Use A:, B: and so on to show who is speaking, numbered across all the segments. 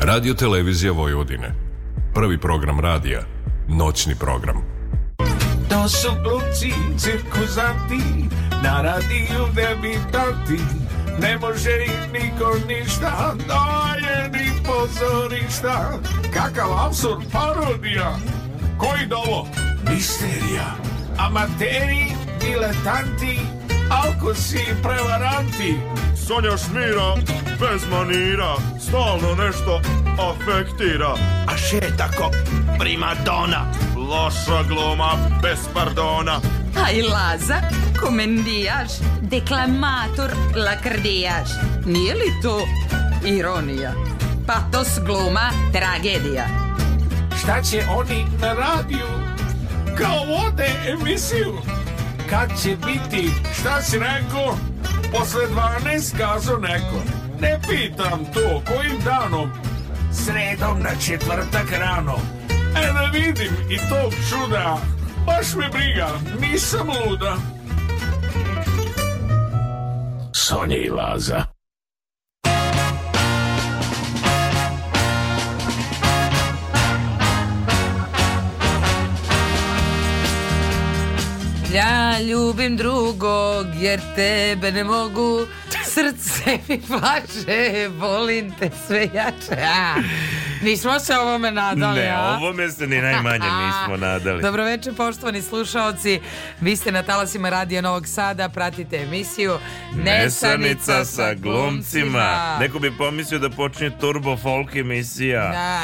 A: Radio Televizija Vojvodine. Prvi program radija. Noćni program.
B: To su glupci, cirkuzanti, na radiju debitanti. Ne može im niko ništa, doje ni pozorišta. Kakav absurd parodija. Koji dovo? Misterija. Amateri, diletanti, alkosi i prevaranti.
C: Sonja šmira, bez manira, stalno nešto afektira.
B: A še je tako primadona?
C: Loša gluma, bez pardona.
D: A i Laza, komendijaš, deklamator, lakrdijaš. Nije li to ironija? Patos gluma, tragedija.
B: Šta će oni na radiju? Kao vode emisiju. Kad će biti? Šta si rekao? Posle 12 kazo neko. Ne pitam to, kojim danom? Sredom na četvrtak rano. E da vidim i tog čuda. Baš me briga, nisam luda.
E: Sonja i Laza.
D: Ja ljubim drugog jer tebe ne mogu Srce mi plaše, volim te sve jače a, Nismo se ovome nadali
F: Ne,
D: a?
F: ovome se ni najmanje nismo nadali.
D: Dobro večer poštovani slušaoci Vi ste na talasima radija Novog Sada Pratite emisiju
F: Nesanica sa glumcima. Neko bi pomislio da počinje turbo folk emisija.
D: Da.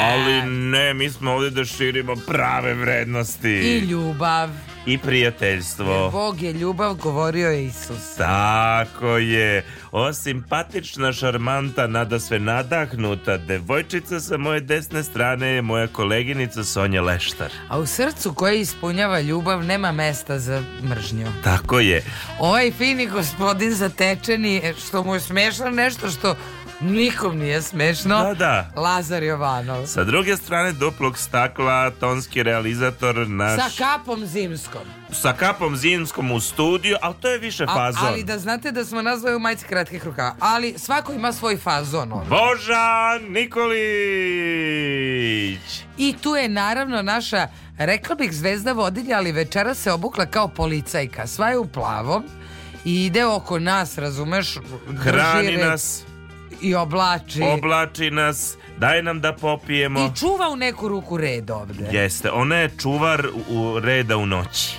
F: Ali ne, mi smo ovdje da širimo prave vrednosti.
D: I ljubav
F: I prijateljstvo.
D: Bog je ljubav, govorio je Isus
F: Tako je. Ova simpatična, šarmanta, nada sve nadahnuta, devojčica sa moje desne strane je moja koleginica Sonja Leštar.
D: A u srcu koje ispunjava ljubav nema mesta za mržnju.
F: Tako je.
D: Ovaj fini gospodin zatečeni, e, što mu je smešno nešto što nikom nije smešno.
F: Da, da.
D: Lazar Jovanov.
F: Sa druge strane duplog stakla, tonski realizator naš...
D: Sa kapom zimskom.
F: sa kapom zimskom u studiju, ali to je više
D: A-
F: fazon.
D: ali da znate da smo nazvali u majici kratkih rukava. Ali svako ima svoj fazon. ono.
F: Božan Nikolić!
D: I tu je naravno naša, rekla bih, zvezda vodilja, ali večera se obukla kao policajka. Sva je u plavom i ide oko nas, razumeš? drži
F: Hrani
D: red
F: nas,
D: I oblači.
F: oblači nas, daj nam da popijemo.
D: I čuva u neku ruku red ovde.
F: Jeste, ona je čuvar u- u reda u noći.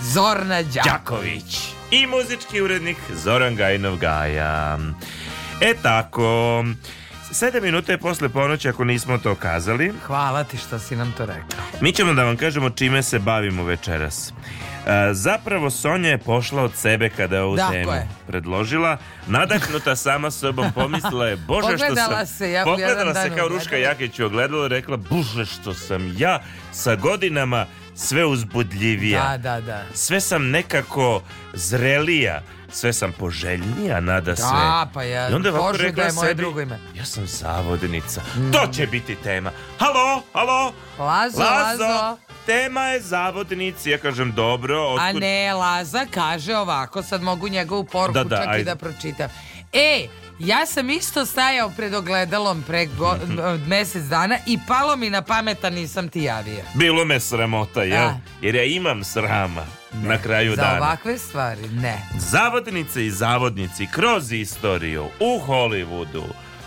D: Zorna Đak.
F: Đaković i muzički urednik Zoran Gajnov Gaja. E tako, sedam minuta je posle ponoći ako nismo to kazali.
D: Hvala ti što si nam to rekao.
F: Mi ćemo da vam kažemo čime se bavimo večeras. E, zapravo Sonja je pošla od sebe kada je ovu
D: Tako
F: temu
D: je.
F: predložila. Nadahnuta sama sobom pomislila je Bože što sam...
D: Pogledala se ja u
F: pogledala
D: jedan
F: se
D: dan
F: kao
D: u
F: Ruška
D: ogledalo.
F: Jakić u ogledalo i rekla Bože što sam ja sa godinama sve uzbudljivija.
D: Da, da, da.
F: Sve sam nekako zrelija. Sve sam poželjnija, nada sve.
D: Da, pa ja,
F: I onda je ovako
D: Bože,
F: rekla
D: da je moje
F: sebi,
D: drugo ime. Mm.
F: Ja sam zavodnica. To će biti tema. Halo, halo,
D: Lazo, Lazo.
F: Lazo, tema je zavodnici. Ja kažem, dobro,
D: A
F: otkud...
D: ne, Laza kaže ovako, sad mogu njegovu poruku
F: Da, da,
D: čak i
F: ajde.
D: da pročitam. E, ja sam isto stajao pred ogledalom pre go-
F: Mhm.
D: mjesec dana i palo mi na pameta nisam ti javio.
F: Bilo me sramota, jel?
D: Da.
F: Jer ja imam srama na kraju
D: Za
F: dana.
D: ovakve stvari, ne.
F: Zavodnice i zavodnici kroz istoriju u Hollywoodu,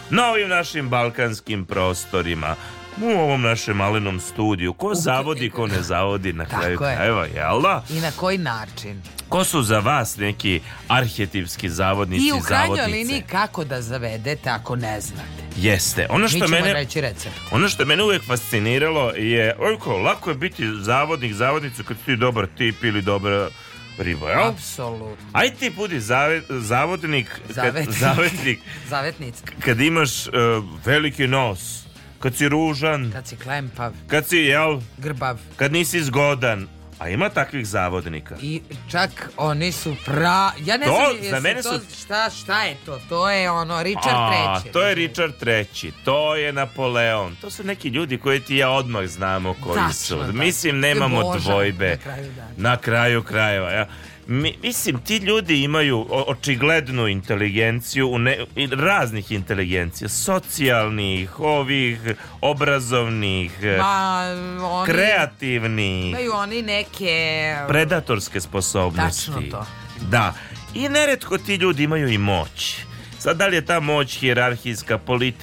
F: na ovim našim balkanskim prostorima, u ovom našem malenom studiju. Ko zavodi, ko ne zavodi na
D: Tako
F: kraju
D: je.
F: krajeva, jel da?
D: I na koji način?
F: Ko su za vas neki arhetipski zavodnici,
D: I u krajnjoj
F: zavodnice?
D: liniji kako da zavedete ako ne znate.
F: Jeste. Ono
D: Mi
F: što
D: ćemo
F: mene...
D: reći recept.
F: Ono što je mene uvijek fasciniralo je, ojko, lako je biti zavodnik, zavodnicu kad si ti dobar tip ili dobra riba, jel?
D: Apsolutno.
F: Aj ti budi zave- zavodnik,
D: Zavetnik.
F: Kad, zavetnik,
D: Zavetnica.
F: kad imaš e, veliki nos, kad si ružan,
D: Kad si Znači, klempav,
F: kad si, jel,
D: grbav
F: kad nisi zgodan. A ima takvih zavodnika.
D: i čak oni su pra... Ja ne
F: To,
D: znam,
F: za
D: jesu
F: mene
D: to,
F: su-
D: šta, šta je to? To je ono, Richard
F: A,
D: III.
F: to je Richard III, to je Napoleon, to su neki ljudi koje ti ja odmah znamo koji
D: Tačno,
F: su.
D: da.
F: Mislim,
D: I
F: nemamo
D: Boža,
F: dvojbe.
D: na kraju dana.
F: Na kraju krajeva, ja. mi- mislim, ti ljudi imaju o- očiglednu inteligenciju, u ne- i raznih inteligencija, socijalnih, ovih, obrazovnih, e,
D: Ma, Pa, oni,
F: kreativnih,
D: imaju oni neke...
F: predatorske sposobnosti.
D: Tačno to.
F: Da. I neretko ti ljudi imaju i moć. Sad, da li je ta moć hijerarhijska,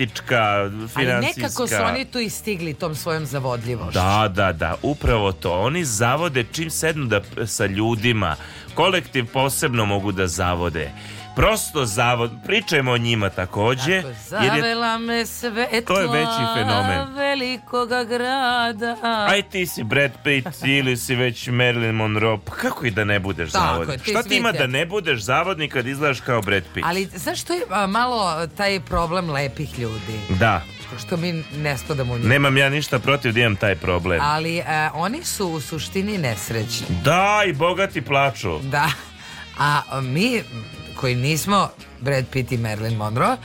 F: politička,
D: Ali
F: finansijska?
D: nekako su oni tu i stigli tom svojom zavodljivošću.
F: Da, da, da, upravo to. Oni zavode čim sednu da, sa ljudima. Kolektiv posebno mogu da zavode. Prosto zavod, pričajmo o njima takođe. jer
D: Tako,
F: je,
D: zavela me svetla
F: To je veći fenomen.
D: velikoga grada.
F: aj ti si Brad Pitt ili si već Marilyn Monroe, pa kako i da ne budeš
D: Tako je,
F: zavodnik?
D: ti
F: Šta
D: svi
F: ti ima
D: te-
F: da ne budeš zavodnik kad izgledaš kao Brad Pitt?
D: Ali zašto je a, malo taj problem lepih ljudi?
F: Da,
D: Što mi ne spadamo u njih.
F: nemam ja ništa protiv da imam taj problem.
D: Ali e, oni su u suštini nesrećni.
F: Da, i bogati plaču.
D: Da. A mi koji nismo Brad Pitt i Marilyn Monroe,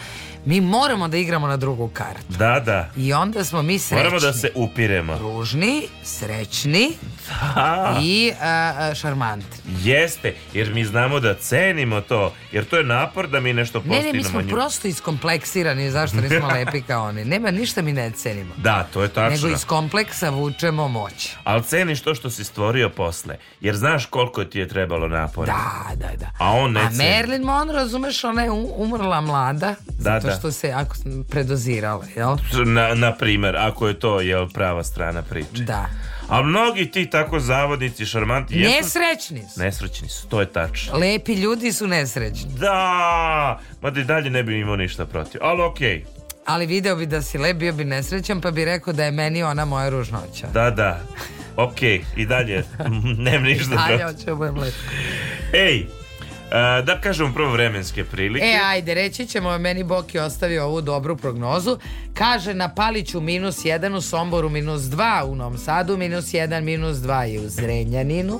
D: mi moramo da igramo na drugu kartu.
F: Da, da.
D: I onda smo mi srećni.
F: Moramo da se upiremo.
D: Ružni, srećni
F: Da.
D: i e, e, šarmantni.
F: Jeste, jer mi znamo da cenimo to, jer to je napor da mi nešto
D: Ne,
F: postignemo.
D: ne, mi smo
F: nju.
D: prosto iskompleksirani zašto nismo lepi kao oni. Nema ništa mi ne cenimo.
F: Da, to je tačno.
D: Nego iz kompleksa vučemo moć.
F: Ali ceniš to što si stvorio posle, jer znaš koliko ti je trebalo napora.
D: Da, da, da.
F: A on ne
D: A
F: ceni.
D: Marilyn Monroe, razumeš, ona je um- umrla mlada zato
F: da.
D: što se ako sam predozirala, jel?
F: Na, na primjer, ako je to jel, prava strana priče.
D: Da.
F: A mnogi ti tako zavodnici, šarmanti, jesu
D: Nesrećni su.
F: nesrećni su, to je tačno.
D: Lepi ljudi su nesrećni.
F: Da, mada i dalje ne bi imao ništa protiv, ali okej.
D: Ali video bi da si lep, bio bi nesrećan, pa bi rekao da je meni ona moja ružnoća.
F: Da, da, okej, i dalje, nemam ništa
D: Ajde,
F: protiv.
D: hoću da budem lep.
F: Ej, e, da kažem prvo vremenske prilike.
D: E, ajde, reći ćemo, meni Boki ostavio ovu dobru prognozu. Kaže na Paliću minus 1, u Somboru minus 2, u Novom Sadu minus 1, minus 2 je u Zrenjaninu.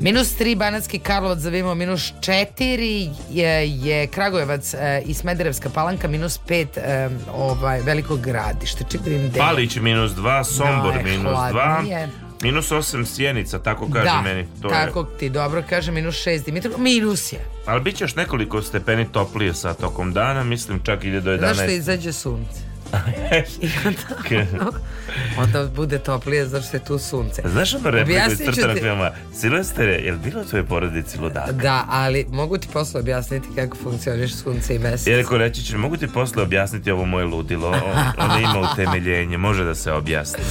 D: Minus 3, Banatski Karlovac zavimo minus 4, je, je Kragujevac e, i Smederevska palanka minus 5, e, ovaj, veliko gradište. Čitavim delom.
F: Palić minus 2, Sombor
D: Da, je
F: minus 2,
D: hladnije.
F: minus 8 Sjenica, tako kaže
D: da,
F: meni. To
D: tako
F: je.
D: ti dobro kaže, minus 6 Dimitrov, minus je.
F: Ali bit će još nekoliko stepeni toplije sad tokom dana, mislim čak i do
D: Znaš što
F: 11.
D: izađe sunce? I onda, ono, onda bude toplije zato što je tu sunce.
F: Znaš ono repliku iz
D: Objasnit ću
F: crtanog
D: ti.
F: filma? Silvestre, je li bilo u tvojoj porodici ludaka?
D: Da, ali mogu ti posle objasniti kako funkcioniš sunce i mesec.
F: I rekao, reći ću, mogu ti posle objasniti ovo moje ludilo? O- Ono ima utemeljenje, može da se objasni.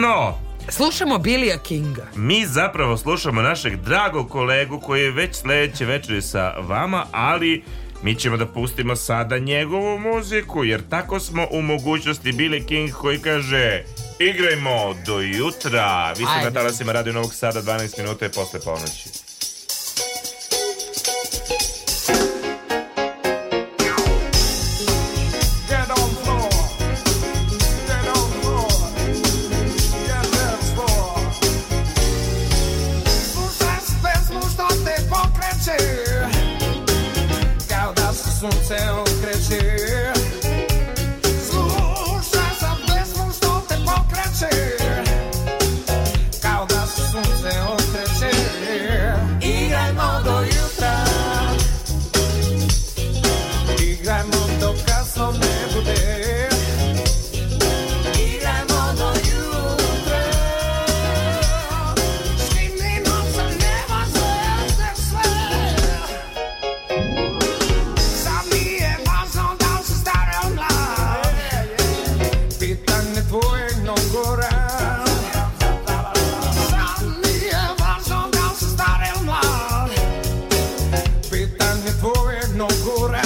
F: No,
D: Slušamo Bilija Kinga.
F: Mi zapravo slušamo našeg dragog kolegu koji je već sljedeće večeri sa vama, ali mi ćemo da pustimo sada njegovu muziku, jer tako smo u mogućnosti Billy King koji kaže igrajmo do jutra. Vi ste
D: Ajde.
F: na talasima Radio Novog Sada 12 minuta je posle ponoći.
B: Get on floor. Get on floor. Get dance floor. Muštaš bez mušta te pokreće. Kao da se sunce okreće. Slušaš za pesmu što te pokreće. Kao da se sunce okreće. Igrajmo do jutra. Igrajmo do kasno ne bude Igrajmo do jutra Štimljeno se ne važno se sve Sam nije važno da li si stara ili mlad Pitanje tvoje nogora Sam nije
G: e
B: važno da li si stara ili mlad Pitanje tvoje nogora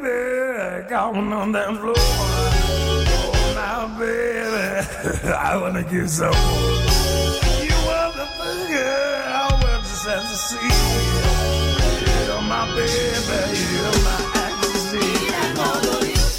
H: down on that floor. Oh, now, baby, I want to give some. You were the finger I was just at the sea. You're my baby, you're my ecstasy.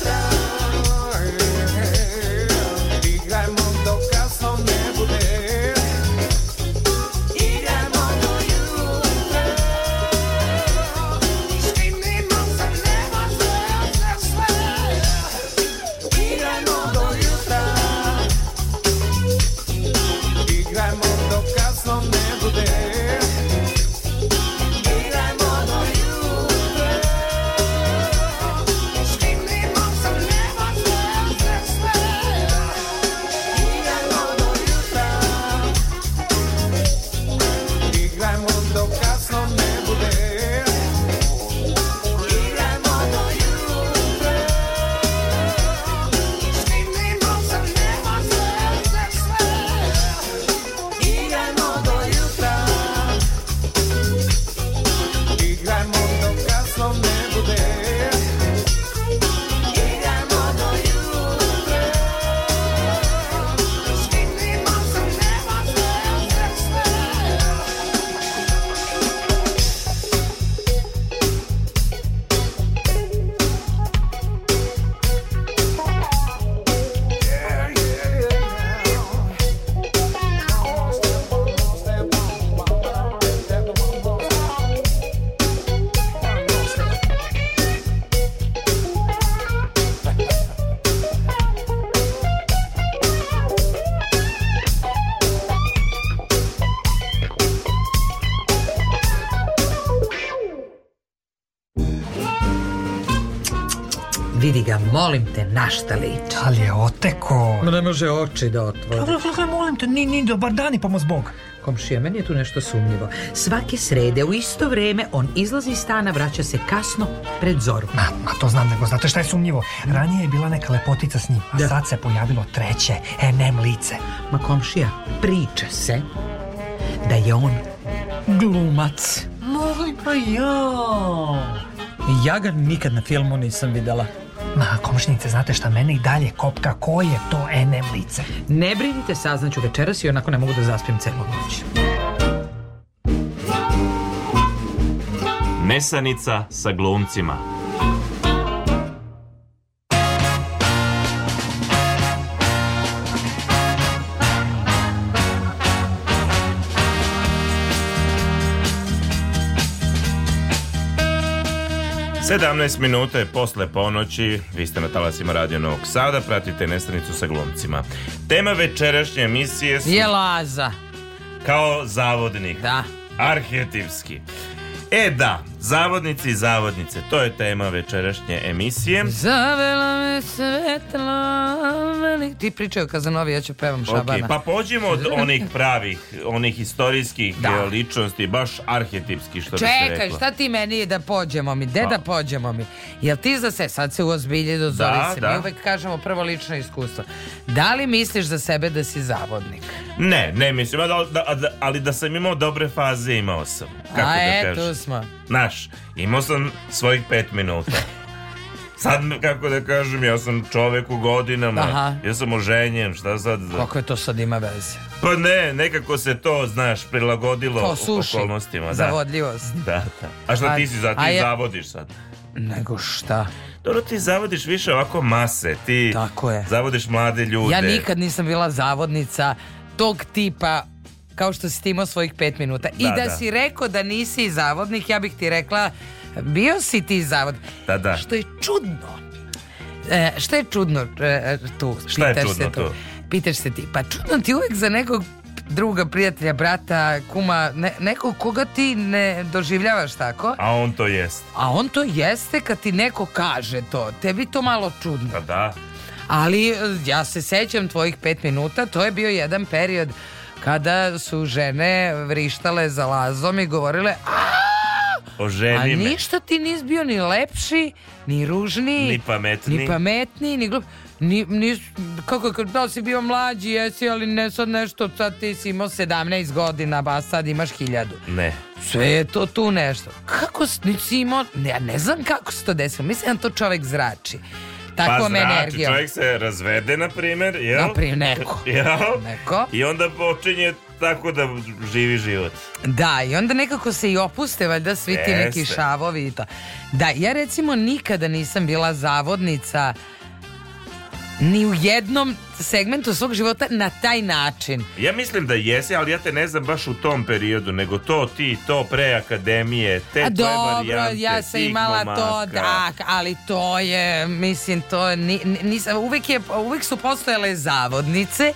D: Vidi ga, molim te, na šta liči?
I: Ali je oteko.
D: ne može oči da otvori.
I: Molim te, ni, ni, dobar dan i pomoz Bog.
D: pa Komšija, meni je tu nešto sumnjivo. Svake srede u isto vreme on izlazi iz stana, vraća se kasno pred zoru.
I: Ma, ma to znam, nego znate šta je sumnjivo? Ranije je bila neka lepotica s njim, a
D: Da.
I: sad se pojavilo treće, NM lice.
D: Ma komšija, priča se da je on glumac.
J: Molim pa ja. Ja ga nikad na filmu nisam videla.
I: Ma, komšnice, znate šta mene i dalje kopka, ko je to NM lice?
D: Ne brinite, saznaću večeras i onako ne mogu da zaspim celu noć.
F: Nesanica sa glumcima. Sedamnaest minuta je posle ponoći, vi ste na talasima Radio Novog Sada, pratite Nesanicu sa glumcima. Tema večerašnje emisije su
D: Je Laza,
F: kao zavodnik.
D: da.
F: Arhetipski. E da, zavodnici i zavodnice, to je tema večerašnje emisije.
D: Zavela me svetla velik... Ti pričaj o Kazanovi, ja ću pevam Šabana.
F: Ok, pa pođimo od onih pravih, onih historijskih
D: Da.
F: e, ličnosti, baš arhetipski što bi se
D: Čekaj,
F: reklo.
D: šta ti meni je da pođemo mi? De
F: Pa.
D: da pođemo mi? Jel ti za se, sad se uozbilji do zori
F: Da,
D: se.
F: da.
D: Mi uvek kažemo prvo lično iskustvo. Da li misliš za sebe da si zavodnik?
F: Ne, ne mislim, a da- da- a da- ali da sam imao dobre faze, imao sam. Kako
D: A
F: da
D: e,
F: kažem?
D: tu smo.
F: Znaš, imao sam svojih pet minuta. Sad, kako da kažem, ja sam čovek u godinama,
D: Aha.
F: ja sam oženjen, šta sad?
D: Kako je to sad ima veze?
F: Pa ne, nekako se to, znaš, prilagodilo
D: Kao suši.
F: okolnostima. Da.
D: Zavodljivost.
F: Da, da. A šta
D: A-
F: ti si za,
D: a
F: ti
D: ja-
F: zavodiš sad?
D: Nego šta?
F: Dobro, ti zavodiš više ovako mase, ti
D: Tako je.
F: zavodiš mlade ljude.
D: Ja nikad nisam bila zavodnica tog tipa kao što si ti imao svojih pet minuta. I
F: Da,
D: da,
F: da.
D: si rekao da nisi zavodnik, ja bih ti rekla bio si ti zavod.
F: Da, da.
D: Što je čudno. E, šta je čudno e, tu?
F: Šta je
D: Pitaš
F: čudno
D: se
F: tu?
D: Pitaš se ti. Pa čudno ti uvek za nekog druga prijatelja, brata, kuma, ne, nekog koga ti ne doživljavaš tako,
F: A on to jest.
D: a on to jeste kad ti neko kaže to. Tebi to malo čudno.
F: Pa da.
D: Ali eh, ja se sećam tvojih pet minuta, to je bio jedan period kada su žene vrištale za lazom i govorile a
F: Oženi me.
D: ništa ti nis bio ni lepši, ni ružniji,
F: Ni pametniji."
D: ni pametniji, ni glup, ni, nis, kako je, da li si bio mlađi, jesi, ali ne sad nešto, sad ti si imao 17 godina, a sad imaš hiljadu.
F: Ne.
D: Sve je E, to tu nešto. Kako s- nisi imao, ne, ja ne znam kako se to desilo, mislim da to čovek zrači.
F: pa
D: takvom
F: znači,
D: energijom.
F: čovjek se razvede, na primjer, jel?
D: Napri- neko.
F: Jel?
D: Neko.
F: I onda počinje tako da živi život.
D: Da, i onda nekako se i opuste valjda svi ti neki
F: Jeste.
D: šavovi i to. Da, ja recimo nikada nisam bila zavodnica ni u jednom segmentu svog života na taj način.
F: Ja mislim da jesi, ali ja te ne znam baš u tom periodu, nego to ti, to pre akademije, te
D: A
F: tvoje
D: dobro,
F: varijante,
D: ja sam
F: tih
D: imala to,
F: momaka.
D: da, ali to je, mislim, to ni, ni- nisam, uvijek, je, uvijek su postojale zavodnice,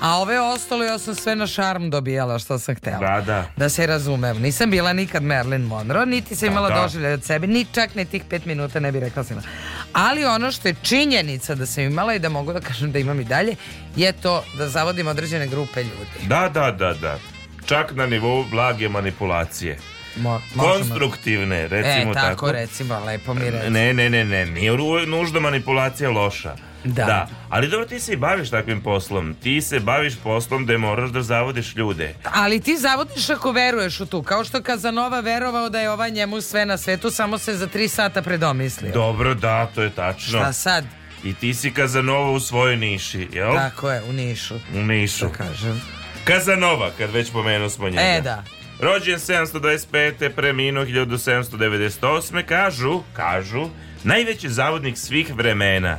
D: a ove ostalo ja sam sve na šarm dobijala što sam htjela.
F: Da, da.
D: Da se razumem, nisam bila nikad Marilyn Monroe, niti sam imala
F: da.
D: doživljaj od sebe, ni čak ni tih pet minuta ne bi rekla sam imala. Ali ono što je činjenica da sam imala i da mogu da kažem da imam i dalje, je to da zavodim određene grupe ljudi.
F: Da, da, da, da. Čak na nivou blage manipulacije.
D: Mo- možemo-
F: Konstruktivne, recimo
D: E, tako, recimo, lepo mi reci.
F: Ne, ne, ne, ne, nije ru- nužno manipulacija loša.
D: Da.
F: Ali dobro, ti se i baviš takvim poslom. Ti se baviš poslom da moraš da zavodiš ljude.
D: Ali ti zavodiš ako veruješ u tu, kao što Kazanova verovao da je ova njemu sve na svetu, samo se za tri sata predomislio.
F: Dobro, da, to je tačno.
D: Šta sad?
F: I ti si Kazanova u svojoj niši, jel?
D: Tako je, u Nišu.
F: U nišu.
D: Kažem.
F: Kazanova, kad već pomenu smo njega.
D: E, da.
F: Rođen 725. preminuo 1798. Kažu, kažu, najveći zavodnik svih vremena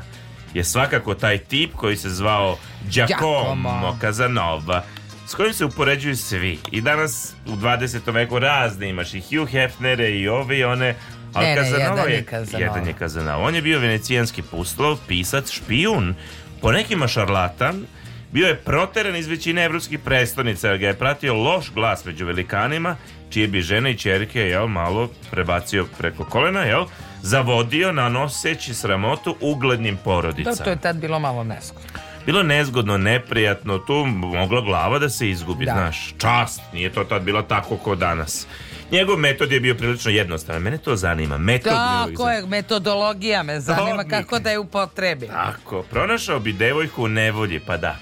F: je svakako taj tip koji se zvao Giacomo
D: Giacomo.
F: Casanova s kojim se upoređuju svi. I danas u 20. veku razne imaš i Hugh Hefnere i ove i one. Ali
D: Ne, ne,
F: Casanova
D: jedan
F: je,
D: je Casanova.
F: jedan je Casanova. On je bio venecijanski puslov, pisac, špijun, po nekima šarlatan, bio je proteran iz većine evropskih prestonica, jer ga je pratio loš glas među velikanima, čije bi žene i čerke, jel, malo prebacio preko kolena, jel, zavodio nanoseći sramotu uglednim
D: To,
F: porodicama.
D: to je tad bilo malo neskoro.
F: Bilo je nezgodno, neprijatno, tu mogla glava da se izgubi,
D: Da.
F: znaš. Čast, nije to tad bilo tako kao danas. Njegov metod je bio prilično jednostavan. Mene to zanima. Metod me uvijek
D: Tako
F: zanima.
D: je, metodologija me zanima
F: mi-
D: kako da je upotrebi.
F: Tako, pronašao bi devojku u nevolji, pa da.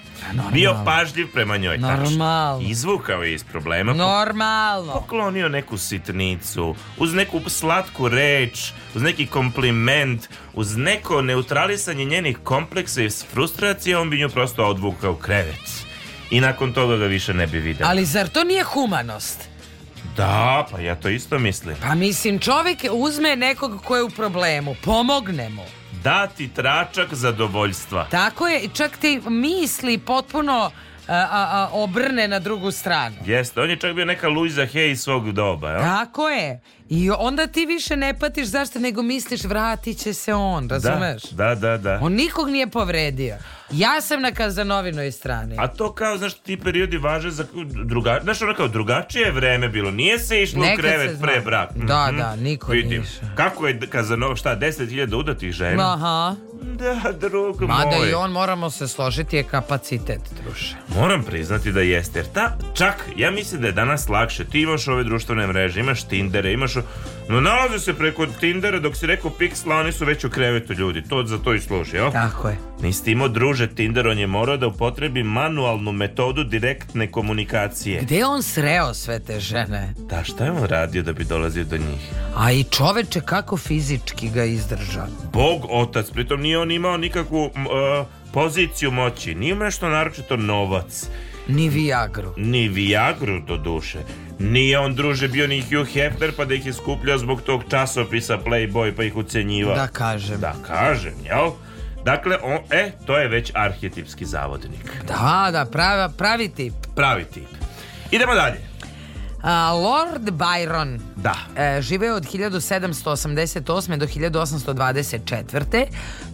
F: Bio pažljiv prema njoj. tačno.
D: Normalno.
F: Izvukao je iz problema.
D: Normalno.
F: poklonio neku sitnicu, uz neku slatku reč, uz neki kompliment, uz neko neutralisanje njenih kompleksa i s frustracije, on bi nju prosto odvukao u krevet. I nakon toga ga više ne bi vidio.
D: Ali zar to nije humanost?
F: Da, pa ja to isto mislim.
D: Pa mislim, čovjek uzme nekog ko je u problemu, pomogne mu.
F: Dati tračak zadovoljstva.
D: Tako je, i čak ti misli potpuno a, a, a, obrne na drugu stranu.
F: Jeste, on je čak bio neka Luisa Hay iz svog doba, jel?
D: Tako je. I onda ti više ne patiš zašto, nego misliš vratit će se on, razumeš?
F: Da, da, da.
D: On nikog nije povredio. Ja sam na Kazanovinoj strani.
F: A to kao, znaš, ti periodi važe za druga, znaš, ono kao drugačije je vreme bilo. Nije se išlo u
D: Nekad se
F: krevet
D: zna.
F: pre brak. Mhm.
D: Da, da, niko
F: Vidim.
D: nije išao.
F: Kako je Kazanova, šta, 10.000 udatih žena?
D: Aha.
F: Da, drug
D: Mada
F: moj.
D: i on, moramo se složiti, je kapacitet, druže.
F: Moram priznati da jeste, jer ta, čak, ja mislim da je danas lakše. Ti imaš ove društvene mreže, imaš Tindere, imaš... o- No, nalaze se preko Tindera, dok si rekao Pixla, oni su već u krevetu ljudi. To za to i služi, jel?
D: Tako je.
F: Nisi ti imao druže Tinder, on je morao da upotrebi manualnu metodu direktne komunikacije.
D: Gde je on sreo sve te žene?
F: Da, šta je on radio da bi dolazio do njih?
D: A i čoveče kako fizički ga izdrža.
F: Bog otac, pritom nije on imao nikakvu m, e, poziciju moći, nije imao nešto naročito novac,
D: Ni Viagru.
F: ni Viagru do duše. Nije on druže bio ni Hugh Hefner pa da ih je skupljao zbog tog časopisa Playboy pa ih ucenjivao.
D: Da kažem.
F: Da kažem, jel? Dakle, on, e, to je već arhetipski zavodnik.
D: Da, da, prava, pravi tip.
F: Pravi tip. Idemo dalje.
D: A, Lord Byron
F: Da.
D: e, živeo od 1788. do 1824.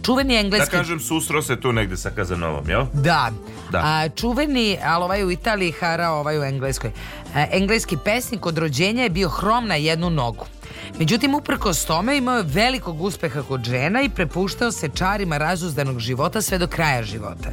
D: Čuveni
F: Da
D: engleski...
F: kažem, susro se tu negde sa Kazanovom, jel?
D: Da.
F: Da.
D: A, čuveni, ali ovaj u Italiji hara, ovaj u Engleskoj. E, engleski pesnik od rođenja je bio hrom na jednu nogu. Međutim, uprkos tome imao je velikog uspeha kod žena i prepuštao se čarima razuzdanog života sve do kraja života.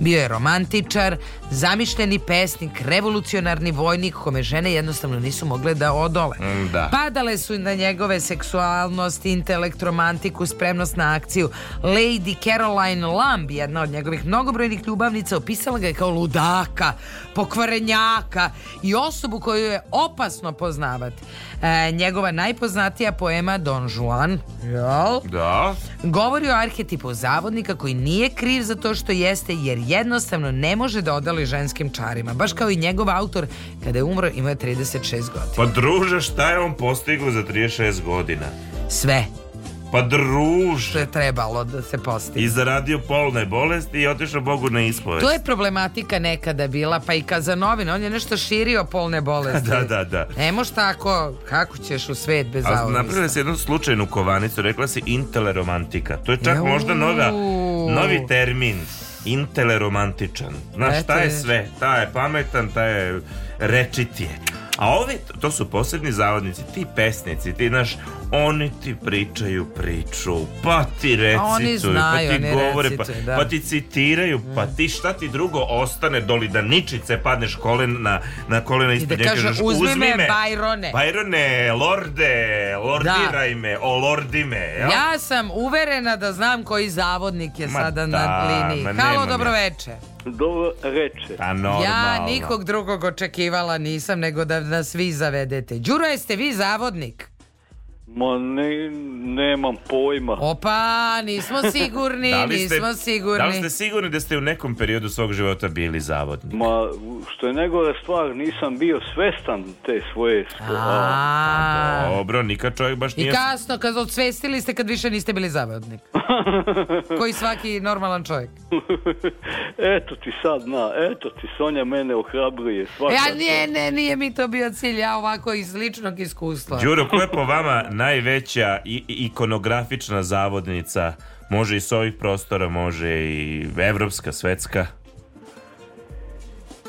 D: Bio je romantičar, zamišljeni pesnik, revolucionarni vojnik kome žene jednostavno nisu mogle da odole.
F: da.
D: Padale su na njegove seksualnost, intelekt, romantiku, spremnost na akciju. Lady Caroline Lamb, jedna od njegovih mnogobrojnih ljubavnica, opisala ga je kao ludaka, pokvarenjaka i osobu koju je opasno poznavati. E, njegova najpoznatija najpoznatija poema Don Juan, jel?
F: Da.
D: Govori o arhetipu zavodnika koji nije kriv za to što jeste jer jednostavno ne može da odali ženskim čarima. Baš kao i njegov autor kada je umro imao je 36 godina.
F: Pa druže, šta je on postigao za 36 godina?
D: Sve
F: Pa
D: što
F: druže.
D: je trebalo da se postigne.
F: I zaradio polne bolesti i otišao Bogu na ispovest.
D: To je problematika nekada bila, pa i kad za novine, on je nešto širio polne bolesti.
F: Da, da, da.
D: Ne moš tako, kako ćeš u svet bez
F: A
D: zavodista?
F: napravila se jednu slučajnu kovanicu, rekla se inteleromantika. To je čak
D: Jau.
F: možda nova, novi termin. Inteleromantičan. Znaš,
D: Eto
F: šta je
D: vidiš.
F: sve? Ta je pametan, ta je rečit je. A ovi, to su posebni zavodnici, ti pesnici, ti, znaš, oni ti pričaju priču, pa ti recituju,
D: oni znaju,
F: pa ti
D: oni
F: govore,
D: recituju,
F: pa,
D: da. Mm.
F: pa ti citiraju, pa ti šta ti drugo ostane doli da ničice padneš kolen na, na kolena
D: da
F: ispred njega,
D: kaže,
F: kažeš,
D: "Uzmi
F: uzmi,
D: me,
F: me, Pa,
D: Bajrone."
F: Bajrone, lorde, lordiraj me, olordi me. jel?
D: Ja sam uverena da znam koji zavodnik je
F: Ma
D: sada
F: da,
D: na liniji.
F: ma
D: Halo,
F: nemam
D: dobro
F: ja.
D: veče.
K: Do reče.
F: Pa normalno.
D: Ja nikog drugog očekivala nisam nego da nas vi zavedete. Đuro, jeste vi zavodnik?
K: Ma ne, nemam pojma.
D: Opa, nismo sigurni,
F: Da li ste-
D: nismo sigurni.
F: Da li ste sigurni da ste u nekom periodu svog života bili zavodni?
K: Ma, što je negore stvar, nisam bio svestan te svoje... sko- a,
D: A,
F: Pa Dobro, nikad čovjek baš
D: I
F: nije...
D: kasno, kad odsvestili ste, kad više niste bili zavodnik. Koji svaki normalan čovjek.
K: eto ti sad, na, eto ti, Sonja mene ohrabruje. Svaka
D: Ja, E, nije, ne, nije mi to bio cilj, ja ovako iz ličnog iskustva.
F: Đuro, ko je po vama najveća i- i- ikonografična zavodnica? Može i s ovih prostora, može i evropska, svetska.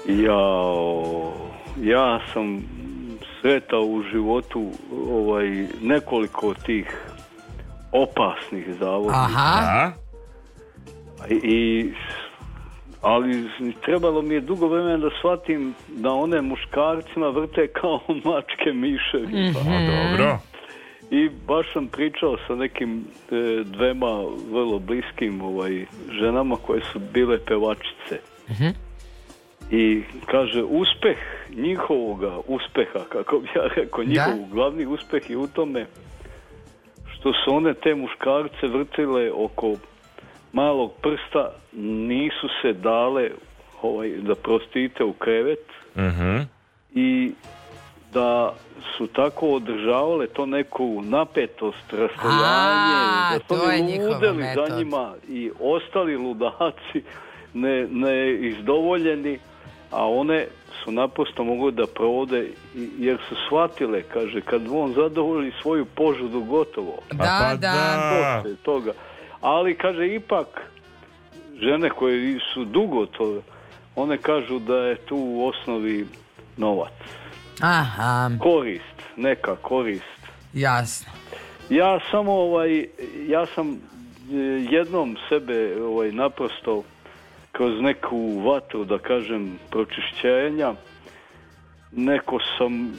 K: Jao, ja sam sretao u životu ovaj, nekoliko tih opasnih zavoda.
D: Aha,
F: A?
K: I, i- ali trebalo mi je dugo vremena da shvatim da one muškarcima vrte kao mačke miševi.
D: Mhm.
F: Pa, dobro.
K: I baš sam pričao sa nekim e, dvema vrlo bliskim ovaj, ženama koje su bile pevačice.
G: Uhum.
K: I kaže, uspeh njihovoga uspeha, kako bi ja rekao, njihov glavni uspeh je u tome što su one te muškarce vrtile oko malog prsta, nisu se dale ovaj, da prostite u krevet
F: Mhm.
K: i da su tako održavale to neku napetost,
D: A,
G: Ah,
K: rastojanje, da su
D: to je
K: oni
D: njihova
K: ludeli
D: metod.
K: za njima i ostali ludaci ne, ne izdovoljeni, a one su naprosto mogli da provode i- jer su shvatile, kaže, kad on zadovolji svoju požudu gotovo.
F: Pa,
D: da,
F: pa
D: da.
F: da.
K: Poslije toga. Ali kaže ipak žene koje su dugo to one kažu da je tu u osnovi novac.
D: Aha,
K: Korist, neka korist.
D: jasno.
K: Ja samo ovaj ja sam e, jednom sebe ovaj naprosto kroz neku vatru da kažem pročišćenja neko sam e,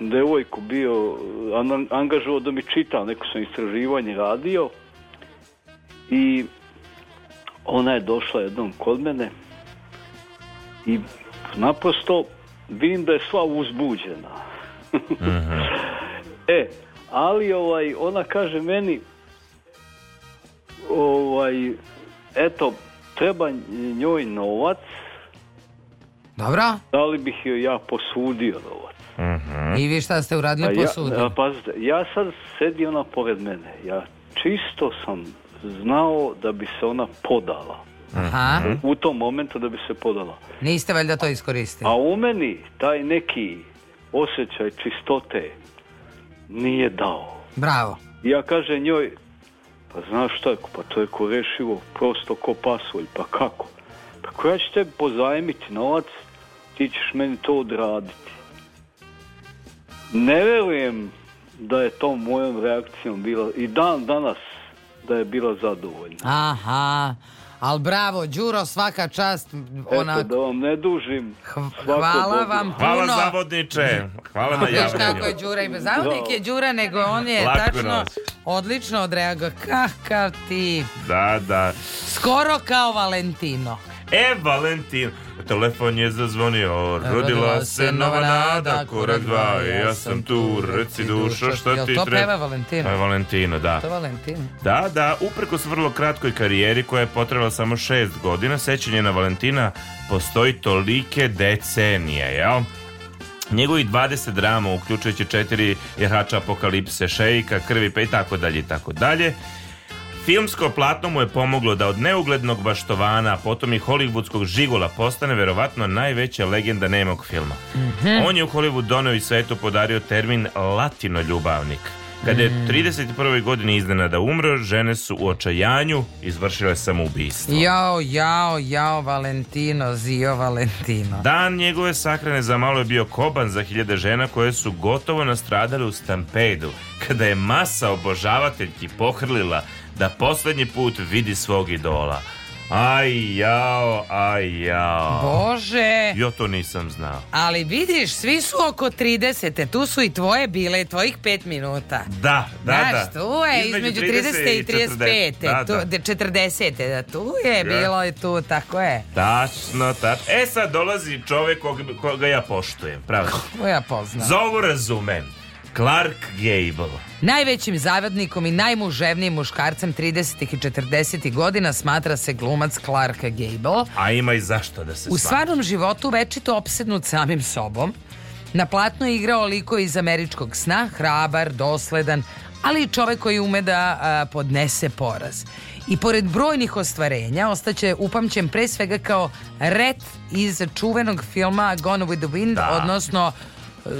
K: devojku bio e, an- angažovao da mi čita neko sam istraživanje radio i ona je došla jednom kod mene i naprosto vidim da je sva uzbuđena E, ali ovaj, ona kaže meni, ovaj, eto, treba njoj novac,
D: Dobro,
K: da li bih joj ja posudio novac?
D: i vi šta ste uradili
K: Mhm. Pa ja,
D: posudu?
K: a, pazite, ja sad sedi ona pored mene, ja čisto sam znao da bi se ona podala.
D: Aha,
K: U tom momentu da bi se podala.
D: niste valjda to iskoristili.
K: A u meni taj neki osjećaj čistote nije dao.
D: Bravo.
K: Ja kažem njoj, pa znaš šta, reko, pa to je korešivo, prosto ko pasulj, pa kako? Pa ko ja ću tebi pozajmiti novac, ti ćeš meni to odraditi. Ne verujem da je to mojom reakcijom bila, i dan danas da je bila zadovoljna.
D: Aha, ali bravo, Đuro, svaka čast,
K: Eto,
D: ona...
K: da vam ne dužim. svako
D: Hvala
K: dobro.
D: vam
F: Hvala
D: puno.
F: zavodniče. Hvala na
D: Viš kako je
F: javljanju.
D: Đura i bez zavodnik je Đura, nego on je
F: Lako
D: tačno
F: nas.
D: odlično odreagao. Kakav ti
F: Da, da.
D: Skoro kao Valentino.
F: E, Valentin, telefon je zazvonio, rodila
D: Rodila
F: se nova nada, korak dva, ja sam tu, reci dušo, šta
D: Jel
F: ti
D: to
F: treba?
D: peva Valentina?
F: To je Valentina, da.
D: To je Valentina.
F: Da, da, uprkos vrlo kratkoj karijeri koja je potrebala samo šest godina, sećanje na Valentina postoji tolike decenije, jel? Njegovi 20 drama, uključujući četiri jahača apokalipse, šejka, krvi, pa i tako dalje i tako dalje. Filmsko platno mu je pomoglo da od neuglednog baštovana, a potom i hollywoodskog žigola postane verovatno najveća legenda nemog filma.
G: Uhum.
D: Hmm.
F: On je u Hollywood doneo i svetu podario termin latino ljubavnik. Kada je
D: Hmm.
F: 31. godine iznenada umro, žene su u očajanju izvršile samoubistvo.
D: Jao, jao, jao, Valentino, zio Valentino.
F: Dan njegove sahrane za malo je bio koban za hiljade žena koje su gotovo nastradale u stampedu, kada je masa obožavateljki pohrlila da posljednji put vidi svog idola. Aj jao, aj jao.
D: Bože!
F: Jo to nisam znao.
D: Ali vidiš, svi su oko 30, tu su i tvoje bile, i tvojih 5 minuta.
F: Da, da, da.
D: Znaš, tu je između 30 i e,
F: 40.
D: 35,
F: Da, da.
D: tu, de- 40, da, tu je
F: Da.
D: bilo i tu, tako je.
F: Tačno, tačno. E sad dolazi čovjek kog, koga ja poštujem, pravda.
D: To ja poznam.
F: Zovu razumem. Clark Gable.
D: Najvećim zavodnikom i najmuževnijim muškarcem 30. i 40. godina smatra se glumac Clark Gable.
F: A ima i zašto da se
D: U
F: sva-
D: stvarnom životu večito opsednut samim sobom. Na platnu je igrao liko iz američkog sna, hrabar, dosledan, ali i čovek koji ume da a, podnese poraz. I pored brojnih ostvarenja, ostaće upamćen pre svega kao ret iz čuvenog filma Gone with the Wind,
F: Da.
D: odnosno e,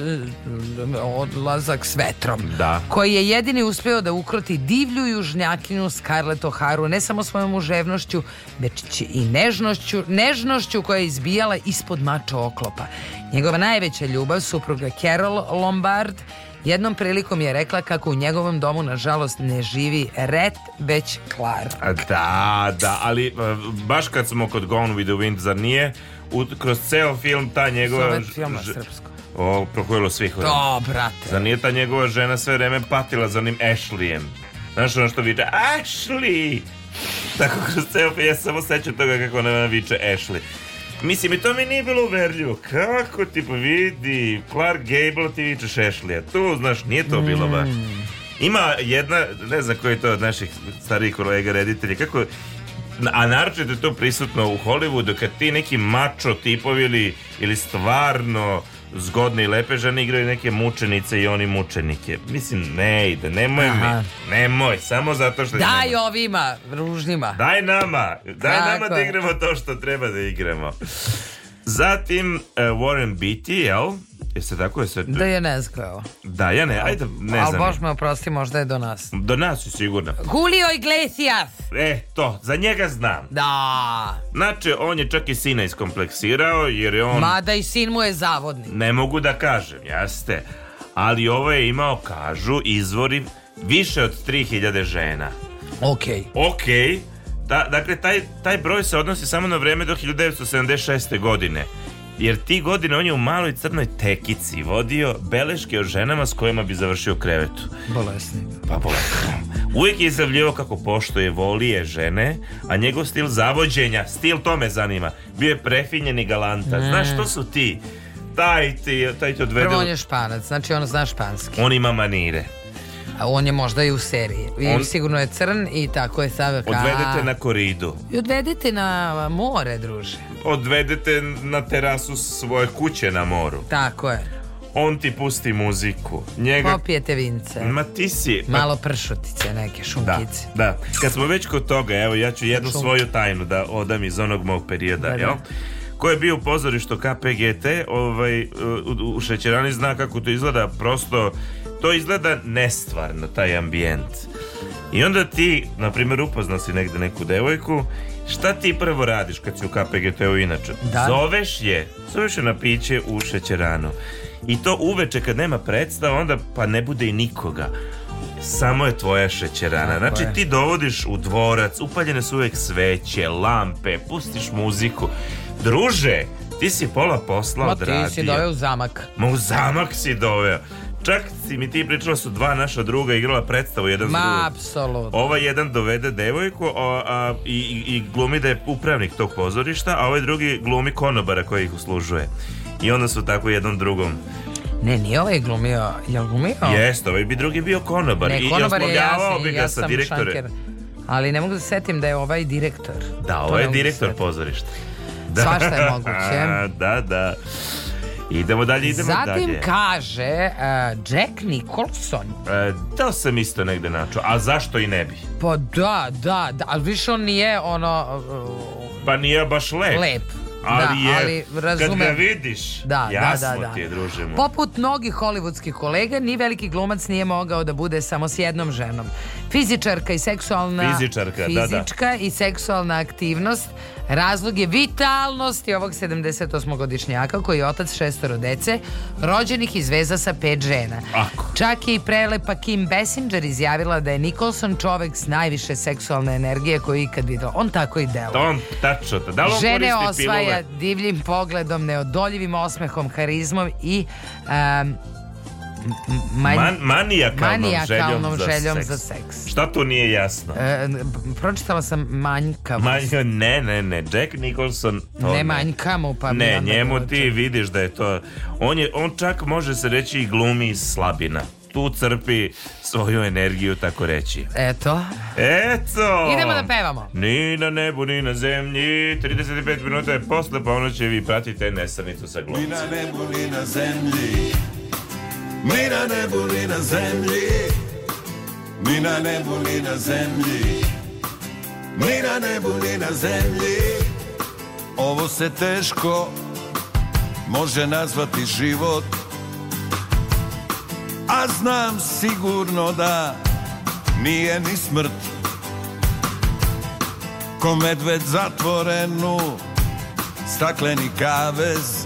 D: odlazak s vetrom
F: Da.
D: koji je jedini uspio da ukroti divlju južnjakinju Scarlett O'Haru ne samo svojom muževnošću, već i nežnošću, nežnošću koja je izbijala ispod mača oklopa. Njegova najveća ljubav, supruga Carol Lombard, jednom prilikom je rekla kako u njegovom domu, nažalost, ne živi Red, već Clark.
F: A Da, da, ali e, baš kad smo kod Gone with the Wind, zar nije u, kroz ceo film ta njegova...
D: Zove
F: ž-
D: film na
F: ž-
D: srpsko.
F: O, prohojilo svih.
D: To, brate.
F: Zar nije ta njegova žena sve vreme patila za onim Ashleyem? Znaš ono što viče, Ashley! Tako kroz ceo film, ja se samo sećam toga kako ona viče Ashley. Mislim, i to mi nije bilo uverljivo. Kako ti pa vidi, Clark Gable ti vičeš Ashley, a tu, znaš, nije to bilo baš. Ima jedna, ne znam koji je to od naših starijih kolega reditelja, kako a naročito je to prisutno u Hollywoodu kad ti neki mačo tipovi ili, ili stvarno zgodne i lepe žene igraju neke mučenice i oni mučenike. Mislim, ne ide, nemoj
D: Aha.
F: mi, nemoj, samo zato što...
D: Daj ovima, ružnima.
F: Daj nama, daj
D: Tako
F: nama da
D: je.
F: igramo to što treba da igramo. Zatim e, Warren Beatty, jel? Jeste tako? Jeste...
D: Da je ne zgleo.
F: Da, ja ne, ajde, ne
D: Ali
F: znam.
D: bož me oprosti, možda je do nas.
F: Do nas je sigurno.
D: Julio Iglesias!
F: E, to, za njega znam.
D: Da,
F: Znači, on je čak i sina iskompleksirao, jer je on...
D: mada i sin mu je zavodnik.
F: Ne mogu da kažem, jeste. Ali ovo je imao, kažu, izvori više od 3000 žena.
D: Okej.
F: Ok, da, dakle, taj, taj broj se odnosi samo na vreme do 1976. godine. Jer ti godine on je u maloj crnoj tekici vodio beleške o ženama s kojima bi završio u krevetu.
D: Bolesnik.
F: Pa bolesno. Uvijek je izjavljivao kako poštuje, voli je žene, a njegov stil zavođenja, stil to me zanima, bio je prefinjen i galantan. Znaš što su ti? Taj ti, taj ti odvede...
D: Prvo on je španac, znači on zna španski.
F: on ima manire.
D: A on je možda i u seriji. I
F: On-
D: sigurno je crn i tako je sada ka...
F: Odvedete na koridu.
D: I odvedete na more, druže.
F: Odvedete na terasu svoje kuće na moru.
D: Tako je.
F: On ti pusti muziku. Njega...
D: Popijete vince.
F: Ma ti si... Ma
D: Malo pršutice neke,
F: Da,
D: šunkice.
F: da. Kad smo već kod toga, evo ja ću jednu
D: Šum.
F: svoju tajnu da odam iz onog mog perioda,
D: Da, da.
F: jel? Ko je bio u pozorištu KPGT, ovaj, u, u šećerani zna kako to izgleda, prosto to izgleda nestvarno, taj ambijent. I onda ti, na primjer, upoznao si negde neku devojku, šta ti prvo radiš kad si u KPGT-u inače?
D: Da.
F: Zoveš je, zoveš je na piće u šećeranu. I to uveče kad nema predstava, onda pa ne bude i nikoga. Samo je tvoja šećerana.
D: Tako
F: Znači
D: je.
F: ti dovodiš u dvorac, upaljene su uvek sveće, lampe, pustiš muziku. Druže, ti si pola posla
D: Ma ti si
F: odradio.
D: doveo u zamak.
F: Ma u zamak si doveo. Čak si mi ti pričala su dva naša druga igrala predstavu jedan s
D: Ma,
F: drugom.
D: apsolutno.
F: Ovaj jedan dovede devojku a, a, i, i- i glumi da je upravnik tog pozorišta, a ovaj drugi glumi konobara koji ih uslužuje. I onda su tako jednom drugom.
D: Ne, nije ovaj glumio. Jel glumio?
F: Jeste, ovaj bi drugi bio konobar.
D: Ne,
F: I-
D: konobar
F: I
D: je
F: oslovljavao
D: jasni,
F: bi ga
D: ja
F: sa
D: sam
F: direktore.
D: šanker. Ali ne mogu da se setim da je ovaj direktor.
F: Da,
D: To
F: ovo
D: ne
F: je
D: mogu da
F: direktor
D: se
F: pozorišta.
D: Svašta je moguće.
F: da, da. Idemo dalje, idemo
D: Zatim
F: dalje.
D: kaže e, Jack Nicholson.
F: E, to sam isto negde načuo, a zašto i ne bi?
D: Pa da, da, da, ali više on nije ono... e,
F: Pa nije baš lep.
D: Lep,
F: Ali
D: da,
F: je,
D: ali
F: kad ga
D: razumem.
F: vidiš,
D: Da, da,
F: jasno
D: da, da.
F: ti je, druže moj.
D: Poput mnogih hollywoodskih kolega, ni veliki glumac nije mogao da bude samo s jednom ženom. Fizičarka i seksualna...
F: Fizičarka, da, da.
D: fizička i seksualna aktivnost razlog je vitalnosti ovog 78-godišnjaka koji je otac šestoro dece, rođenih iz veza sa pet žena.
F: Ako.
D: Čak je i prelepa Kim Basinger izjavila da je Nicholson čovek s najviše seksualne energije koju je ikad videla. On tako i deluje.
F: To on tačno, to. da li on
D: Žene
F: koristi
D: osvaja
F: pilule?
D: divljim pogledom, neodoljivim osmehom, karizmom i um, manj-
F: Man, manijakalnom,
D: manijakalnom
F: željom, za,
D: željom
F: seks.
D: za seks.
F: Šta tu nije jasno?
D: E, b- pročitala sam manjkavost.
F: Manj, ne, ne, ne, Jack Nicholson to
D: ne manjkamo, pa mi
F: ne,
D: onda
F: njemu
D: bilo
F: ti vidiš da je to on, je, on čak može se reći i glumi iz slabina tu crpi svoju energiju, tako reći.
D: Eto.
F: Eto!
D: Idemo da pevamo.
F: Ni na nebu, ni na zemlji, 35 minuta je posle, pa ono će vi pratite nesanicu sa glumom.
H: Ni na nebu, ni na zemlji Ni na nebu, ni na zemlji Ni na nebu, ni na zemlji Ni na nebu, ni na zemlji Ovo se teško može nazvati život A znam sigurno da nije ni smrt Ko medved zatvorenu stakleni kavez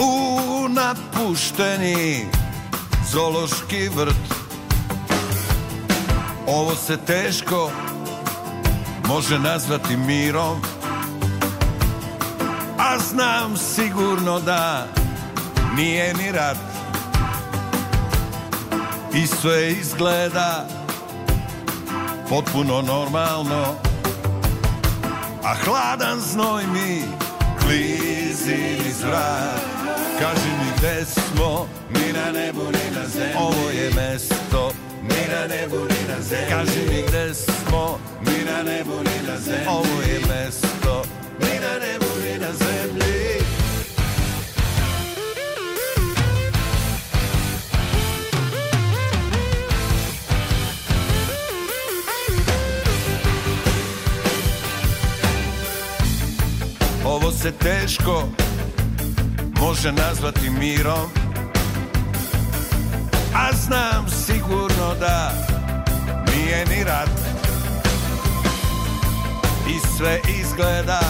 H: u napušteni zološki vrt Ovo se teško može nazvati mirom A znam sigurno da nije ni rat I sve izgleda potpuno normalno a hladan znoj mi klizi iz vrat Kaži mi gde smo, ni na nebu, ni na zemlji Ovo je mesto, ni na nebu, ni na zemlji Kaži mi gde smo, ni na nebu, ni na zemlji Ovo je mesto, ni na nebu, ni na zemlji Ovo se teško može nazvati mirom A znam sigurno da nije ni rat I sve izgleda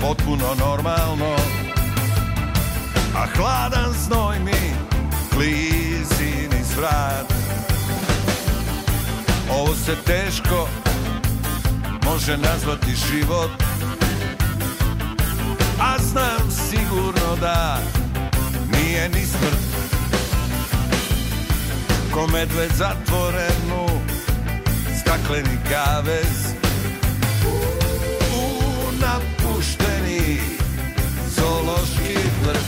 H: potpuno normalno A hladan znoj mi klizi niz vrat Ovo se teško može nazvati život a znam sigurno da nije ni smrt Ko medved zatvorenu stakleni kavez U napušteni zološki vrt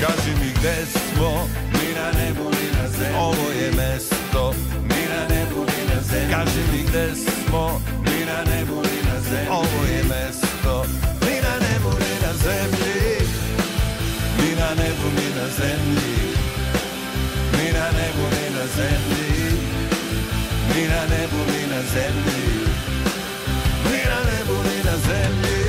H: Kaži mi gde smo, mi na nebu, ni na zemlji Ovo je mesto, mi na nebu, ni na zemlji Kaži mi gde smo, mi na nebu, ni na zemlji Ovo je mesto, mi na nebu, ni na zemlji Mi na nebu, ni na zemlji Mi na nebu, ni na zemlji Mi na nebu, ni na zemlji Mi na nebu, ni na zemlji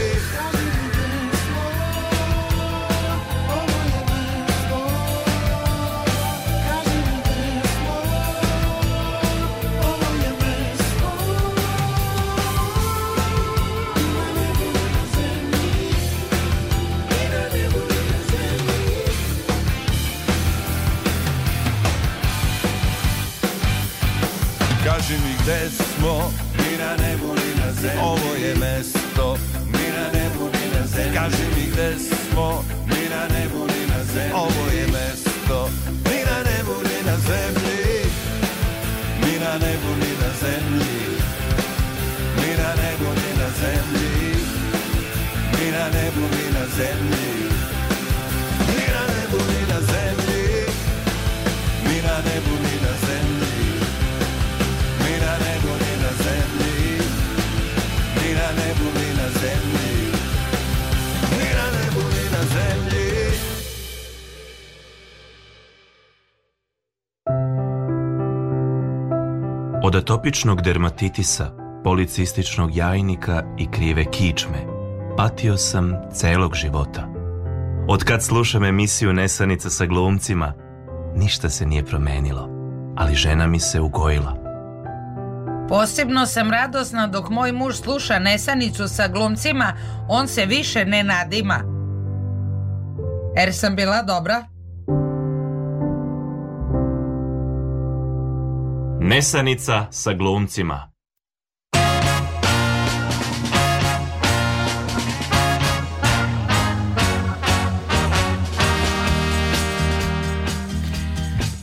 H: Kaži mi gde smo Ni na nebu, ni na zemlji Ovo je mesto Ni na nebu, ni na zemlji Kaži mi gde smo Ni na nebu, ni na zemlji Ovo je mesto na nebu ni na zemlji Ni na nebu ni na zemlji Ni na nebu ni na zemlji Ni na nebu ni na zemlji Ni na nebu ni na zemlji Ni na nebu ni na zemlji Ni na nebu ni na zemlji Ni na nebu ni na zemlji
G: Od atopičnog dermatitisa, policističnog jajnika i krive kičme, patio sam celog života. Od kad slušam emisiju Nesanica sa glumcima, ništa se nije promenilo, ali žena mi se ugojila.
L: Posebno sam radosna dok moj muž sluša nesanicu sa glumcima, on se više ne nadima. Er sam bila dobra?
G: Nesanica sa glumcima.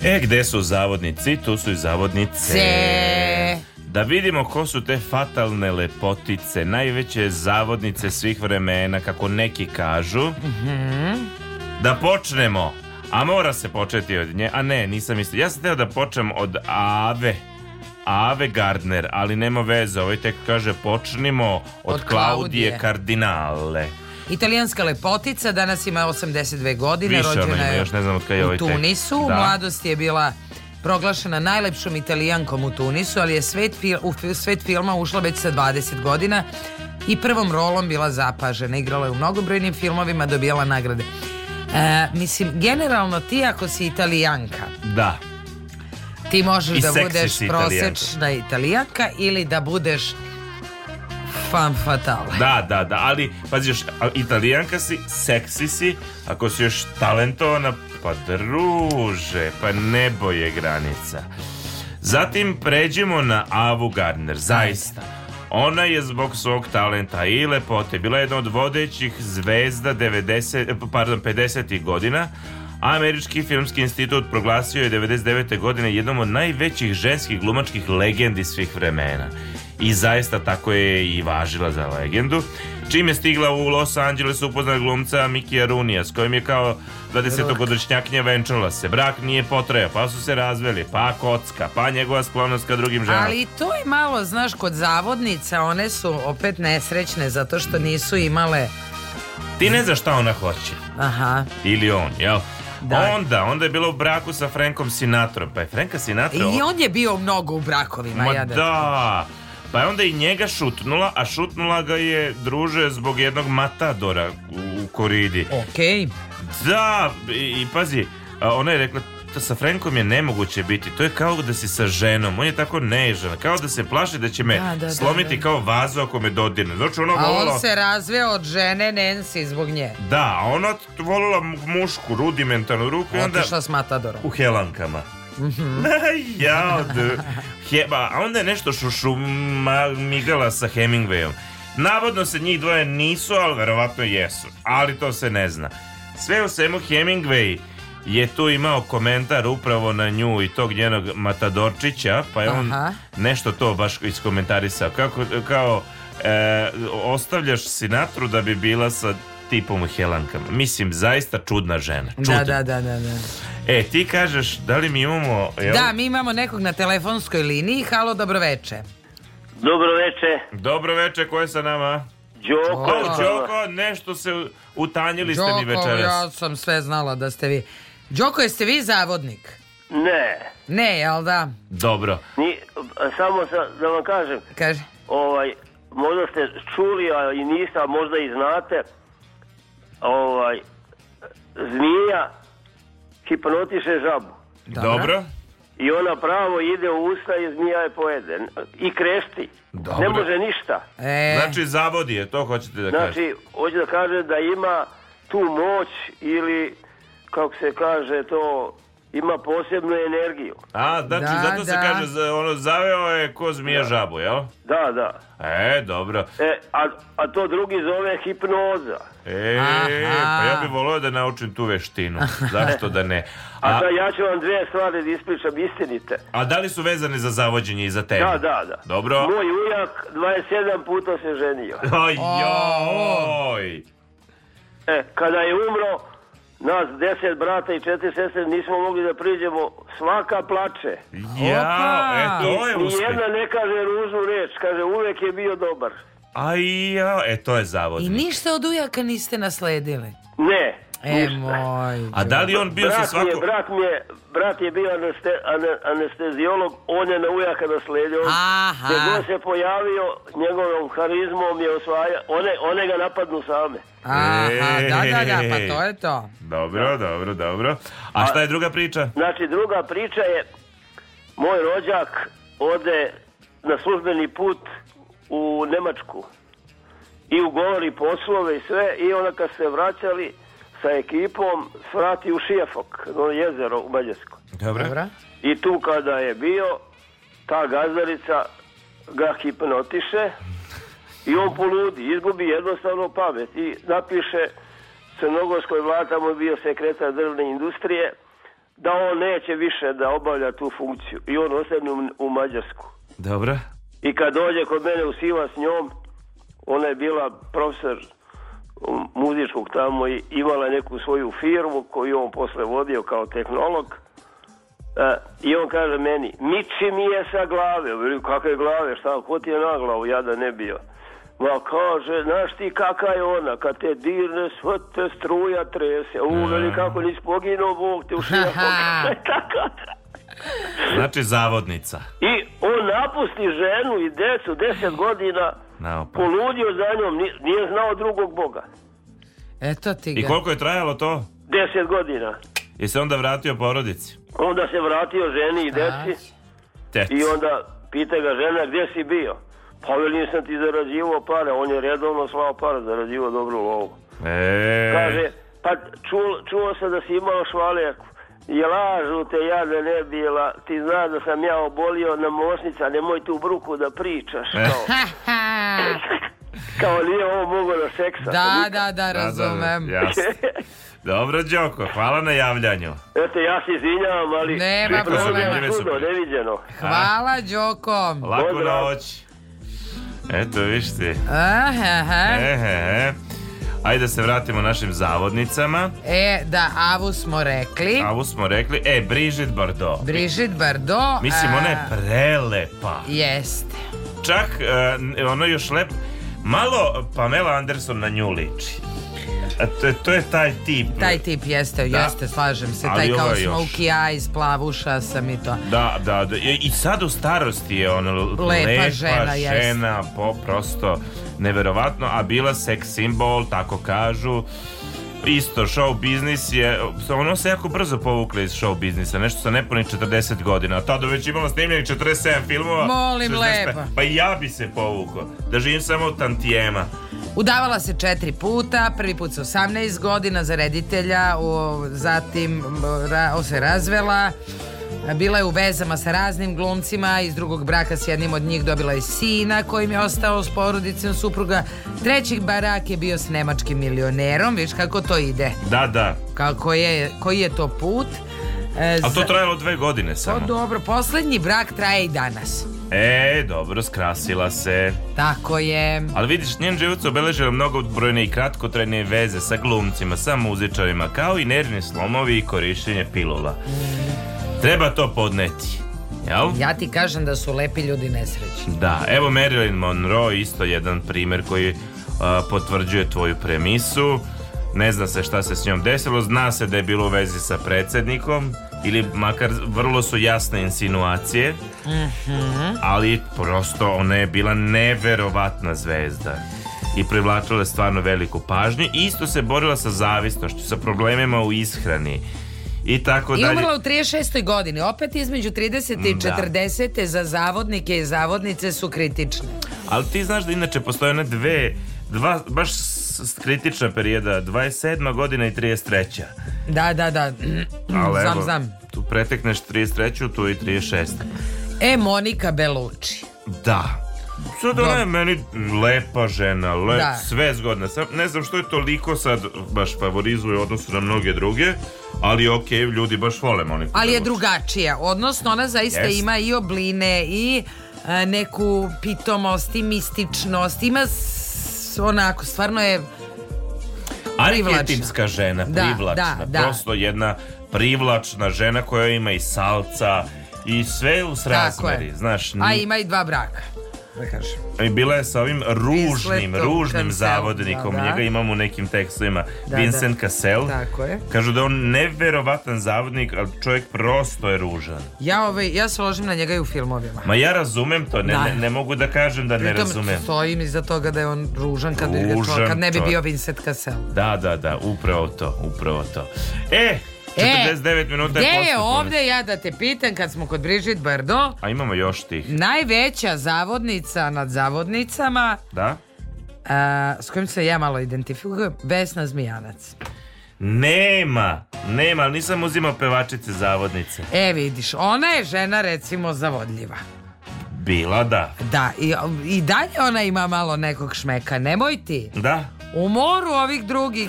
F: E, gde su zavodnici? Tu su i zavodnice. Da vidimo ko su te fatalne lepotice, najveće zavodnice svih vremena, kako neki kažu.
G: Mm-hmm.
F: Da počnemo. A mora se početi od nje. A ne, nisam isto. Ja sam teo da počnem od Ave. Ave Gardner, ali nema veze. Ovaj tek kaže počnimo od,
D: Od
F: Klaudije.
D: Klaudije.
F: Kardinale.
D: Italijanska lepotica, danas ima 82 godine,
F: Više ona
D: rođena
F: ima,
D: je
F: još ne znam od kada je
D: u
F: ovaj tek.
D: Tunisu, u
F: Da.
D: mladosti je bila proglašena najlepšom italijankom u Tunisu, ali je svet, fil- u fi- svet filma ušla već sa 20 godina i prvom rolom bila zapažena. Igrala je u mnogobrojnim filmovima, dobijala nagrade. E, mislim, generalno ti ako si italijanka,
F: Da.
D: ti možeš
F: I
D: da
F: seksi
D: budeš
F: si Italijanka.
D: prosečna italijanka ili da budeš fan fatale.
F: Da, da, da, ali pazi još, a- italijanka si, seksi si, ako si još talentovana, pa druže, pa nebo je granica. Zatim pređemo na Avu Gardner, zaista. Ona je zbog svog talenta i lepote bila jedna od vodećih zvezda 90, pardon, 50. godina, a Američki filmski institut proglasio je 99. godine jednom od najvećih ženskih glumačkih legendi svih vremena. I zaista tako je i važila za legendu. Čim je stigla u Los Angeles upoznala glumca Mikija Runija, s kojim je kao 20-godišnjaknja venčala se. Brak nije potrajao, pa su se razveli, pa kocka, pa njegova sklonost ka drugim ženama.
D: Ali to je malo, znaš, kod zavodnica one su opet nesrećne zato što nisu imale...
F: Ti ne znaš šta ona hoće.
D: Aha.
F: Ili on, jel?
D: Da.
F: Onda, onda je bila u braku sa Frankom Sinatrom. Pa je Franka Sinatra...
D: I on je bio mnogo u brakovima.
F: Ma
D: jadan.
F: da. Pa je onda i njega šutnula, a šutnula ga je druže zbog jednog matadora u, u koridi.
D: Okej.
F: Da, i, i pazi, a, ona je rekla, "To sa Frankom je nemoguće biti, to je kao da si sa ženom, on je tako nežan, kao da se plaši da će me
D: Da, da, da,
F: slomiti
D: da.
F: kao vazu ako me dodirne. Znači ona
D: A
F: voljela-
D: on se razveo od žene Nancy zbog nje.
F: Da, a ona t- volila mu- mušku, rudimentarnu ruku i onda...
D: Otišla s Mhm. Matadorom.
F: U helankama. ja, od... eh, Heba, a onda je nešto šušuma migala sa Hemingwayom. Navodno se njih dvoje nisu, ali verovatno jesu. Ali to se ne zna. Sve u svemu Hemingway je tu imao komentar upravo na nju i tog njenog Matadorčića, pa je on
D: Aha.
F: nešto to baš iskomentarisao. Kako, kao, e, ostavljaš Sinatru da bi bila sa tipom u helankama. Mislim, zaista čudna žena. Čudna.
D: Da, da, da, da, da.
F: E, ti kažeš, da li mi imamo... jel?
D: Da, mi imamo nekog na telefonskoj liniji. Halo, dobroveče.
M: Dobro veče.
F: Dobro veče, ko je sa nama?
M: Đoko.
F: O, Đoko, nešto se u- utanjili ste mi
D: Đoko,
F: večeras.
D: ja sam sve znala da ste vi. Đoko, jeste vi zavodnik?
M: Ne,
D: Ne, jel da?
F: Dobro.
M: ni, samo sa, da vam kažem,
D: Kaže.
M: ovaj, možda ste čuli, a i niste, a možda i znate, ovaj, zmija hipnotiše žabu.
F: Dobro. Dobro.
M: I ona pravo ide u usta i zmija je pojede. I krešti. Ne može ništa.
F: Znači, zavodi je, to hoćete da kažete.
M: Znači, hoću da kažem da ima tu moć ili, kako se kaže to, ima posebnu energiju.
F: A, znači,
M: Da,
F: zato se
M: da.
F: kaže, za- ono, zaveo je ko zmija žabu, jel?
M: Da, da.
F: E, dobro.
M: E, a, a to drugi zove hipnoza.
F: E,
M: Aha.
F: pa ja bih volio da naučim tu veštinu. Zašto da ne?
M: A,
F: A,
M: sad ja ću vam dve stvari da ispričam istinite.
F: a da li su vezani za zavođenje i za tebe?
M: Da, da, da.
F: Dobro.
M: Moj ujak 27 puta se ženio.
F: Aj, joj.
M: E, kada je umro, nas deset brata i četiri sestre nismo mogli da priđemo. Svaka plače.
F: Ja, e, to je
M: I
F: uspeh.
M: jedna ne kaže ružnu reč, kaže uvek je bio dobar.
F: Aj, ja, e, to je
D: I
F: zavodnik.
D: ništa od ujaka niste nasledili.
M: Ne.
D: E, moj.
F: A da li on bio sa
M: brat mi je,
F: svako...
M: brat, mi je, brat je bio aneste, ane- anesteziolog, on je na ujaka nasledio.
D: Aha.
M: Gdje god se pojavio, njegovom harizmom je osvaja, one, one ga napadnu same.
D: Aha, da, da, da, pa to je to.
F: Dobro, dobro, dobro. A šta je druga priča?
M: Znači, druga priča je, moj rođak ode na službeni put u Nemačku i ugovori poslove i sve i onda kad se vraćali sa ekipom, svrati u Šijefok, ono jezero u Mađarskoj.
F: Dobro.
M: I tu kada je bio, ta gazdarica ga hipnotiše i on poludi, izgubi jednostavno pamet i napiše Crnogorskoj vlada, tamo je bio sekretar drvne industrije, da on neće više da obavlja tu funkciju i on ostane u, u Mađarsku.
F: Dobro.
M: I kad dođe kod mene u Siva s njom, ona je bila profesor um, muzičkog tamo i imala je neku svoju firmu koju on posle vodio kao tehnolog. E, I on kaže meni, miči mi je sa glave. Velim, kakve glave, šta, ko ti je na glavu, ja da ne bio. Ma kaže, znaš ti kaka je ona, kad te dirne, sve te struja trese. U, veli, kako nisi poginuo, Bog te ušija.
F: Znači zavodnica.
M: I on napusti ženu i decu, deset godina,
F: Naopako.
M: poludio za njom, ni- nije znao drugog boga.
D: Eto ti ga.
F: I koliko je trajalo to?
M: Deset godina.
F: Je se onda vratio porodici?
M: Onda se vratio ženi i deci
F: Tec.
M: i onda pita ga žena gdje si bio? Pa veli nisam ti zarađivao pare, on je redovno slao pare, zarađivao dobru lovu.
F: E,
G: Mm-hmm.
M: Kaže, pa čuo, čuo sam da si imao švaljaku. I lažu te ja da ne bila, ti znaš da sam ja obolio na mosnica, nemoj tu bruku da pričaš.
F: E.
M: Kao, kao nije ovo mogo da seksa.
D: Da, da, da, razumem.
F: jasno. Dobro, Đoko, hvala na javljanju.
M: Eto, ja se izvinjavam, ali...
D: Nema
M: pripremio sam
F: problema.
M: Čudo, neviđeno.
D: Hvala, Đoko.
F: Laku noć. Eto, viš ti.
D: Aha, aha.
F: Ehe, e. Ajde da se vratimo našim zavodnicama.
D: E, da, avu smo rekli.
F: A ovo smo rekli, e, Brižit Bardot.
D: Brižit Bardo.
F: Mislim, ona je prelepa.
D: eh, Jeste.
F: Čak, e, ono još lep, malo Pamela Anderson na nju liči. A to, je- to je taj tip.
D: Taj tip jeste,
F: Da.
D: jeste, slažem se.
F: Ali
D: Taj
F: ovo
D: kao
F: je još.
D: smokey eyes, plavuša sam i to.
F: Da, da, da. I i sad u starosti je ono lepa, lepa žena,
D: žena, jeste.
F: po, prosto neverovatno, a bila seks simbol, tako kažu. Isto, show biznis je, ono se jako brzo povukla iz show biznisa, nešto sa nepunih 40 godina, a tada već imala snimljenih 47 filmova.
D: Molim
F: 65.
D: lepo.
F: Pa i ja bi se povukao, da živim samo od tantijema.
D: Udavala se četiri puta, prvi put sa 18 godina za reditelja, o, zatim m, ra, o, se razvela, bila je u vezama sa raznim glumcima, iz drugog braka s jednim od njih dobila je sina kojim je ostao s porodicom supruga. Treći barak je bio s nemačkim milionerom, viš kako to ide,
F: Da, da.
D: kako je, koji je to put. E,
F: A to
D: za-
F: trajalo dve godine
D: Pa
F: samo.
D: dobro, posljednji brak traje i danas.
F: E, dobro, skrasila se.
D: Tako je.
F: Ali vidiš, njen život se obeležila mnogo brojne i kratkotrajne veze sa glumcima, sa muzičarima, kao i nervni slomovi i korištenje pilula. Treba to podneti, jel?
D: Ja ti kažem da su lepi ljudi nesrećni.
F: Da, evo Marilyn Monroe, isto jedan primjer koji a, potvrđuje tvoju premisu. Ne zna se šta se s njom desilo, zna se da je bilo u vezi sa predsjednikom ili makar vrlo su jasne insinuacije,
G: Mm-hmm.
F: ali prosto ona je bila neverovatna zvezda i privlačila je stvarno veliku pažnju i isto se borila sa zavisnošću, sa problemima u ishrani i tako
D: I
F: dalje. Mm,
D: umrla u 36. godini. Opet između 30. i
F: Da.
D: 40. za zavodnike i zavodnice su kritične.
F: Ali ti znaš da inače postoje one dve, dva, baš s- s- kritična perioda, 27. godina i 33.
D: Da, da, da.
F: Ali
D: znam,
F: evo,
D: znam.
F: Tu pretekneš 33. tu i 36.
D: E, Monika Belucci.
F: Da. Sad ona
D: Dobro.
F: je meni lepa žena, lep,
D: Da.
F: sve zgodna. Sam, ne znam što je toliko sad baš favorizuje u odnosu na mnoge druge, ali ok, ljudi baš vole Moniku.
D: Ali je
F: Belucci.
D: drugačija. Odnosno, ona zaista
F: Jest.
D: ima i obline i e, neku pitomost i mističnost. Ima s- onako, stvarno je...
F: Arhetipska žena,
D: Da,
F: privlačna.
D: da, da.
F: Prosto jedna privlačna žena koja ima i salca i sve u srazmeri.
D: je.
F: Znaš,
D: A
F: ni-
D: ima i dva braka. Da kažem.
F: I bila je sa ovim ružnim,
D: Vincentom
F: ružnim
D: Cassellom,
F: zavodnikom.
D: da, da.
F: Njega imam u nekim tekstovima.
D: Da,
F: Vincent
D: da.
F: Cassel.
D: Tako je.
F: Kažu da je on neverovatan zavodnik, ali čovjek prosto je ružan.
D: Ja, ovaj, ja se ložim na njega i u filmovima.
F: Ma ja razumem to, ne,
D: Da.
F: ne, ne mogu da kažem da ne
D: Pritom
F: razumem.
D: stojim iza toga da je on ružan kad, bi ga čuo-
F: Ružan
D: kad ne bi
F: čovjek.
D: bio Vincent Cassel.
F: Da, da, da, upravo to, upravo to. E,
D: E,
F: 49 minuta
D: Gde
F: je
D: je
F: posle
D: ovdje, ja da te pitam, kad smo kod Brigitte Bardot,
F: A imamo još tih,
D: najveća zavodnica nad zavodnicama,
F: da?
D: a, s kojim se ja malo identifikujem, Vesna Zmijanac.
F: Nema, nema, ali nisam uzimao pevačice zavodnice.
D: E, vidiš, ona je žena, recimo, zavodljiva.
F: Bila da.
D: Da, i, i dalje ona ima malo nekog šmeka, nemoj ti.
F: Da,
D: U moru ovih drugih,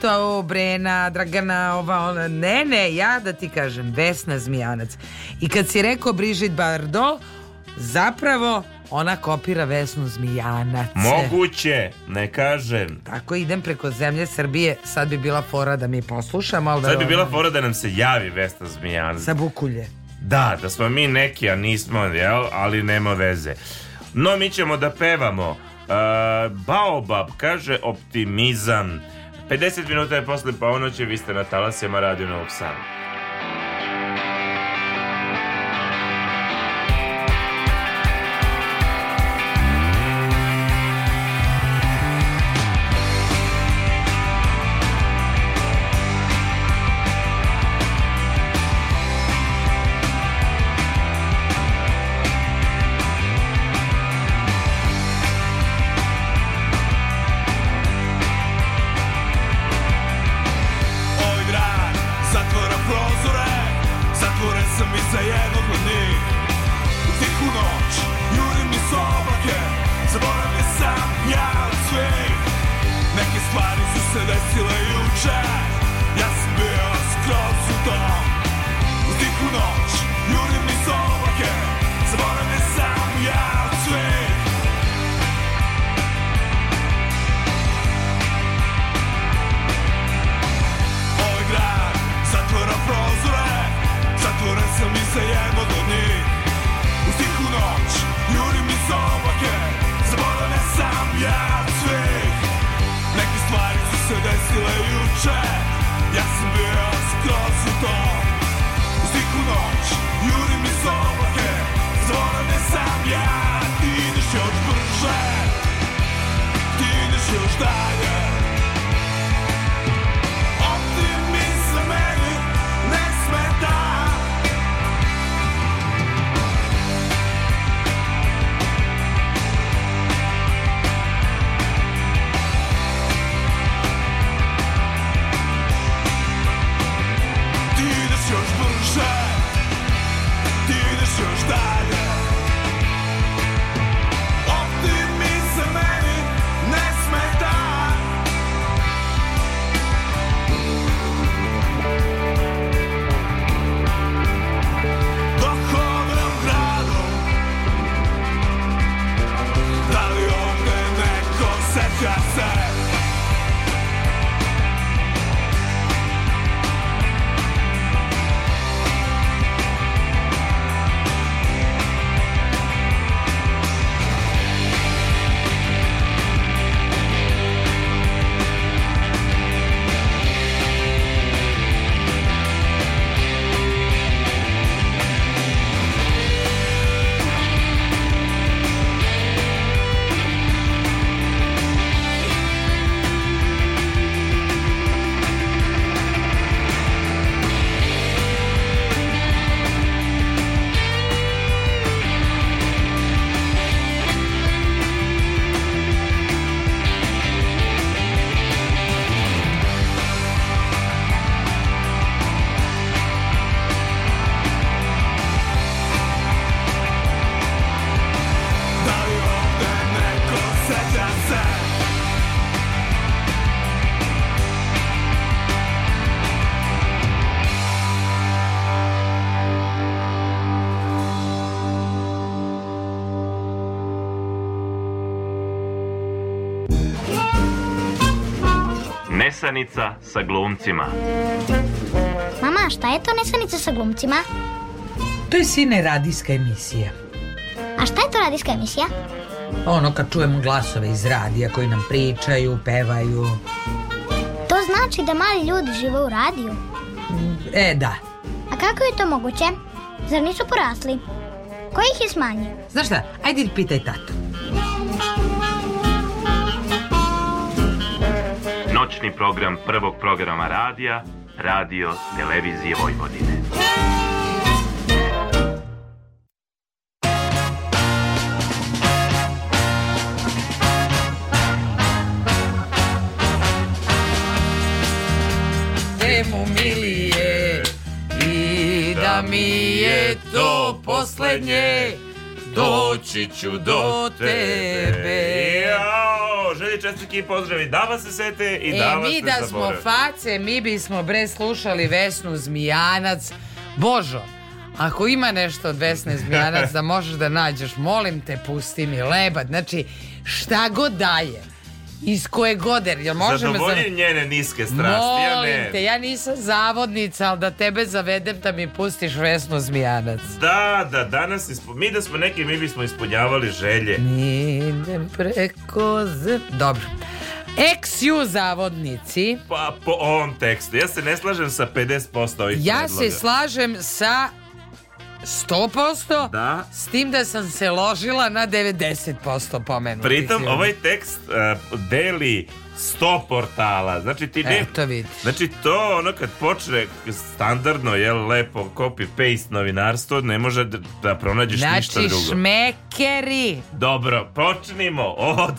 D: to Brena, Dragana, ova, ona, ne, ne, ja da ti kažem, Vesna Zmijanac. I kad si rekao Brigitte Bardot, zapravo ona kopira Vesnu Zmijanac.
F: moguće, ne kažem.
D: Tako idem preko zemlje Srbije, sad bi bila fora da mi poslušamo, ali da
F: Sad bi
D: ona-
F: bila fora da nam se javi Vesta Zmijanac.
D: Sa bukulje.
F: Da, da smo mi neki, a nismo, jel? Ali nema veze. No, mi ćemo da pevamo. E, Baobab kaže optimizam. 50 minuta je posle ponoći, vi ste na talasima Radio Novog Sada.
C: Ovaj grad zatvara prozore Zatvoren sam i za jednog od njih U tihu noć jurim mi s oblake Zaboravljen sam ja od svih Neke stvari su se desile juče Ja sam bio skroz u tom U tihu noć jurim mi s oblake Zaboravljen sam ja od svih Ovaj grad zatvora prozore Zatvoren sam i za jednog od njih U tihu noć jurim iz oblake Zaboravljen sam ja od svih Neke stvari su se desile juče Ja sam bio skroz u tom U tihu noć jurim iz oblake Zaboravljen sam ja Ti ideš još brže Ti ideš još dalje Optimizam meni ne smeta Ti ideš još brže Ti ideš još dalje Optimizam meni ne smeta dok hodam gradom Da li ovdje neko seća se
G: Nesanica sa glumcima.
N: Mama, šta je to nesanica sa glumcima?
L: To je sine radijska emisija.
N: A šta je to radijska emisija?
L: Ono kad čujemo glasove iz radija koji nam pričaju, pevaju.
N: To znači da mali ljudi žive u radiju.
L: E, da.
N: A kako je to moguće? Zar nisu porasli? Ko ih je smanjio?
L: Znaš šta, ajde pitaj tatu.
G: Noćni program prvog programa radija, radio, televizije Vojvodine.
D: Njemu milije i da mi je to poslednje doći ću do tebe.
F: Jao, želi čestitki pozdravi, da vas se sete i da
D: e,
F: vas
D: mi
F: se
D: da smo
F: zaborave.
D: face, mi bismo bre slušali Vesnu Zmijanac. Božo, ako ima nešto od Vesne Zmijanac da možeš da nađeš, molim te, pusti mi lebad. Znači, šta god daje, iz koje god, je, jel može me za-
F: Zadovolji njene niske strasti, ja
D: Molim
F: ne.
D: te, ja nisam zavodnica, ali da tebe zavedem da mi pustiš Vesnu Zmijanac.
F: Da, da, danas ispo... mi da smo neki, mi bismo ispunjavali želje.
D: Idem preko z... Dobro. Ex-ju zavodnici.
F: Pa po ovom tekstu, ja se ne slažem sa 50% ovih
D: Ja
F: predloga.
D: se slažem sa 100%,
F: da.
D: s tim da sam se ložila na 90% pomenutih.
F: Pritom,
D: ljudi.
F: ovaj tekst eh, deli 100 portala. Znači ti ne...
D: Eto vidiš.
F: Znači to ono kad počne standardno, jel, lepo copy-paste novinarstvo, ne može d- da pronađeš ništa
D: Znači,
F: drugo.
D: šmekeri.
F: Dobro, počnimo od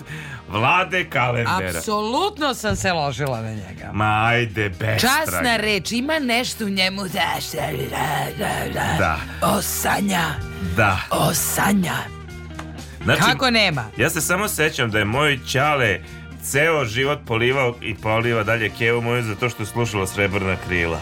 F: vlade kalendera.
D: Apsolutno sam se ložila na njega.
F: Ma ajde, bez
D: Časna
F: trage.
D: reč, ima nešto u njemu da šta li da, da, da.
F: Da,
D: Osanja,
F: da.
D: osanja.
F: Znači,
D: Kako nema?
F: Ja se samo sećam da je moj ćale ceo život polivao i poliva dalje kevu moju zato što je slušala srebrna krila.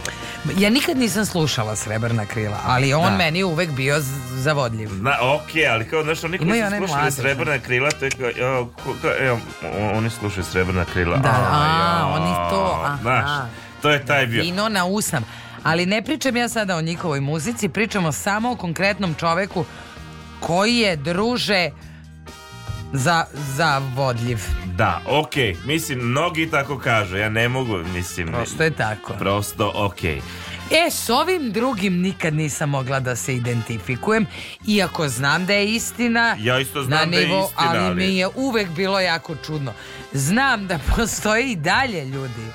D: Ja nikad nisam slušala Srebrna krila, ali on
F: Da.
D: meni uvek bio z- zavodljiv.
F: Na, okej, ali kao, znaš, oni koji
D: Ima i
F: su
D: one
F: slušali
D: mlade,
F: srebrna krila, to je kao, jo, ko- kao, evo, o- oni slušaju srebrna krila.
D: Da,
F: a,
D: a,
F: jao,
D: oni to, aha.
F: Znaš, to je taj bio.
D: Vino na usam. Ali ne pričam ja sada o njihovoj muzici, pričamo samo o konkretnom čoveku koji je druže za, zavodljiv.
F: Da, okej, mislim, mnogi tako kažu, ja ne mogu, mislim.
D: Prosto je tako.
F: Prosto, okej.
D: E, s ovim drugim nikad nisam mogla da se identifikujem, iako znam da je istina.
F: Ja isto znam
D: na
F: da je
D: nivou,
F: istina,
D: ali,
F: ali-
D: mi je uvek bilo jako čudno. Znam da postoje i dalje ljudi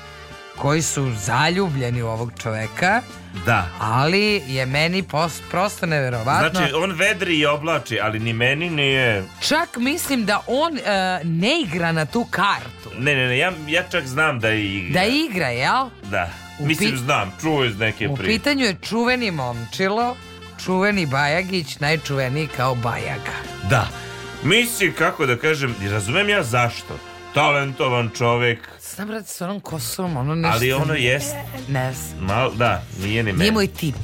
D: koji su zaljubljeni u ovog čoveka,
F: Da.
D: ali je meni pos- prosto neverovatno.
F: Znači, on vedri i oblači, ali ni meni nije...
D: Čak mislim da on e, ne igra na tu kartu.
F: Ne, ne, ne, ja, ja čak znam da je igra.
D: Da igra, jel?
F: Da.
D: U
F: Mislim,
D: pi-
F: znam, čuo iz neke
D: U
F: priče.
D: pitanju je čuveni momčilo, čuveni Bajagić, najčuveniji kao Bajaga.
F: Da. Mislim, kako da kažem, i razumem ja zašto. Talentovan čovek,
D: Sam brate s onom kosom, ono nešto...
F: ali ono jest...
D: Ne
F: Mal, da, nije ni
D: Nije
F: meni.
D: moj tip.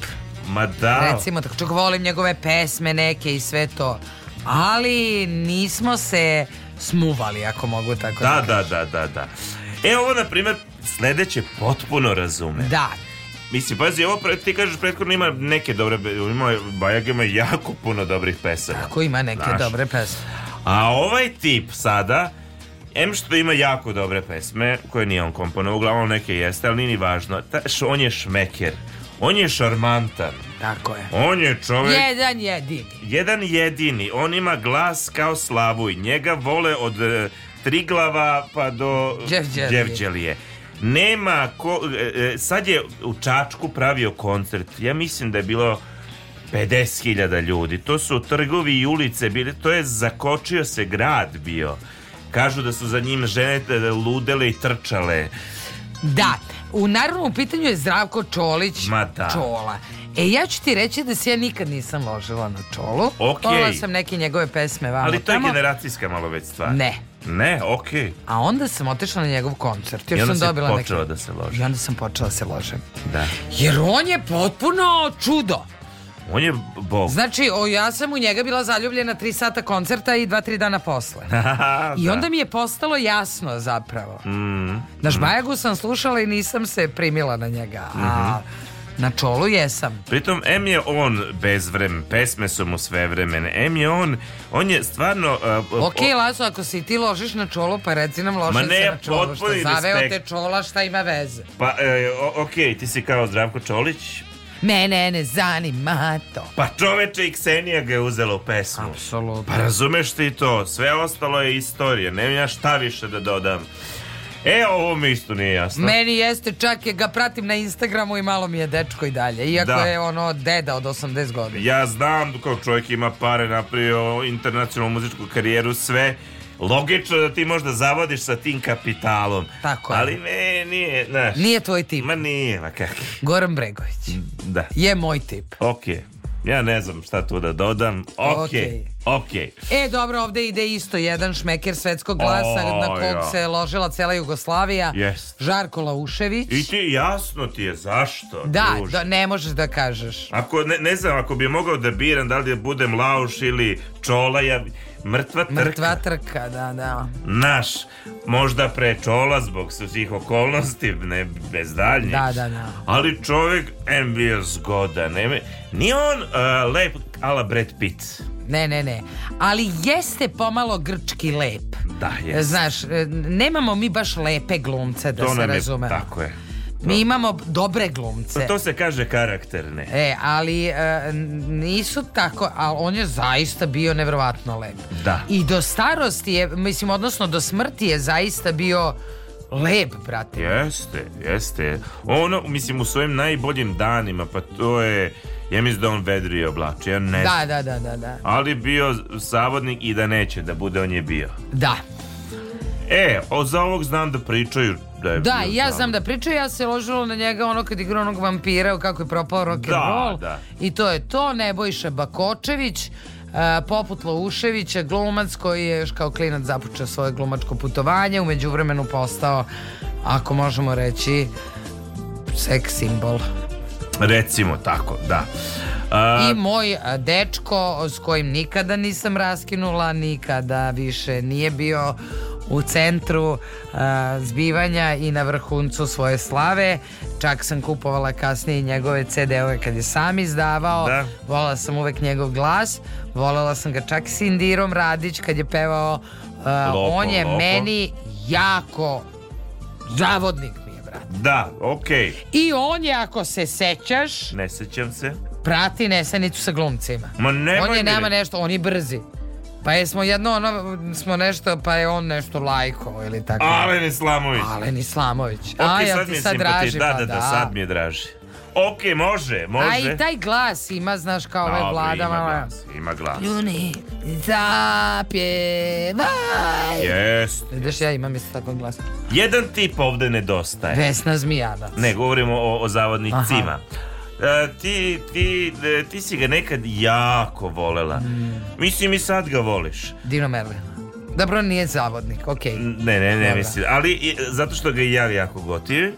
F: Ma da.
D: Recimo, tako čak volim njegove pesme neke i sve to. Ali nismo se smuvali, ako mogu tako
F: Da, da, da, da, da. E, ovo, na primjer, sledeće potpuno razume.
D: Da.
F: Mislim, pazi, ovo pre- ti kažeš prethodno ima neke dobre, ima, Bajag ima jako puno dobrih pesama.
D: Tako ima neke
F: Znaš.
D: dobre pesme.
F: A ovaj tip sada, em što ima jako dobre pesme, koje nije on komponovao, uglavnom neke jeste, ali nije ni važno. Ta, š- on je šmeker, on je šarmantan.
D: Tako je.
F: On je čovek...
D: Jedan jedini.
F: Jedan jedini, on ima glas kao slavuj. Njega vole od e, Triglava pa do
D: Đevđelije.
F: Đevđelije. Nema ko, e, e, sad je u Čačku pravio koncert. Ja mislim da je bilo 50.000 ljudi. To su trgovi i ulice bili, to je zakočio se grad bio. Kažu da su za njim žene e, ludele i trčale.
D: Da, u naravnom u pitanju je Zdravko Čolić
F: Ma da.
D: Čola. E, ja ću ti reći da se ja nikad nisam ložila na Čolu.
F: Okej.
D: Volila sam neke njegove pesme vamo
F: Ali to je
D: tamo.
F: generacijska malo već stvar.
D: Ne.
F: Ne, okej.
D: A onda sam otišla na njegov koncert. Još
F: I onda
D: sam
F: se
D: dobila
F: počeo
D: neke...
F: da se loži.
D: I onda sam počela da se ložem.
F: Da.
D: Jer on je potpuno čudo.
F: On je bog.
D: Znači, o, ja sam u njega bila zaljubljena tri sata koncerta i dva, tri dana posle. I onda mi je postalo jasno zapravo.
F: Mm,
D: Na Žmajagu sam slušala i nisam se primila na njega. A
F: Mhm.
D: na čolu jesam.
F: Pritom, M je on bezvrem, pesme su mu sve vremen. M je on, on je stvarno... uh, uh,
D: Ok, Lazo, ako si ti ložiš na čolo, pa reci nam
F: Ma
D: loša
F: ne,
D: se na čolu. Što
F: potpuni
D: zaveo te
F: respekt.
D: čola, šta ima veze?
F: Pa, e, o- ok, ti si kao Zdravko Čolić.
D: Mene ne zanima to.
F: Pa čoveče i Ksenija ga je uzela u pesmu.
D: Apsolutno.
F: Pa razumeš ti to, sve ostalo je istorija, nemam ja šta više da dodam. E, ovo mi isto nije jasno.
D: Meni jeste, čak je ga pratim na Instagramu i malo mi je dečko i dalje. Iako
F: Da.
D: je ono deda od 80 godina.
F: Ja znam kao čovjek ima pare, napravio internacionalnu muzičku karijeru, sve. Logično da ti možda zavodiš sa tim kapitalom.
D: Tako je.
F: Ali ne, nije, znaš.
D: Nije tvoj tip.
F: Ma nije, ma kak.
D: Goran Bregović.
F: Da.
D: Je moj tip.
F: Ok. Ja ne znam šta tu da dodam. Ok.
D: Okej.
F: Ok.
D: E, dobro, ovdje ide isto jedan šmeker svetskog glasa
F: O,
D: na kog
F: ja.
D: se ložila cela Jugoslavija.
F: Jest.
D: Žarko Laušević.
F: I ti jasno ti je zašto.
D: Da,
F: druže.
D: da, ne možeš da kažeš.
F: Ako, ne, ne znam, ako bi mogao da biram da li da budem Lauš ili Čola, ja, bi- mrtva trka.
D: Mrtva trka, da, da.
F: Naš, možda pre Čola zbog svih okolnosti, ne, bez daljnjih.
D: Da, da, da.
F: Ali čovjek, em bio zgodan. Ne, nije on uh, lep ala Brad Pitt.
D: Ne, ne, ne. Ali jeste pomalo grčki lep.
F: Da, je.
D: Znaš, e, nemamo mi baš lepe glumce, da
F: to
D: se
F: nam je,
D: razume.
F: tako je. Pa
D: Mi imamo dobre glumce.
F: To se kaže karakterne.
D: E, ali e, nisu tako, ali on je zaista bio nevjerovatno lep.
F: Da.
D: I do starosti je, mislim, odnosno do smrti je zaista bio lep, brate.
F: Jeste, jeste. Ono, mislim, u svojim najboljim danima, pa to je... Ja mislim da on vedri oblači, ja ne
D: Da, da, da, da, da.
F: ali bio savodnik i da neće da bude, on je bio.
D: Da.
F: E, o, za ovog znam da pričaju da je
D: Da,
F: bio
D: ja
F: savodnik.
D: znam da pričaju, ja se ložilo na njega ono kad igra onog vampira, kako je propao rock and
F: Da,
D: roll.
F: da.
D: I to je to, Nebojša Bakočević, e, poput Louševića, glumac koji je još kao klinac započeo svoje glumačko putovanje, u međuvremenu postao, ako možemo reći, seks simbol.
F: Recimo tako, da. A,
D: I moj a, dečko s kojim nikada nisam raskinula, nikada više nije bio u centru a, zbivanja i na vrhuncu svoje slave. Čak sam kupovala kasnije njegove CD-ove kad je sam izdavao.
F: Da.
D: Volala sam uvek njegov glas. Volela sam ga čak s Indirom Radić kad je pevao. a,
F: Lopo,
D: on je
F: lopo.
D: meni jako zavodnik mi je, brate.
F: Da, okej.
D: I on je, ako se sećaš,
F: Ne sećam se.
D: prati Nesanicu sa glumcima.
F: Ma nemoj
D: On je
F: mi
D: nama
F: reći.
D: nešto, on je brzi. Pa jesmo jedno, ono, smo nešto, pa je on nešto lajko ili tako.
F: Alen Islamović.
D: Alen Islamović.
F: Ok,
D: A, jel
F: sad
D: ti
F: mi je
D: sad
F: simpati-
D: draži,
F: da,
D: pa
F: da, da,
D: da.
F: sad mi je draži. Okej, može, može.
D: A i taj glas ima, znaš, kao
F: Dobro,
D: ovaj vlada,
F: ima
D: malo.
F: glas, ima glas.
D: Juni, zapjevaj.
F: Jest.
D: Vidiš, ja imam isto tako glas.
F: Jedan tip ovde nedostaje.
D: Vesna Zmijanac.
F: Ne, govorimo o, o zavodnicima. E, ti, ti, e, ti si ga nekad jako volela.
D: Mm.
F: Mislim i sad ga voliš.
D: Dino Merlin. Dobro, nije zavodnik, okej.
F: Ne, ne, ne
D: Dobra.
F: mislim. Ali i- zato što ga i ja jako gotivim.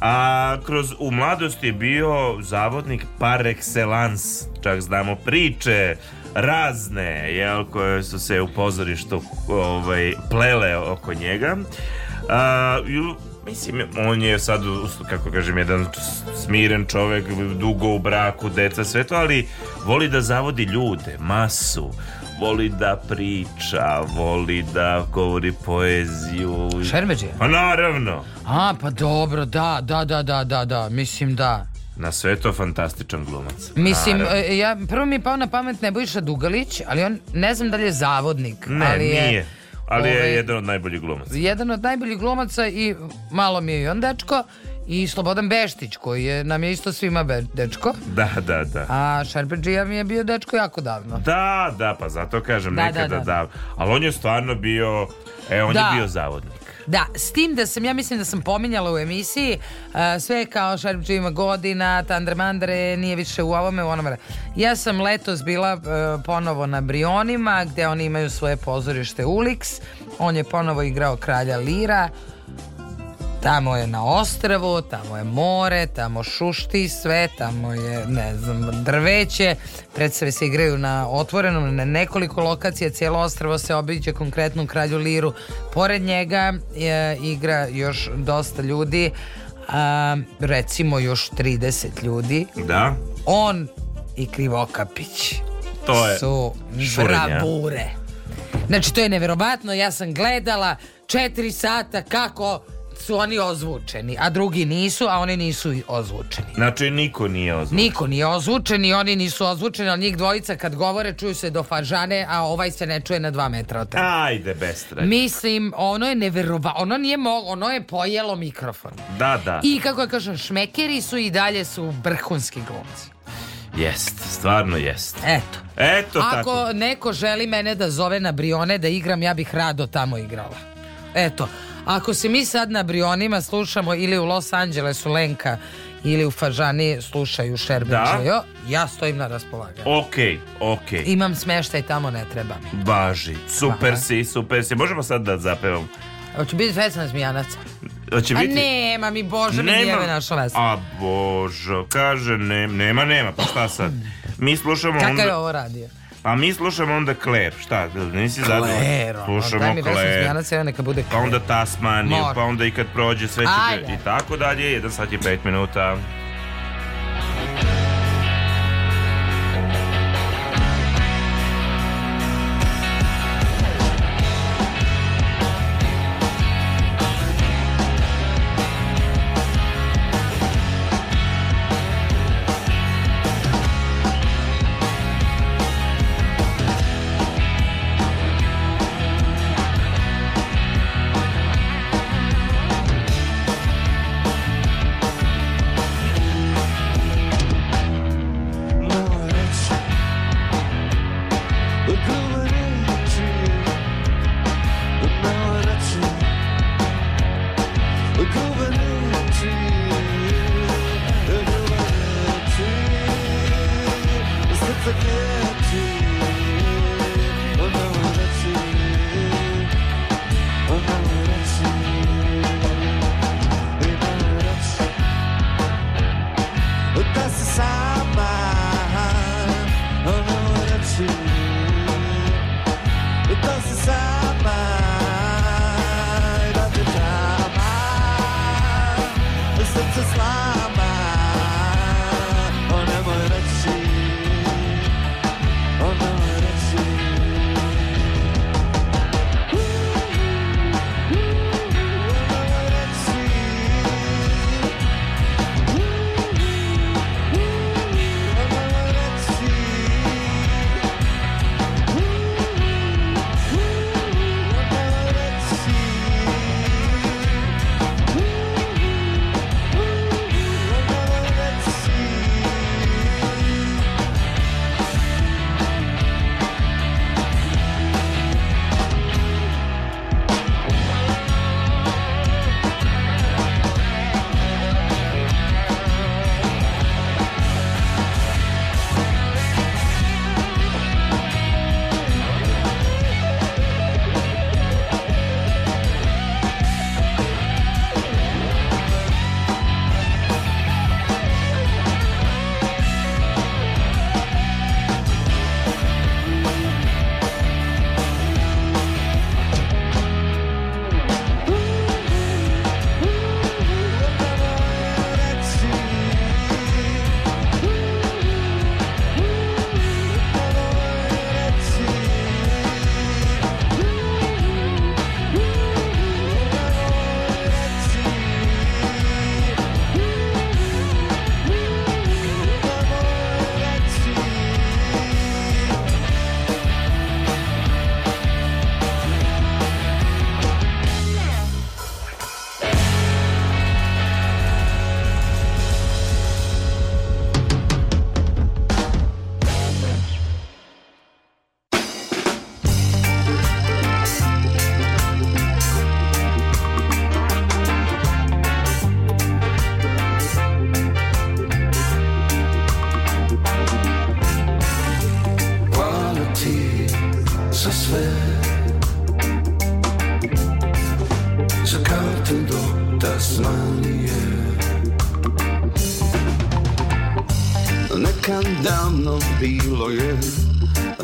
F: A kroz u mladosti je bio zavodnik par excellence. Čak znamo priče razne, jel, koje su se u pozorištu ovaj, plele oko njega. A, i u- mislim, on je sad, u- kako kažem, jedan s- smiren čovek, dugo u braku, deca, sve to, ali voli da zavodi ljude, masu, voli da priča, voli da govori poeziju.
D: Šermeđija?
F: Pa naravno.
D: A, pa dobro, da, da, da, da, da, da, mislim da.
F: Na sve to fantastičan glumac.
D: Mislim,
F: Naravno.
D: e, ja, prvo mi je pao na pamet Nebojša Dugalić, ali on ne znam da li je zavodnik.
F: Ne,
D: ali je
F: nije. ali je
D: ovaj-
F: jedan od najboljih glumaca.
D: Jedan od najboljih glumaca i malo mi je i on dečko i Slobodan Beštić koji je, nam je isto svima be- dečko.
F: Da, da, da.
D: A Šerbeđija mi je bio dečko jako davno.
F: Da, da, pa zato kažem
D: Da, da,
F: nekada da,
D: da.
F: Ali on je stvarno bio, e, on
D: Da.
F: je bio zavodnik.
D: Da, s tim da sam, ja mislim da sam pominjala u emisiji, a, sve kao Šerbeđija ima godina, Tandre Mandre, nije više u ovome, u onome. Ja sam letos bila e, ponovo na Brionima, gde oni imaju svoje pozorište Ulix, on je ponovo igrao kralja Lira, Tamo je na ostrvu, tamo je more, tamo šušti sve, tamo je, ne znam, drveće. Predstave se igraju na otvorenom, na nekoliko lokacija, cijelo ostrvo se obiđe konkretno u Kralju Liru. Pored njega e, igra još dosta ljudi, a, recimo još 30 ljudi.
F: Da.
D: On i Krivokapić
F: To je
D: su
F: šurenja.
D: bravure. Znači, to je neverovatno, ja sam gledala četiri sata kako su oni ozvučeni, a drugi nisu, a oni nisu i ozvučeni.
F: Znači niko nije ozvan.
D: Niko nije ozvučen i oni nisu ozvučeni, ali njih dvojica kad govore čuju se do fažane, a ovaj se ne čuje na dva metra od tebe.
F: Ajde, bestre.
D: Mislim, ono je neverovatno, ono nije moglo, ono je pojelo mikrofon.
F: Da, da.
D: I kako ja kažem, šmekeri su i dalje su vrhunski glumci.
F: Jest, stvarno jest.
D: Eto.
F: Eto
D: Ako
F: tako.
D: neko želi mene da zove na Brione da igram, ja bih rado tamo igrala. Eto, ako se mi sad na Brionima slušamo ili u Los Angelesu Lenka ili u Fažani slušaju Šerbin
F: Da.
D: Čejo, ja stojim na raspolaganju.
F: Ok, ok.
D: Imam smeštaj tamo, ne treba mi.
F: Važi. Super si, super si. Možemo sad da zapevam.
D: Hoće biti vesna zmijanaca.
F: Hoće
D: A
F: biti...
D: nema mi, Bože, mi
F: Nema.
D: jebe naša vesna.
F: A božo, kaže ne, nema, nema, pa šta sad? Mi slušamo
D: Kakav
F: onda...
D: je ovo radio?
F: Pa mi slušamo onda Claire, šta, nisi
D: Claire,
F: zadovoljno?
D: ono, daj
F: Slušamo
D: mi vesnu
F: Claire,
D: zmijanaca, evo neka bude
F: pa onda Tasmaniju,
D: Mora.
F: pa onda i kad prođe sve će
D: Ajde.
F: biti i tako dalje, jedan sat i pet minuta.
G: That's the sound man. Oh, no, that's you. It doesn't sound mine of the drama. It's such a slime. Oh, never let you. Oh, never let you.
O: Quality za sve Zakarte do Tasmanije Nekad davno bilo je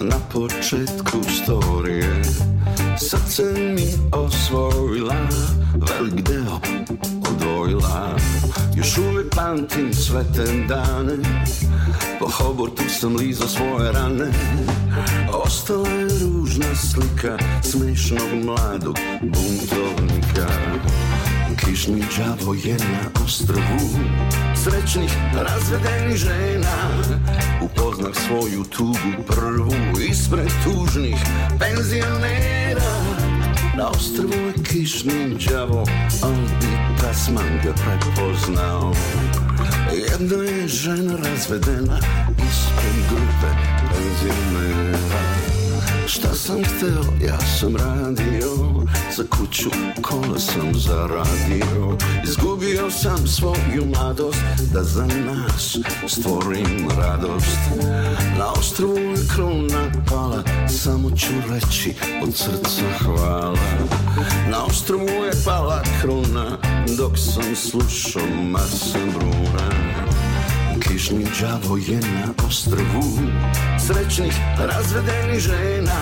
O: na početku storije Sad se mi osvojila, velik deo odvojila Još uvijek pamtim sve te dane Po hobortu sam lizo svoje rane Ostala je ružna slika smešnog mladog buntovnika Kišni đavo je na ostrovu Srećnih razvedenih žena Upoznah svoju tugu prvu Ispred tužnih penzionera Na ostrovu je kišni đavo On bi tasman ga prepoznao Jedna je žena razvedena Ispred grupe penzionera Šta sam hteo, ja sam radio Za kuću kola sam zaradio Izgubio sam svoju mladost Da za nas stvorim radost Na ostrovu je krona pala Samo ću reći od srca hvala Na ostrovu je pala krona Dok sam slušao Marsa Bruna Kišni đavo je na ostrovu Srećnih razvedenih žena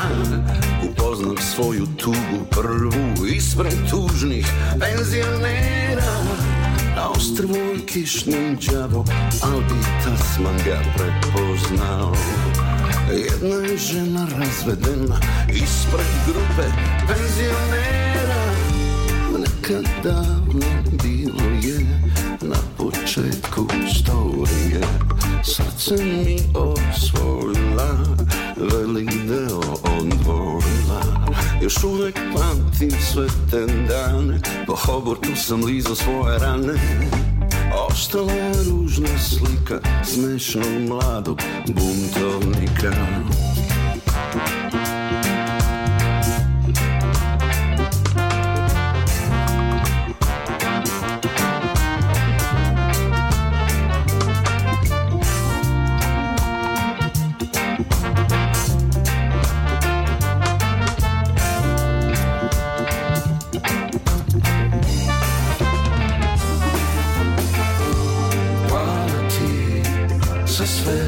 O: Upoznam svoju tugu prvu Ispred tužnih penzionera Na ostrovu je kišni đavo Al bi tasman ga prepoznao Jedna je žena razvedena Ispred grupe penzionera Nekad davno bilo Ono je na početku storije Srce mi osvojila, velik deo odvojila Još uvek pamtim sve te dane, po hobortu sam lizo svoje rane Ostala je ružna slika smešnog mladog buntovnika Hvala ti za sve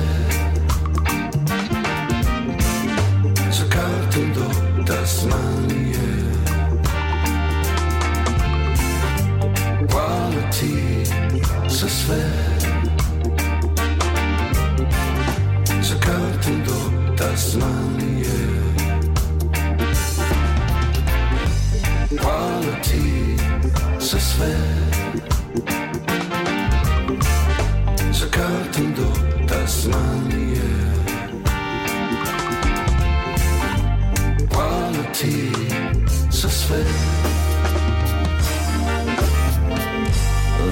O: Za kartu do Tasmanije Hvala ti za sve Za kartu do Tasmanije Hvala ti za sve Sa kartom do Tasmanije Hvala ti za sve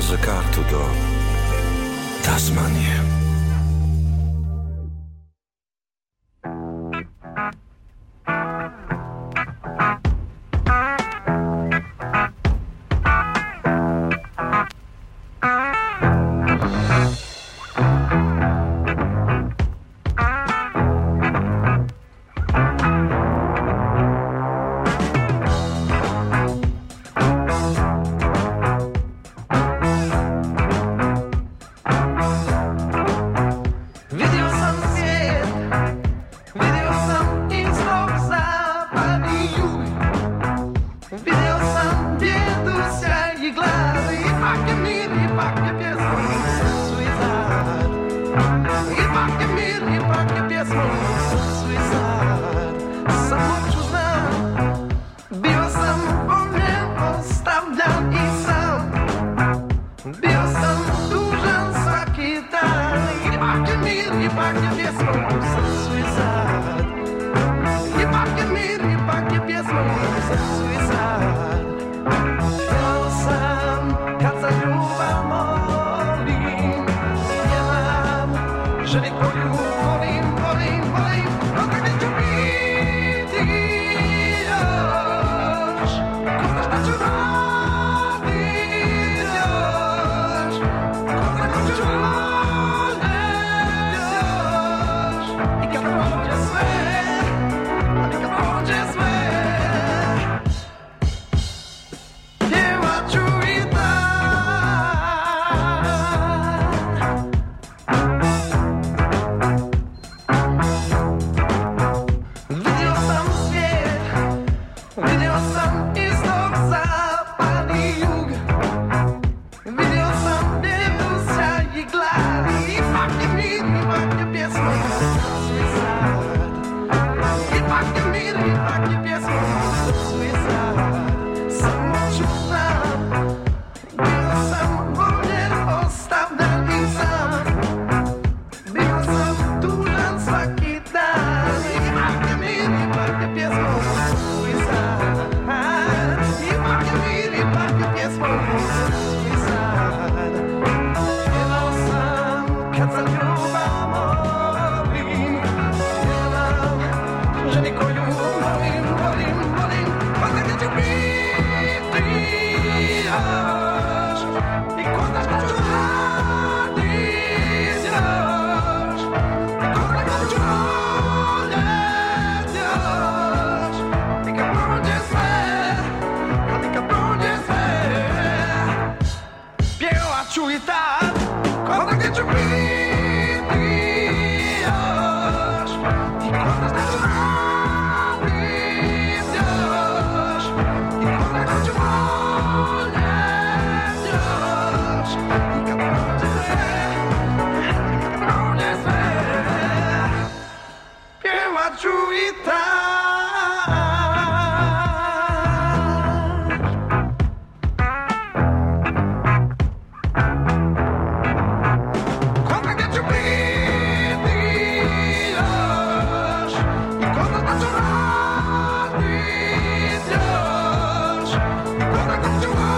O: Za kartu do Tasmanije
H: Thank you.
G: tak, tak. Mm-hmm.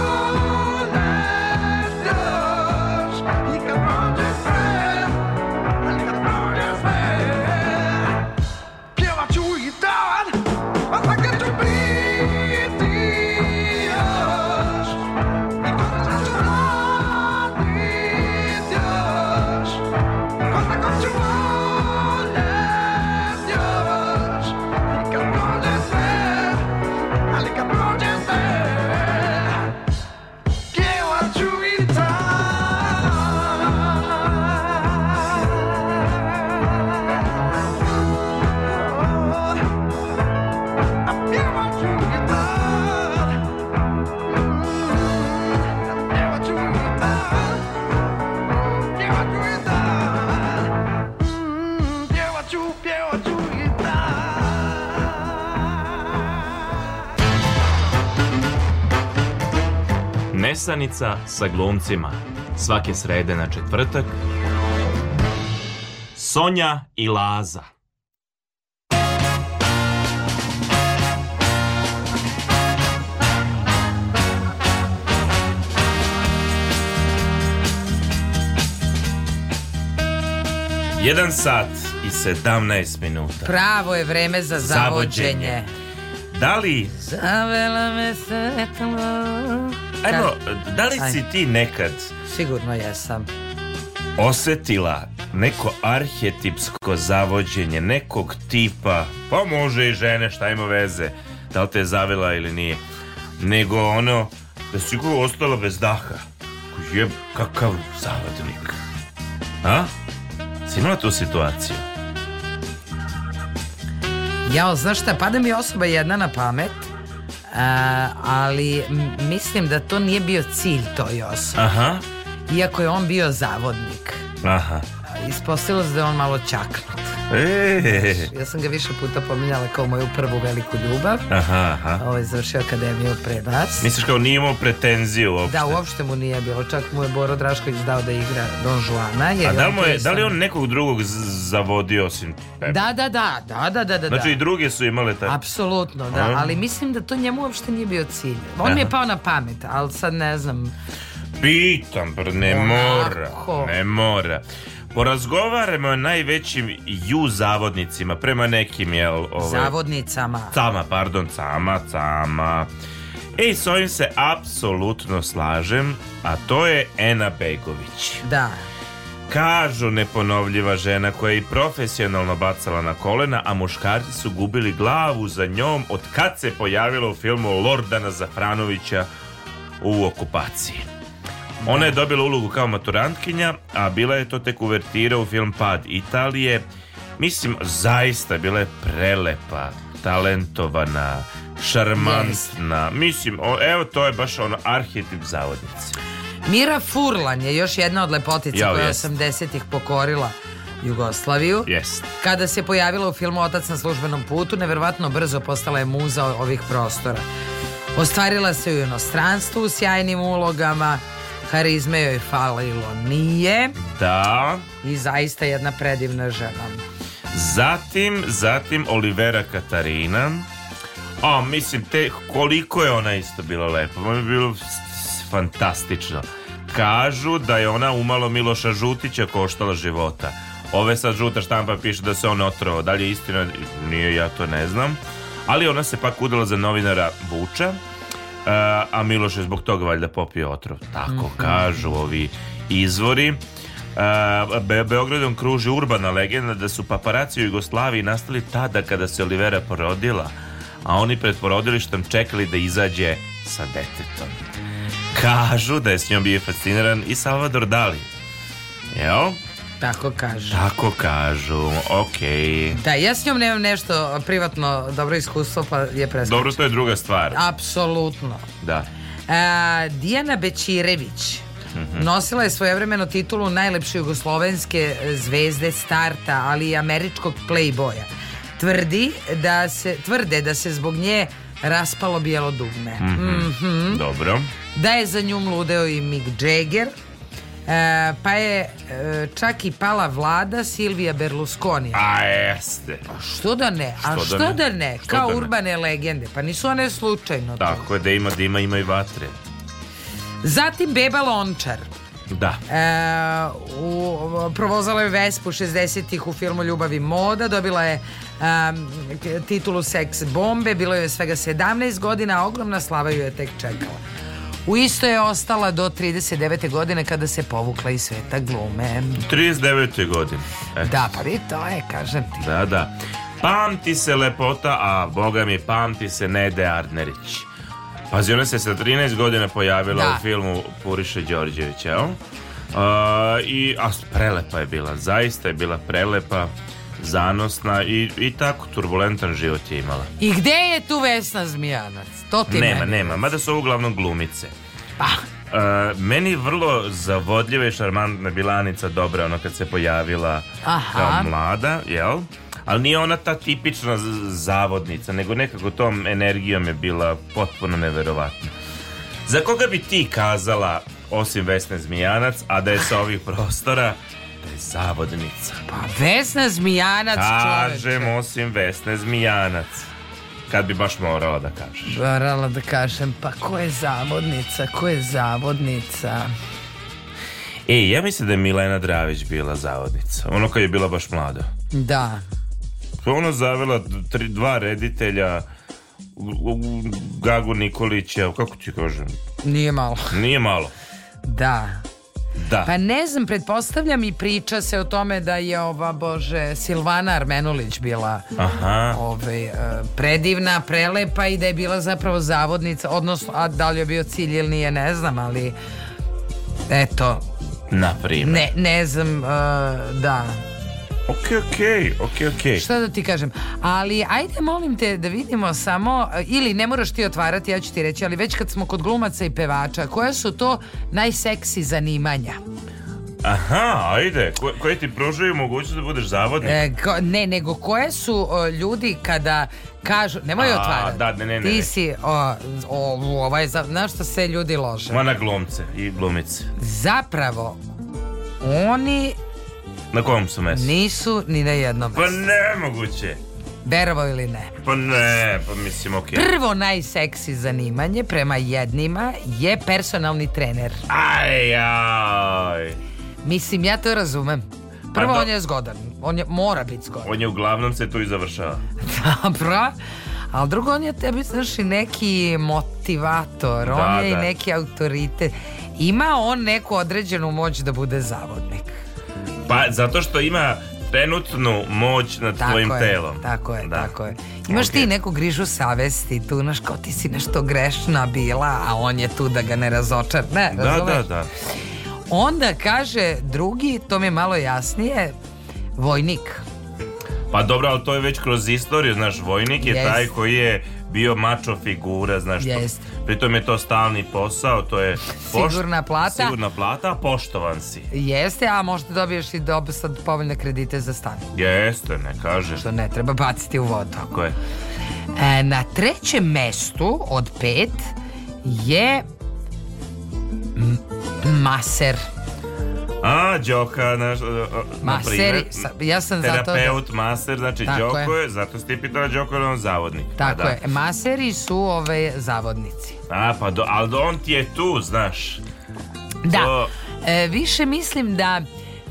G: Nesanica sa glumcima. Svake srede na četvrtak. Sonja i Laza.
F: Jedan sat i 17 minuta.
D: Pravo je vreme za zavođenje.
F: Da li...
D: Zavela me svetlo.
F: Ajmo, da li si ti nekad...
D: Sigurno jesam.
F: Osetila neko arhetipsko zavođenje nekog tipa, pa može i žene, šta ima veze, da li te je zavila ili nije, nego ono, da si go ostala bez daha. Jeb, kakav zavadnik. A? Si imala tu situaciju?
D: Jao, znaš šta, pada mi osoba jedna na pamet, Uh, ali mislim da to nije bio cilj toj osobi.
F: Aha.
D: Iako je on bio zavodnik.
F: Aha.
D: Ispostavilo se da je on malo čaknut.
F: E.
D: Ja sam ga više puta pominjala kao moju prvu veliku ljubav.
F: Aha, aha.
D: Ovo je završio akademiju pre nas.
F: Misliš kao nije imao pretenziju uopšte?
D: Da, uopšte mu nije bilo. Čak mu je Boro Drašković dao da igra Don Juana. Jer
F: A da, mu je,
D: sam-
F: da li on nekog drugog z- zavodio osim tebe?
D: Da, da, da, da, da, da, da.
F: Znači i druge su imale taj...
D: Apsolutno, da,
F: A?
D: ali mislim da to njemu uopšte nije bio cilj. On mi je
F: Aha.
D: pao na pamet, ali sad ne znam.
F: Pitam, br, ne mora,
D: Onako.
F: ne mora. Porazgovaramo o najvećim ju zavodnicima, prema nekim, jel? Ovaj,
D: Zavodnicama.
F: Cama, pardon, cama, cama. E, s ovim se apsolutno slažem, a to je Ena Begović.
D: Da.
F: Kažu neponovljiva žena koja je i profesionalno bacala na kolena, a muškarci su gubili glavu za njom od kad se pojavila u filmu Lordana Zafranovića u okupaciji. Ona je dobila ulogu kao maturantkinja, a bila je to tek uvertira u film Pad Italije. Mislim, zaista bila je prelepa, talentovana, šarmantna. Mislim, o- evo to je baš ono arhetip zavodnice.
D: Mira Furlan je još jedna od lepotica
F: Jao,
D: koja je
F: jest.
D: 80-ih pokorila Jugoslaviju.
F: Jest.
D: Kada se pojavila u filmu Otac na službenom putu, neverovatno brzo postala je muza ovih prostora. Ostvarila se u inostranstvu u sjajnim ulogama, harizme joj falilo nije
F: Da.
D: i zaista jedna predivna žena.
F: Zatim, zatim Olivera Katarina. A, mislim, te, koliko je ona isto bila lepa. Ono je bilo s- s- fantastično. Kažu da je ona umalo Miloša Žutića koštala života. Ove sad žuta štampa piše da se on otrovao. Da li je istina? Nije, ja to ne znam. Ali ona se pak udala za novinara Vuča. e, a Miloš je zbog toga valjda popio otrov. Tako kažu ovi izvori. A, Be- Beogradom kruži urbana legenda da su paparaci u Jugoslaviji nastali tada kada se Olivera porodila, a oni pred porodilištem čekali da izađe sa detetom. Kažu da je s njom bio fasciniran i Salvador Dali. Jel?
D: Tako kaže.
F: Tako kažu, okej.
D: Da, ja s njom nemam nešto privatno dobro iskustvo, pa je preskočila.
F: Dobro, to je druga stvar.
D: Apsolutno.
F: Da.
D: A, Dijana Bečirević
F: Mhm.
D: nosila je svojevremeno titulu najlepše jugoslovenske zvezde starta, ali i američkog playboya. Tvrdi da se, tvrde da se zbog nje raspalo bijelo dugme.
F: Mhm.
D: Mhm.
F: Dobro.
D: Da je za njom ludeo i Mick Jagger, e, pa je e, čak i pala vlada Silvija Berlusconi.
F: A jeste.
D: Pa Što da ne? A
F: Što
D: što,
F: da
D: da
F: ne?
D: ne?
F: Što
D: Kao
F: da ne?
D: urbane legende. Pa nisu one slučajno.
F: Tako je, da ima dima, ima i vatre.
D: Zatim Beba Lončar.
F: Da.
D: E, u, provozala je Vespu 60-ih u filmu Ljubav i moda, dobila je em, k- titulu Seks bombe, bilo je svega 17 godina, a ogromna slava ju je tek čekala. U isto je ostala do 39. godine kada se povukla iz sveta glume.
F: 39. godine. Eto.
D: Da, pa vi to je, kažem ti.
F: Da, da. Pamti se lepota, a boga mi pamti se Nede Arnerić. Pazi, ona se sa 13 godina pojavila
D: Da.
F: u filmu Puriše Đorđevića, jel? Uh, i, a prelepa je bila, zaista je bila prelepa, zanosna i, i tako turbulentan život je imala.
D: I gde je tu Vesna Zmijanac? To ti Pa.
F: nema,
D: meni.
F: nema, mada su uglavnom glumice. Uh, meni vrlo zavodljiva i šarmantna bilanica dobra ono kad se pojavila
D: Aha.
F: kao mlada, jel? Ali nije ona ta tipična z- zavodnica, nego nekako tom energijom je bila potpuno neverovatna. Za koga bi ti kazala, osim Vesne Zmijanac, a da je sa ovih prostora, da je zavodnica? Pa,
D: Vesna Pa, Zmijanac, čoveč.
F: Kažem, osim Vesne Zmijanac. Kad bi baš morala da kažeš.
D: Morala da kažem, pa ko je zavodnica, ko je zavodnica?
F: E, ja mislim da je Milena Dravić bila zavodnica. Ono kad je bila baš mlada.
D: Da.
F: To je ona zavela tri, dva reditelja, u- u- Gagu Nikolića, kako ti kažem,
D: Nije malo.
F: nije malo.
D: Da.
F: Da.
D: Pa ne znam, pretpostavljam i priča se o tome da je ova, bože, Silvana Armenulić bila
F: Aha.
D: ovaj, e, predivna, prelepa i da je bila zapravo zavodnica, odnosno, a da li je bio cilj ili nije, ne znam, ali eto,
F: Na primjer.
D: ne, ne znam, e, da.
F: Okej, okej, okej, okej.
D: Šta da ti kažem? Ali ajde molim te da vidimo samo e, ili ne moraš ti otvarati, ja ću ti reći, ali već kad smo kod glumaca i pevača, koja su to najseksi zanimanja?
F: Aha, ajde, ko, koje ti pružaju mogućnost da budeš zavodnik?
D: E, ko- ne, nego koje su o, ljudi kada kažu, nemoj
F: A,
D: otvarati.
F: da, ne, ne, ne, ne.
D: Ti si, o, o, ovaj, za- znaš što se ljudi lože?
F: Ma na glumce i glumice.
D: Zapravo, oni
F: Na kom su mesu?
D: nisu ni na jednom.
F: Pa nemoguće.
D: Verovo ili ne.
F: Pa ne, pa mislim okej.
D: Prvo najseksi zanimanje prema jednima je personalni trener.
F: Aj, aj.
D: Mislim, ja to razumem. Prvo,
F: Pa da.
D: on je zgodan. On je, mora biti zgodan.
F: On je uglavnom se tu i završava.
D: Dobro. Ali drugo, on je tebi, znaš, i neki motivator.
F: Da,
D: on je i
F: da.
D: neki autoritet. Ima on neku određenu moć da bude zavodnik.
F: Pa zato što ima trenutnu moć nad
D: Tako
F: tvojim
D: je,
F: telom.
D: Tako je, tako je. Imaš ti neku grižu savesti tu, znaš, kao ti si nešto grešna bila, a on je tu da ga ne razočar. Ne,
F: Da,
D: razumeš?
F: da, da.
D: Onda kaže drugi, to mi je malo jasnije, vojnik.
F: Pa dobro, ali to je već kroz istoriju, znaš, vojnik je
D: Jest.
F: taj koji je bio mačo figura, znaš, to-
D: Jest.
F: pritom je to stalni posao, to je pošt-
D: Sigurna plata.
F: sigurna plata, a poštovan si.
D: Jeste, a možda dobiješ i dob sad povoljne kredite za stan.
F: Jeste, ne kažeš.
D: Što ne treba baciti u vodu.
F: Tako je.
D: E, na trećem mestu od pet je m- maser.
F: A, Đoka, naš, uh, uh, na
D: Maseri,
F: primjer,
D: sa- ja sam zato da-
F: Terapeut, master, znači
D: Tako
F: Đoko je.
D: je.
F: zato si ti pitala Đoko je li on zavodnik. Pa
D: Tako
F: da.
D: je, maseri su ove zavodnici.
F: A, pa do, ali on ti je tu, znaš.
D: Da,
F: To-
D: E, više mislim da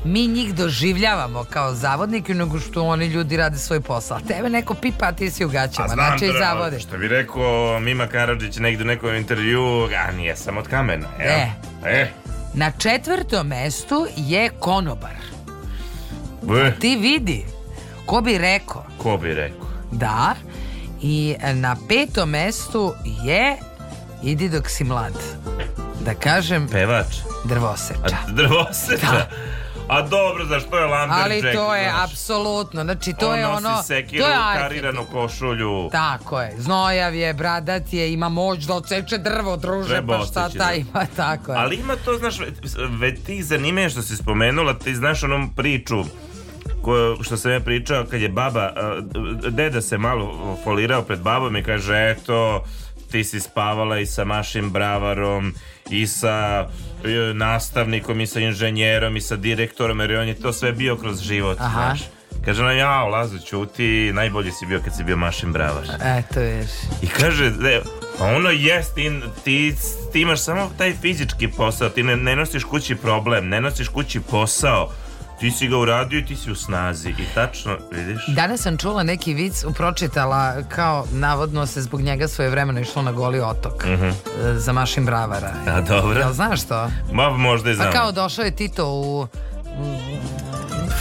D: mi njih doživljavamo kao zavodnike nego što oni ljudi rade svoj posao. A Tebe neko pipa, a ti si u gaćama, znači i
F: Andra,
D: zavode.
F: Što bi rekao Mima Karadžić negdje u nekom intervju, a nije sam od kamena. Jel?
D: E.
F: E.
D: Na četvrtom mestu je konobar.
F: B.
D: Ti vidi, ko bi rekao
F: Ko bi rekao?
D: da, i na petom mestu je idi dok si mlad. Da kažem
F: Pevač.
D: drvoseča.
F: Drvoseča. A dobro, za što je Lumberjack?
D: Ali to je
F: znaš?
D: apsolutno, znači to
F: On
D: je
F: nosi
D: ono,
F: sekiru,
D: to je arhetip.
F: kariranu košulju.
D: Tako je, znojav je, bradat je, ima moć da odseče drvo, druže,
F: Treba
D: pa šta
F: odseći
D: ta
F: drvo.
D: ima, tako je.
F: Ali ima to, znaš, ve- već ti zanimanja što si spomenula, ti znaš onom priču koju, što sam ja pričao kad je baba, a, deda se malo folirao pred babom i kaže, eto, ti si spavala i sa mašim bravarom i sa e, nastavnikom i sa inženjerom i sa direktorom jer on je to sve bio kroz život
D: Aha.
F: znaš. kaže ona ja Lazo čuti najbolji si bio kad si bio mašin bravar
D: Eto vidiš.
F: i kaže, de, pa ono jest, ti, ti, ti imaš samo taj fizički posao, ti ne, ne nosiš kući problem, ne nosiš kući posao, ti si ga uradio i ti si u snazi. I tačno, vidiš?
D: Danas sam čula neki vic, pročitala kao navodno se zbog njega svoje vremeno išlo na goli otok
F: Mhm.
D: e, za mašin bravara.
F: A dobro.
D: Jel znaš to?
F: Ma možda i
D: Pa
F: znam.
D: kao došao je Tito u, u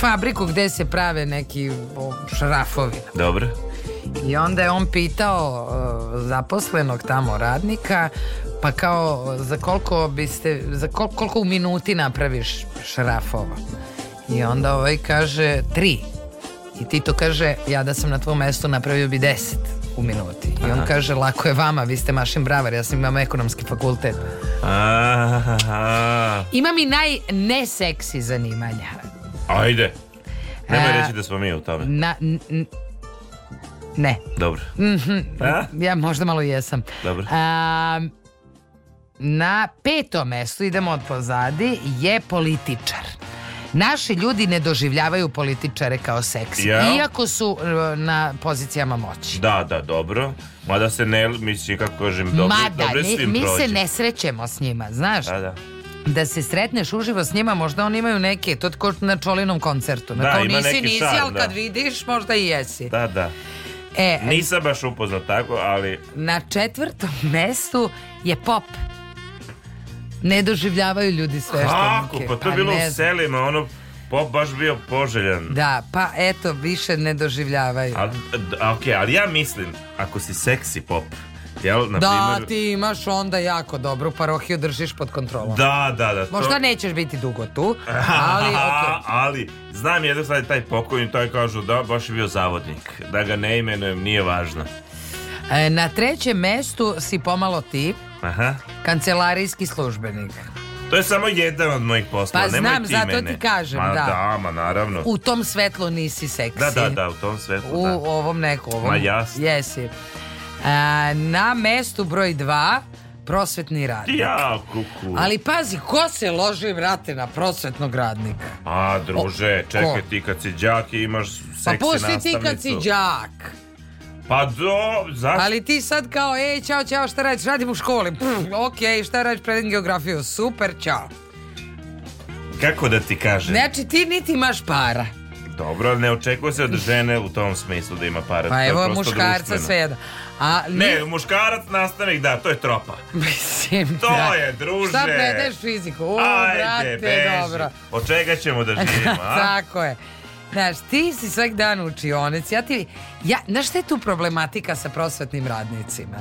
D: fabriku gde se prave neki o, šrafovi.
F: Dobro.
D: I onda je on pitao e, zaposlenog tamo radnika pa kao za koliko biste za kol- koliko u minuti napraviš šrafova. I onda ovaj kaže tri. I Tito kaže ja da sam na tvom mestu napravio bi deset u minuti. I on
F: Aha.
D: kaže lako je vama, vi ste mašin bravar, ja sam imam ekonomski fakultet.
F: Aha.
D: Imam i najneseksi zanimanja.
F: Ajde. Nemoj
D: E,
F: reći da smo mi u tome.
D: Na, n- n- ne.
F: Dobro.
D: Mhm.
F: A?
D: Ja možda malo jesam.
F: Dobro.
D: A, na petom mestu, idemo od pozadi, je političar. Naši ljudi ne doživljavaju političare kao seksi.
F: Ja.
D: Iako su e, na pozicijama moći.
F: Da, da, dobro. Mada se ne, mislim, kako kažem, dobro,
D: Mada,
F: dobro
D: ne-
F: svim
D: mi
F: prođe.
D: se ne srećemo s njima, znaš?
F: Da, da.
D: da se sretneš uživo s njima, možda oni imaju neke, to tko na Čolinom koncertu. Pa Na
F: Da,
D: kao
F: ima
D: nisi,
F: neki
D: nisi,
F: šarm,
D: ali
F: da.
D: kad vidiš, možda i jesi.
F: Da, da.
D: E,
F: Nisam baš upoznat tako, ali...
D: na četvrtom mestu je pop. Ne doživljavaju ljudi sveštenike.
F: Kako? Pa to je bilo
D: ne
F: u
D: znam.
F: selima, ono... Pop baš bio poželjan.
D: Da, pa eto, više ne doživljavaju.
F: A, d- a, ok, ali ja mislim, ako si seksi pop, jel, na
D: da,
F: primjer...
D: ti imaš onda jako dobru parohiju, držiš pod kontrolom.
F: Da, da, da. to-
D: Možda nećeš biti dugo tu, ali okej.
F: Ali, znam jedno sad je taj pokojni, taj kažu da baš je bio zavodnik. Da ga ne imenujem, nije važno.
D: E, Na trećem mestu si pomalo ti,
F: Aha.
D: kancelarijski službenik.
F: To je samo jedan od mojih poslova,
D: Pa
F: nemoj
D: znam,
F: ti
D: zato
F: mene.
D: ti kažem,
F: Ma,
D: da.
F: ma naravno.
D: U tom svetlu nisi seksi.
F: Da, da, da, u tom svetlu,
D: U
F: da.
D: ovom nekom.
F: Ma jasno.
D: Jesi. A, na mestu broj dva, prosvetni radnik.
F: Ja, kuku.
D: Ali pazi, ko se loži, vrate, na prosvetnog radnika?
F: A, druže, čekaj
D: ko?
F: ti kad si đak i imaš seksi
D: Pa
F: nastavnicu.
D: pusti ti kad si đak.
F: Pa do, zašto?
D: Ali ti sad kao, ej, čao, čao, šta radiš? Radim u školi. Pff, ok, šta radiš? Predim geografiju. Super, čao.
F: Kako da ti kažem?
D: Znači, ti niti imaš para.
F: Dobro, ne očekuje se od žene u tom smislu da ima para. to
D: Pa
F: je
D: evo,
F: prosto
D: muškarca
F: društveno.
D: sve jedno. A,
F: Ne, muškarac nastavnik, da, to je tropa.
D: Mislim,
F: To
D: da.
F: je, druže.
D: Šta predeš fiziku? O, brate,
F: Ajde, beži.
D: dobro.
F: Od čega ćemo da živimo, a?
D: Tako je. Znaš, ti si svaki dan u učionici. Ja ti, ja, znaš šta je tu problematika sa prosvetnim radnicima?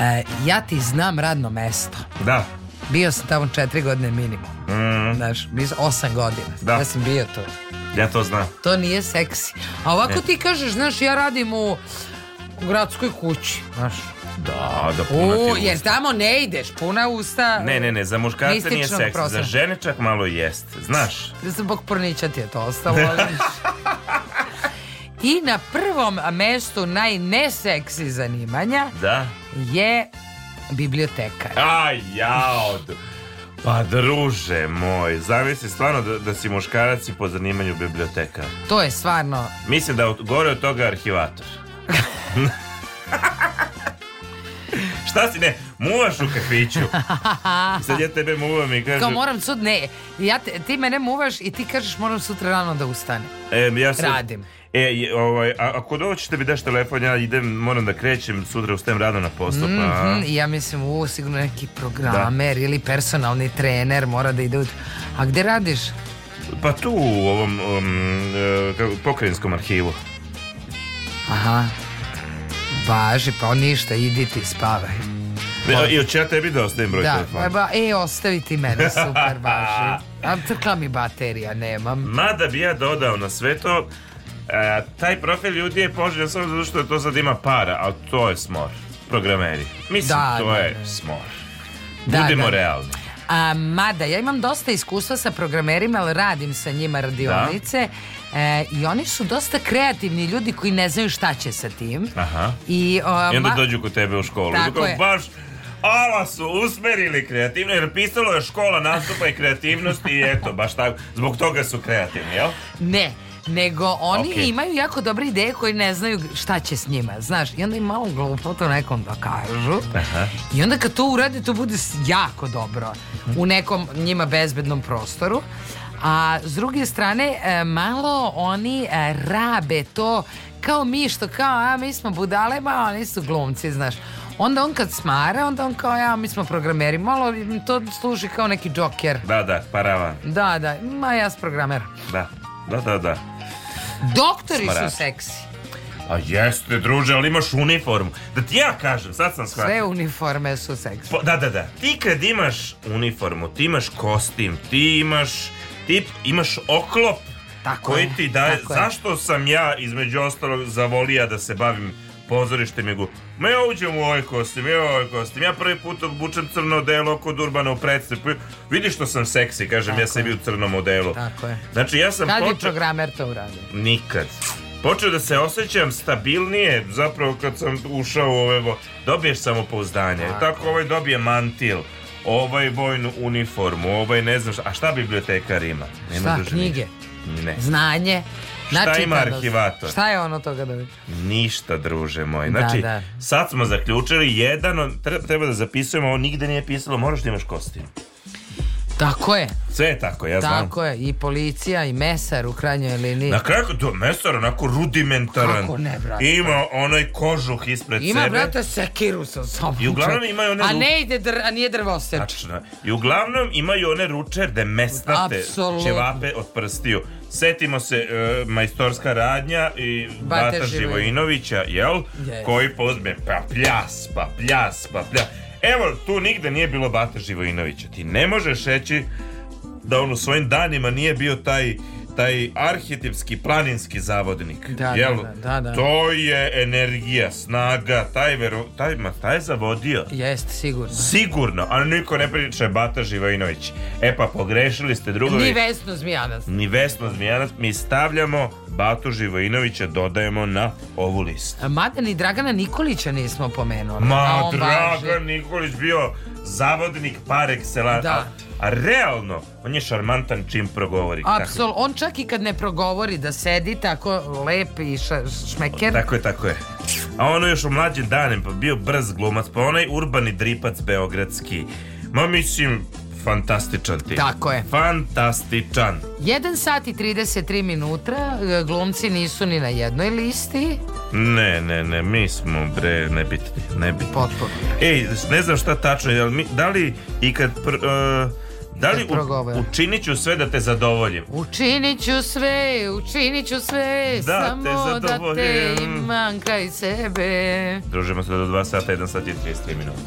D: E, ja ti znam radno mesto.
F: Da.
D: Bio sam tamo četiri godine minimum.
F: Mm,
D: Znaš, bio sam osam godina.
F: Da.
D: Ja sam bio tu.
F: ja to znam.
D: To nije seksi. A ovako
F: Ne.
D: ti kažeš, znaš, ja radim u, u gradskoj kući. Znaš,
F: Da, da puno
D: U,
F: ti
D: jer
F: usta.
D: tamo ne ideš, puna usta.
F: Ne, ne, ne, za muškarce nije
D: mističnog
F: seks, za
D: prostora.
F: žene čak malo jest, znaš.
D: Zbog pornića ti je to ostalo. ali- I na prvom mestu najneseksi zanimanja
F: Da.
D: je bibliotekar.
F: Aj, jao. d- Pa druže moj, zamisli stvarno da, da si muškarac i po zanimanju biblioteka.
D: To je stvarno...
F: Mislim da od- gore od toga arhivator. Šta si, ne, muvaš u kafiću. I sad ja tebe muvam i
D: Kao
F: kažem,
D: moram sud, ne, ja te- ti mene muvaš i ti kažeš moram sutra rano da ustane.
F: e, ja sam,
D: Radim.
F: E, je- ovaj, a, ako doćete mi daš telefon, ja idem, moram da krećem, sutra ustajem rado na posao, pa...
D: Mhm, i ja mislim, u, sigurno neki programer ili personalni trener mora da ide u... A gde radiš?
F: Pa tu u ovom um, e, kako- pokrajinskom arhivu.
D: Aha. Važi, pa ništa, idi ti spavaj.
F: I hoću ja tebi da ostavim broj
D: Da,
F: telefona.
D: ba, e, ostaviti mene, super, važi. A crkla mi baterija, nemam.
F: Mada bi ja dodao na sve to, e, taj profil ljudi je poželjan samo zato što to sad ima para, ali to je smor. Programeri. Mislim,
D: Da,
F: to
D: da,
F: je
D: da.
F: smor.
D: Da,
F: Budemo
D: da.
F: realni.
D: A, mada, ja imam dosta iskustva sa programerima, ali radim sa njima radionice. E, I oni su dosta kreativni ljudi koji ne znaju šta će sa tim.
F: Aha.
D: I, o,
F: I onda
D: Pa, ma-
F: dođu kod tebe u školu.
D: Tako
F: Tako
D: je.
F: baš Ala su usmerili kreativno, jer pisalo je škola nastupa i kreativnosti i eto, baš tako. Zbog toga su kreativni, jel?
D: Ne, nego oni
F: Ok.
D: imaju jako dobre ideje koji ne znaju šta će s njima, znaš. I onda im malo glupo to nekom da kažu.
F: Aha.
D: I onda kad to urade, to bude s- jako dobro. U nekom njima bezbednom prostoru. A s druge strane, e, malo oni e, rabe to kao mi što kao, a mi smo budale, ma oni su glumci, znaš. Onda on kad smara, onda on kao, ja, mi smo programeri. Malo im to služi kao neki džoker.
F: Da, da, paravan.
D: Da, da, ma ja sam programer.
F: Da, da, da, da.
D: Doktori
F: Smarač.
D: su seksi.
F: A Pa jeste, druže, ali imaš uniformu. Da ti ja kažem, sad sam shvatio.
D: Sve uniforme su seksi.
F: Po- da, da, da. Ti kad imaš uniformu, ti imaš kostim, ti imaš, ti imaš oklop koji ti daje...
D: tako je.
F: Zašto sam ja, između ostalog, zavolija da se bavim pozorištem i gu... Ma ja uđem u ovaj kostim, ja u ovaj kostim. Ja prvi put obučem crno delo kod Urbana u predstavu. Vidiš što sam seksi, kažem ja sebi u crnom odelu.
D: Tako je.
F: Znači, ja sam
D: Kad bi
F: počeo-
D: programer to uradio?
F: Nikad. Počeo da se osjećam stabilnije, zapravo kad sam ušao u ove... vo- Dobiješ samopouzdanje. Tako. ovaj dobije mantil, ovaj vojnu uniformu, ovaj ne znam šta. A šta bibliotekar ima? Nema
D: Šta,
F: duže
D: knjige?
F: ništa. Ne.
D: Znanje?
F: Šta
D: načitanost?
F: ima arhivator?
D: Šta je ono toga da bi?
F: Ništa, druže moj.
D: Da,
F: Znači,
D: da.
F: sad smo zaključili jedan, od- tre- treba da zapisujemo, ovo nigde nije pisalo, moraš da imaš kostim.
D: Tako je,
F: Sve je tako, ja znam.
D: tako je. I policija, i mesar u krajnjoj liniji.
F: Na kraju, do, mesar onako rudimentaran.
D: Kako ne, brate?
F: Ima onaj kožuh ispred
D: Ima,
F: sebe.
D: brate, sekiru sa sobom.
F: I uglavnom
D: čovjek.
F: imaju one
D: A
F: ruke. Znači,
D: ne ide, dr- a nije drvoseč.
F: Tačno. I uglavnom imaju one ručerde mesnate
D: Apsolutno.
F: ćevape od prstiju. Setimo se e, majstorska radnja i
D: Bata
F: Bata
D: Živojinović.
F: Živojinovića, jel?
D: Yes.
F: Koji pozme pa pljas, pa pljas, pa pljas. Evo, tu nigde nije bilo Bata Živojinovića. Ti ne možeš reći da on u svojim danima nije bio taj taj arhetipski planinski zavodnik.
D: Da, da,
F: jel?
D: da, da, da.
F: To je energija, snaga, taj, vero, taj, ma, taj je zavodio.
D: Jeste, sigurno.
F: Sigurno, ali niko ne priča Bata Živojinović. E pa pogrešili ste drugovi.
D: Ni Vesnu Zmijanac.
F: Ni Vesno Zmijanac. Mi stavljamo Batu Živojinovića, dodajemo na ovu listu.
D: Mada ni Dragana Nikolića nismo pomenuli. a
F: Ma,
D: on važi.
F: Dragan Nikolić bio zavodnik par excellence.
D: Da.
F: A, a realno, on je šarmantan čim progovori. Tako-
D: Apsol, on čak i kad ne progovori da sedi tako lep i ša- šmeker.
F: Tako je, tako je. A ono još u mlađim danim, pa bio brz glumac, pa onaj urbani dripac beogradski. Ma mislim, fantastičan ti.
D: Tako je.
F: Fantastičan.
D: 1 sat i 33 minuta, e, glumci nisu ni na jednoj listi.
F: Ne, ne, ne, mi smo bre nebitni, nebitni.
D: Potpuno.
F: Ej, ne znam šta tačno, jel mi, da li i kad pr, e, da li
D: Kad
F: u-
D: progovore.
F: učinit ću sve da te zadovoljim?
D: Učinit ću sve, učinit ću sve,
F: Da te
D: samo da te
F: zadovoljim.
D: imam kraj sebe.
F: Družimo se do 2 sata, 1 sat i 33 minuta.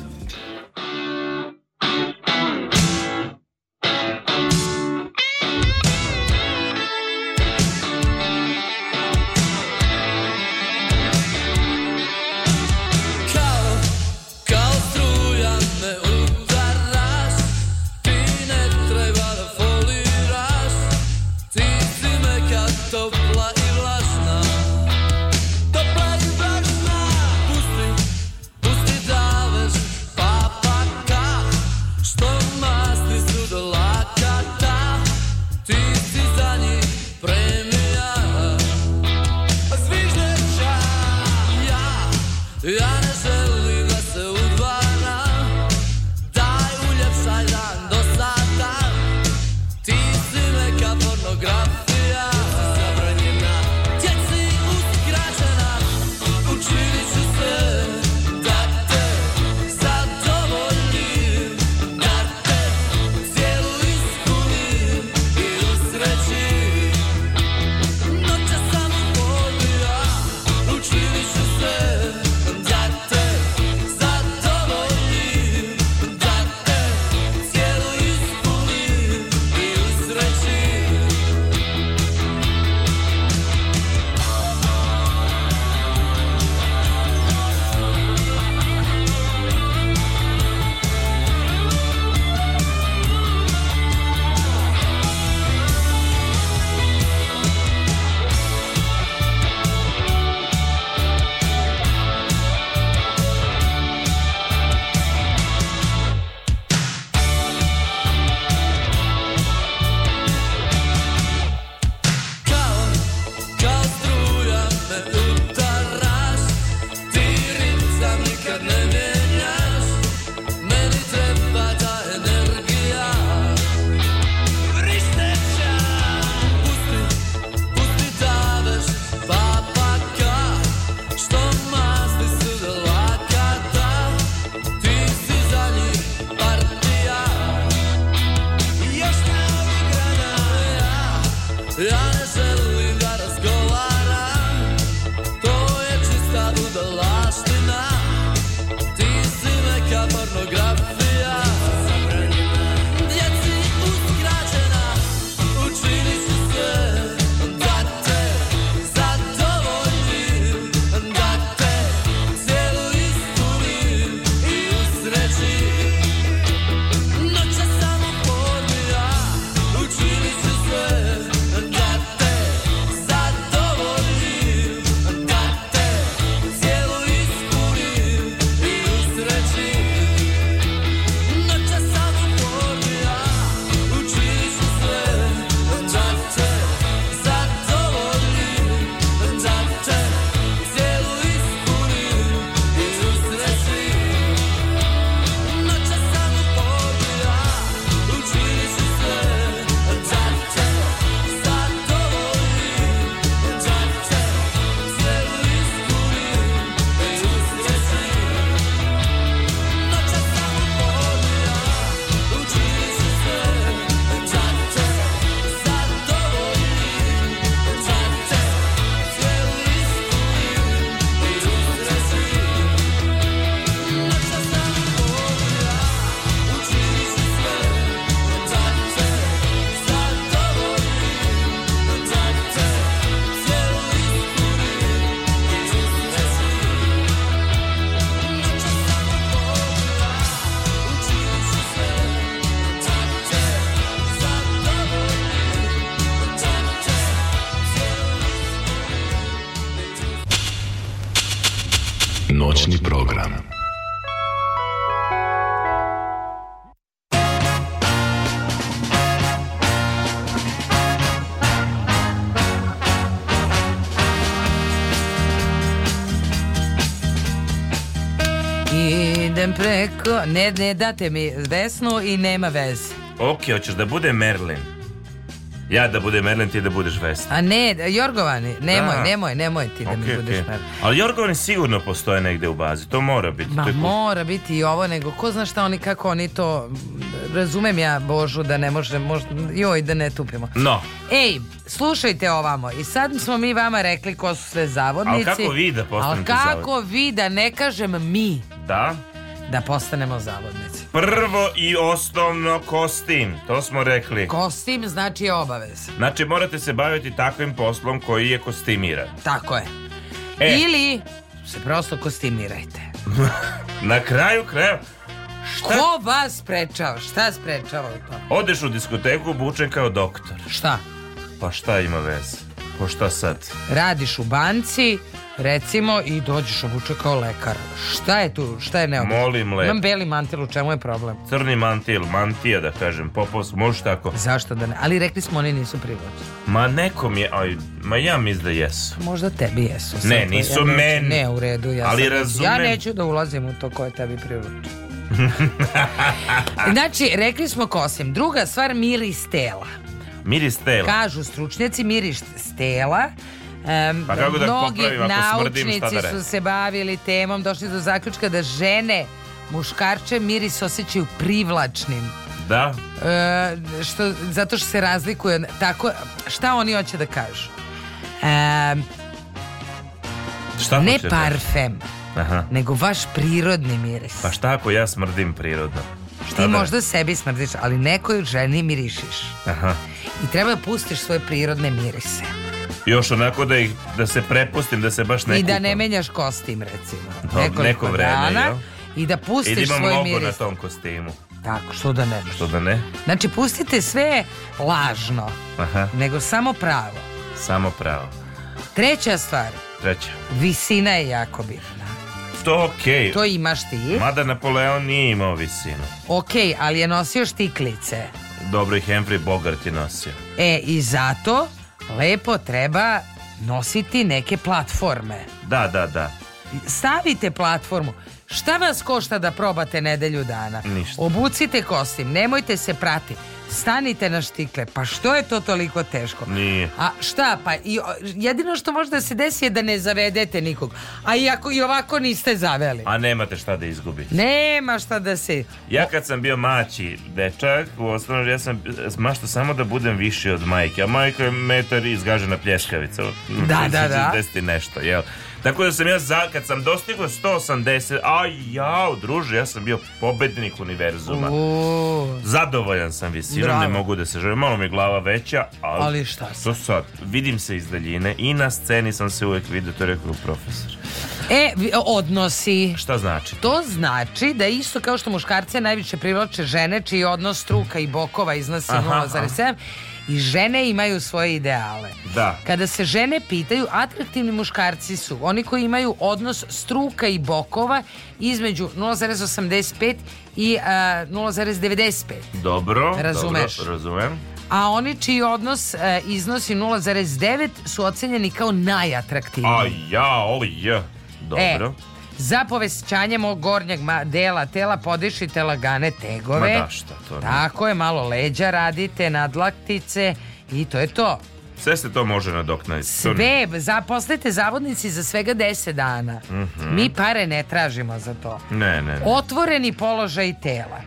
P: Kao, kao struja me udaraš Ti ne treba da foliraš Ti si meka topla i vlažna Topla i vlažna Pusti, pusti da veš
A: Noćni program.
D: Idem preko... Ne, ne date mi vesnu i nema veze.
F: Ok, hoćeš da bude Merlin. Ja da bude Merlin, ti da budeš Vesna.
D: A ne, Jorgovani, nemoj,
F: Da.
D: nemoj, nemoj ti da mi
F: Okej,
D: budeš
F: okej.
D: okay.
F: Ali Jorgovani sigurno postoje negde u bazi, to mora biti.
D: Ma
F: to je kult-
D: mora biti i ovo, nego ko zna šta oni, kako oni to... Razumem ja, Božu, da ne može, možda, joj, da ne tupimo.
F: No,
D: Ej, slušajte ovamo, i sad smo mi vama rekli ko su sve zavodnici.
F: Ali kako vi da postanete
D: Ali kako vi da ne kažem mi
F: da.
D: da postanemo zavodnici?
F: Prvo i osnovno kostim, to smo rekli.
D: Kostim znači obavez.
F: Znači morate se baviti takvim poslom koji je kostimiran.
D: Tako je.
F: E.
D: Ili se prosto kostimirajte.
F: Na kraju krajeva,
D: Ko vas sprečava? Šta sprečava u tom?
F: odeš u diskoteku obučen kao doktor.
D: Šta?
F: Pa šta ima veze? Pa šta sad?
D: Radiš u banci, recimo, i dođeš obuče kao lekar. Šta je tu? Šta je neobično?
F: Molim lepo.
D: Imam beli mantil, u čemu je problem?
F: Crni mantil, mantija da kažem, popos, može tako.
D: Zašto da ne? Ali rekli smo oni nisu privlačni.
F: Ma nekom je, aj, ma ja mislim da jesu.
D: Možda tebi jesu.
F: Ne,
D: Sad,
F: nisu
D: neću-
F: meni.
D: Ne, u redu, ja
F: Ali
D: sad-
F: razumem.
D: Ja neću da ulazim u to koje tebi privlači. znači, rekli smo kosim. Druga stvar, miris tela.
F: Miris tela.
D: Kažu stručnjaci, miris tela. Em,
F: Pa kako da
D: mnogi
F: popravim ako smrdim, šta da
D: naučnici
F: radim?
D: su se bavili temom, došli do zaključka da žene muškarče miris osjećaju privlačnim.
F: Da?
D: E, što, zato što se razlikuje od- tako, šta oni hoće da kažu E,
F: Šta
D: ne
F: hoće da-
D: parfem
F: Aha.
D: nego vaš prirodni miris
F: Pa šta ako ja smrdim prirodno? Šta
D: ti
F: da-
D: možda sebi smrdiš ali nekoj ženi mirišiš
F: Aha.
D: i treba da pustiš svoje prirodne mirise
F: Još onako da, ih, da se prepustim, da se baš ne
D: i da
F: kupam.
D: ne menjaš kostim recimo
F: Dobro,
D: nekoliko
F: neko vreme,
D: dana
F: jel?
D: i da
F: I da
D: pustiš
F: imam
D: svoj
F: logo na
D: miris
F: tom kostimu.
D: Tako, što da ne?
F: Što da ne?
D: znači pustite sve lažno
F: Aha,
D: nego samo pravo
F: samo pravo.
D: treća stvar
F: Treća.
D: visina je jako bitna
F: To je okej.
D: to imaš ti
F: Mada Napoleon nije imao visinu.
D: Ok, ali je nosio štiklice.
F: Dobro i Henry Bogart je nosio.
D: E, i zato lepo treba nositi neke platforme.
F: Da, da, da.
D: Stavite platformu. Šta vas košta da probate nedelju dana?
F: Ništa.
D: Obucite kostim, nemojte se prati. Stanite na štikle. Pa što je to toliko teško?
F: Nije.
D: A šta pa i, o, jedino što može da se desi je da ne zavedete nikog. A i ako i ovako niste zaveli.
F: A nemate šta da izgubite.
D: Nema šta da se
F: Ja kad sam bio maći dečak, u osnovnom ja sam mašto samo da budem viši od majke, a majka je metar i izgažena pljeskavica. od
D: Da, da, da.
F: 160 i nešto, jel? Tako da sam ja, za, kad sam dostigao 180, a jao, druže, ja sam bio pobednik univerzuma. Zadovoljan sam visinom,
D: Bravo.
F: ne mogu da se želim. Malo mi je glava veća, ali...
D: Ali šta sad?
F: Što sad? Vidim se iz daljine i na sceni sam se uvijek vidio, to je rekao profesor.
D: E, vi- odnosi.
F: Šta znači?
D: To znači da isto kao što muškarce najviše privlače žene čiji odnos struka i bokova iznosi
F: Aha,
D: 0,7 i žene imaju svoje ideale.
F: Da.
D: Kada se žene pitaju, atraktivni muškarci su oni koji imaju odnos struka i bokova između 0,85 i e, a, 0,95.
F: Dobro,
D: Razumeš.
F: dobro, razumem.
D: A oni čiji odnos e, iznosi 0,9 su ocenjeni kao najatraktivniji. E,
F: A jao, je. Dobro.
D: Za povećanje mog gornjeg ma- dela tela podišite lagane tegove.
F: Ma da, šta to ne-
D: Tako je, malo leđa radite, nadlaktice i to je to.
F: Sve se to može nadoknaditi. To ne-
D: Sve, zaposlite zavodnici za svega 10 dana.
F: Mhm.
D: Mi pare ne tražimo za to.
F: Ne, ne, ne.
D: Otvoreni položaj tela.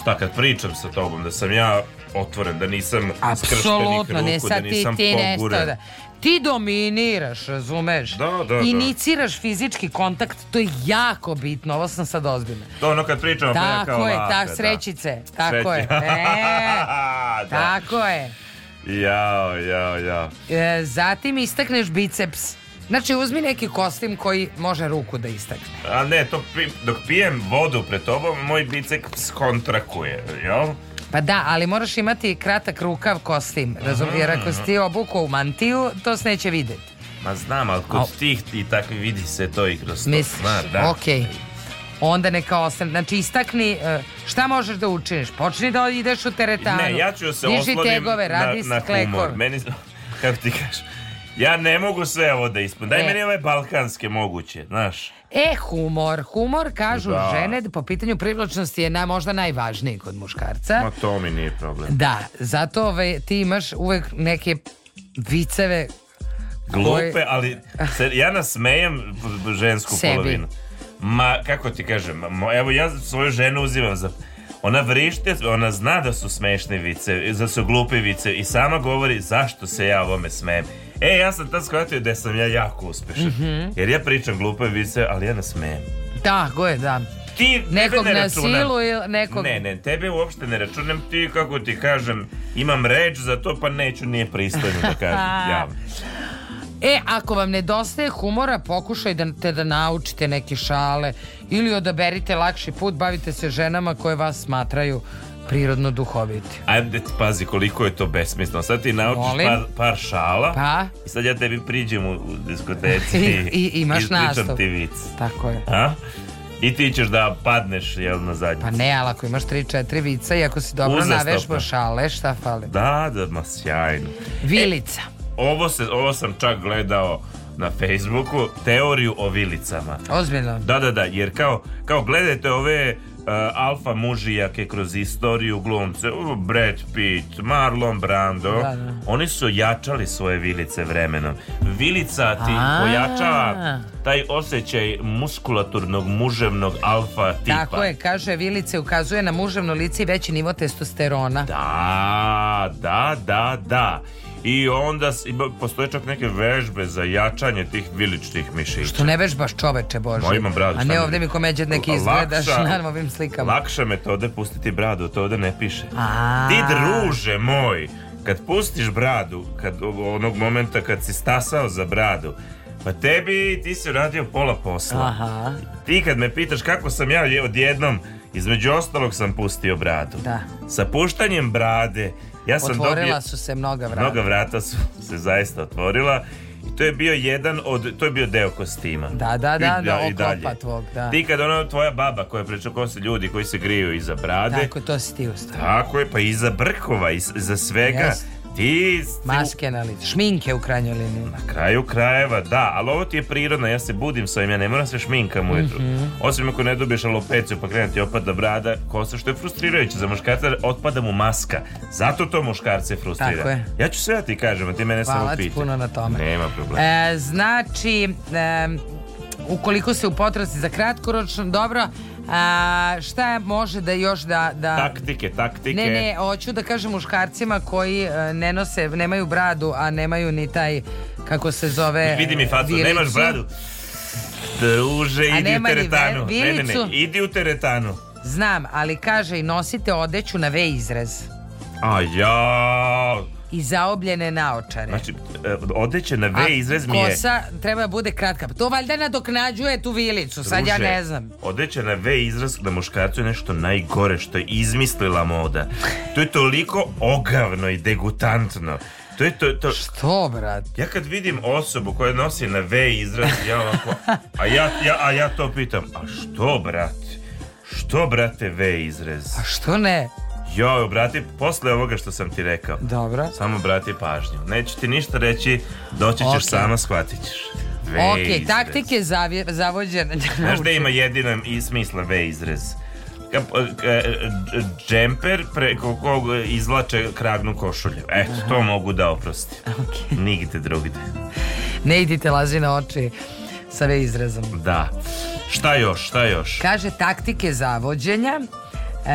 F: Šta kad pričam sa tobom, da sam ja otvoren, da nisam skrštenih
D: Apsolutno,
F: ruku,
D: ne
F: da
D: sad ti,
F: nisam
D: ti nešto.
F: poguren.
D: Da. Ti dominiraš, razumeš?
F: Da, da,
D: Iniciraš fizički kontakt, to je jako bitno, ovo sam sad ozbiljno.
F: To ono kad pričamo, pa ja kao
D: Tako je,
F: laka,
D: ta
F: da.
D: srećice, tako je.
F: Sreći-
D: E,
F: A, da.
D: tako je.
F: Jao, jao, jao.
D: E, zatim istakneš biceps. Znači, uzmi neki kostim koji može ruku da istakne.
F: A ne, to pi- dok pijem vodu pred tobom, moj biceps kontrakuje, jel?
D: Pa da, ali moraš imati kratak rukav kostim, razum- jer ako si ti obukao u mantiju, to se neće vidjeti.
F: Ma znam, ali kod
D: Au.
F: tih i takvi vidi se to i kroz to.
D: Misliš,
F: Ma, da.
D: ok. Onda neka ostane, znači istakni e, šta možeš da učiniš, počni da ideš u teretanu.
F: Ne, ja ću se
D: Diži
F: oslonim
D: tegove, radi
F: na, na
D: sklekove.
F: humor. Meni, kako ti kažeš, ja ne mogu sve ovo da ispunim. Daj
D: Ne.
F: meni ove balkanske moguće, znaš.
D: E, humor. Humor, kažu
F: Da.
D: žene, da po pitanju privlačnosti je na, možda najvažniji kod muškarca.
F: Ma to mi nije problem.
D: Da, zato ovaj, ti imaš uvek neke viceve
F: Glupe,
D: koje-
F: ali se, ja nasmejem žensku
D: Sebi.
F: polovinu. Ma, kako ti kažem, mo- evo ja svoju ženu uzimam za... Ona vrište, ona zna da su smešne vice, da su glupe vice i sama govori zašto se ja ovome smejem. E, ja sam tad shvatio da sam ja jako uspešan.
D: Mhm.
F: Jer ja pričam glupe vice, ali ja nasmejem.
D: Tako je, da.
F: Ti
D: nekog
F: ne
D: na
F: računam.
D: silu ili nekog...
F: Ne, ne, tebe uopšte ne računam ti, kako ti kažem, imam reč za to, pa neću, nije pristojno da kažem javno.
D: E, ako vam nedostaje humora, pokušajte da, da naučite neke šale ili odaberite lakši put, bavite se ženama koje vas smatraju prirodno duhoviti.
F: Ajde, pazi koliko je to besmisleno. Sad ti naučiš
D: Molim?
F: par, par šala
D: Pa?
F: i sad ja tebi priđem u, u diskoteci
D: I- i imaš Pa-
F: ispričam
D: nastav.
F: ti vic.
D: Tako je.
F: A? I ti ćeš da padneš jel, na zadnju.
D: Pa ne, ali ako imaš 3-4 vica i ako si dobro
F: Uzastopno.
D: navešba šale, šta fali?
F: Da, da, ma sjajno. E,
D: Vilica.
F: Ovo, se, ovo sam čak gledao na Facebooku, teoriju o vilicama.
D: Ozbiljno.
F: Da, da, da, jer kao, kao gledajte ove uh, alfa mužijake kroz istoriju glumce, uh, Brad Pitt, Marlon Brando,
D: Da, da.
F: oni su jačali svoje vilice vremenom. Vilica ti
D: A.
F: pojačava taj osjećaj muskulaturnog, muževnog alfa tipa.
D: Tako je, kaže Vilice ukazuje na muževno lice i veći nivo testosterona.
F: Da, da, da, da. I onda s- ima- postoje čak neke vežbe za jačanje tih viličnih mišića.
D: Što ne vežbaš čoveče Bože.
F: Ma, imam bradu,
D: A
F: šta
D: ne
F: mi-
D: ovde mi komeđet neki
F: Lakša-
D: izgledaš na ovim slikama.
F: Lakša metode pustiti bradu, to ovde ne piše.
D: A.
F: Ti druže moj, kad pustiš bradu, kad onog momenta kad si stasao za bradu, pa tebi ti si radio pola posla.
D: Aha.
F: Ti kad me pitaš kako sam ja je- odjednom, između ostalog sam pustio bradu.
D: Da.
F: Sa puštanjem brade, ja sam
D: Otvorila
F: dobio...
D: su se mnoga vrata.
F: Mnoga vrata su se zaista otvorila i to je bio jedan od, to je bio deo kostima.
D: Da, da, da,
F: I
D: da,
F: i
D: okopa
F: dalje.
D: tvog, da.
F: Ti kad ona tvoja baba koja priča ko su ljudi koji se griju iza brade.
D: Tako, to si ti ustavio.
F: Tako je, pa iza brkova, iz- iza svega.
D: Jest.
F: Ti si
D: Maske na licu, šminke u krajnjoj liniji.
F: na kraju krajeva, da, ali ovo ti je prirodno, ja se budim s ovim, ja ne moram se šminkam ujutru.
D: Mhm.
F: Osim ako ne dobiješ alopeciju pa krene ti opada brada, kosa, što je frustrirajuće za muškarca, jer otpada mu maska. Zato to muškarce frustrira.
D: Tako je.
F: Ja ću sve da ti kažem, a ti mene samo
D: Hvala ti
F: pitaj.
D: puno na tome.
F: Nema problema.
D: E, znači, e, ukoliko se u potrazi za kratkoročno, dobro, a, šta može da još da... da...
F: Taktike, taktike.
D: Ne, ne, hoću da kažem muškarcima koji e, ne nose, nemaju bradu, a nemaju ni taj, kako se zove...
F: Vidi mi facu,
D: viricu.
F: nemaš bradu. Druže,
D: A
F: idi u
D: nema ni
F: teretanu.
D: ve-
F: Ne, ne, ne,
D: vilicu.
F: idi u teretanu.
D: Znam, ali kaže i nosite odeću na V izrez
F: A ja.
D: i zaobljene naočare.
F: Znači, e, odeće na
D: A
F: V izrez mi je...
D: Kosa treba da bude kratka. To valjda nadoknađuje tu vilicu, sad ja
F: Druže,
D: ne znam.
F: Odeća na V izraz na muškarcu je nešto najgore što je izmislila moda. To je toliko ogavno i degutantno. To je to, to...
D: Što, brat?
F: Ja kad vidim osobu koja nosi na V izraz, ja ovako... A ja, ja, a ja to pitam, a što, brat? Što, brate, V izraz? A
D: što ne?
F: Jo, brati, posle ovoga što sam ti rekao.
D: Dobro.
F: Samo brati pažnju. Neću ti ništa reći, doći ćeš
D: Ok.
F: sama, shvatit ćeš. V
D: Ok,
F: izrez.
D: taktike zavje- zavođene.
F: Znaš da ima jedina i smisla V izrez? Ka- ka- dž- Džemper preko kog izlače kragnu košulju. Eto, to mogu da oprostim. Nigde drugde.
D: Ne idite lazi na oči sa V izrezom.
F: Da. Šta još, šta još?
D: Kaže taktike zavođenja. E,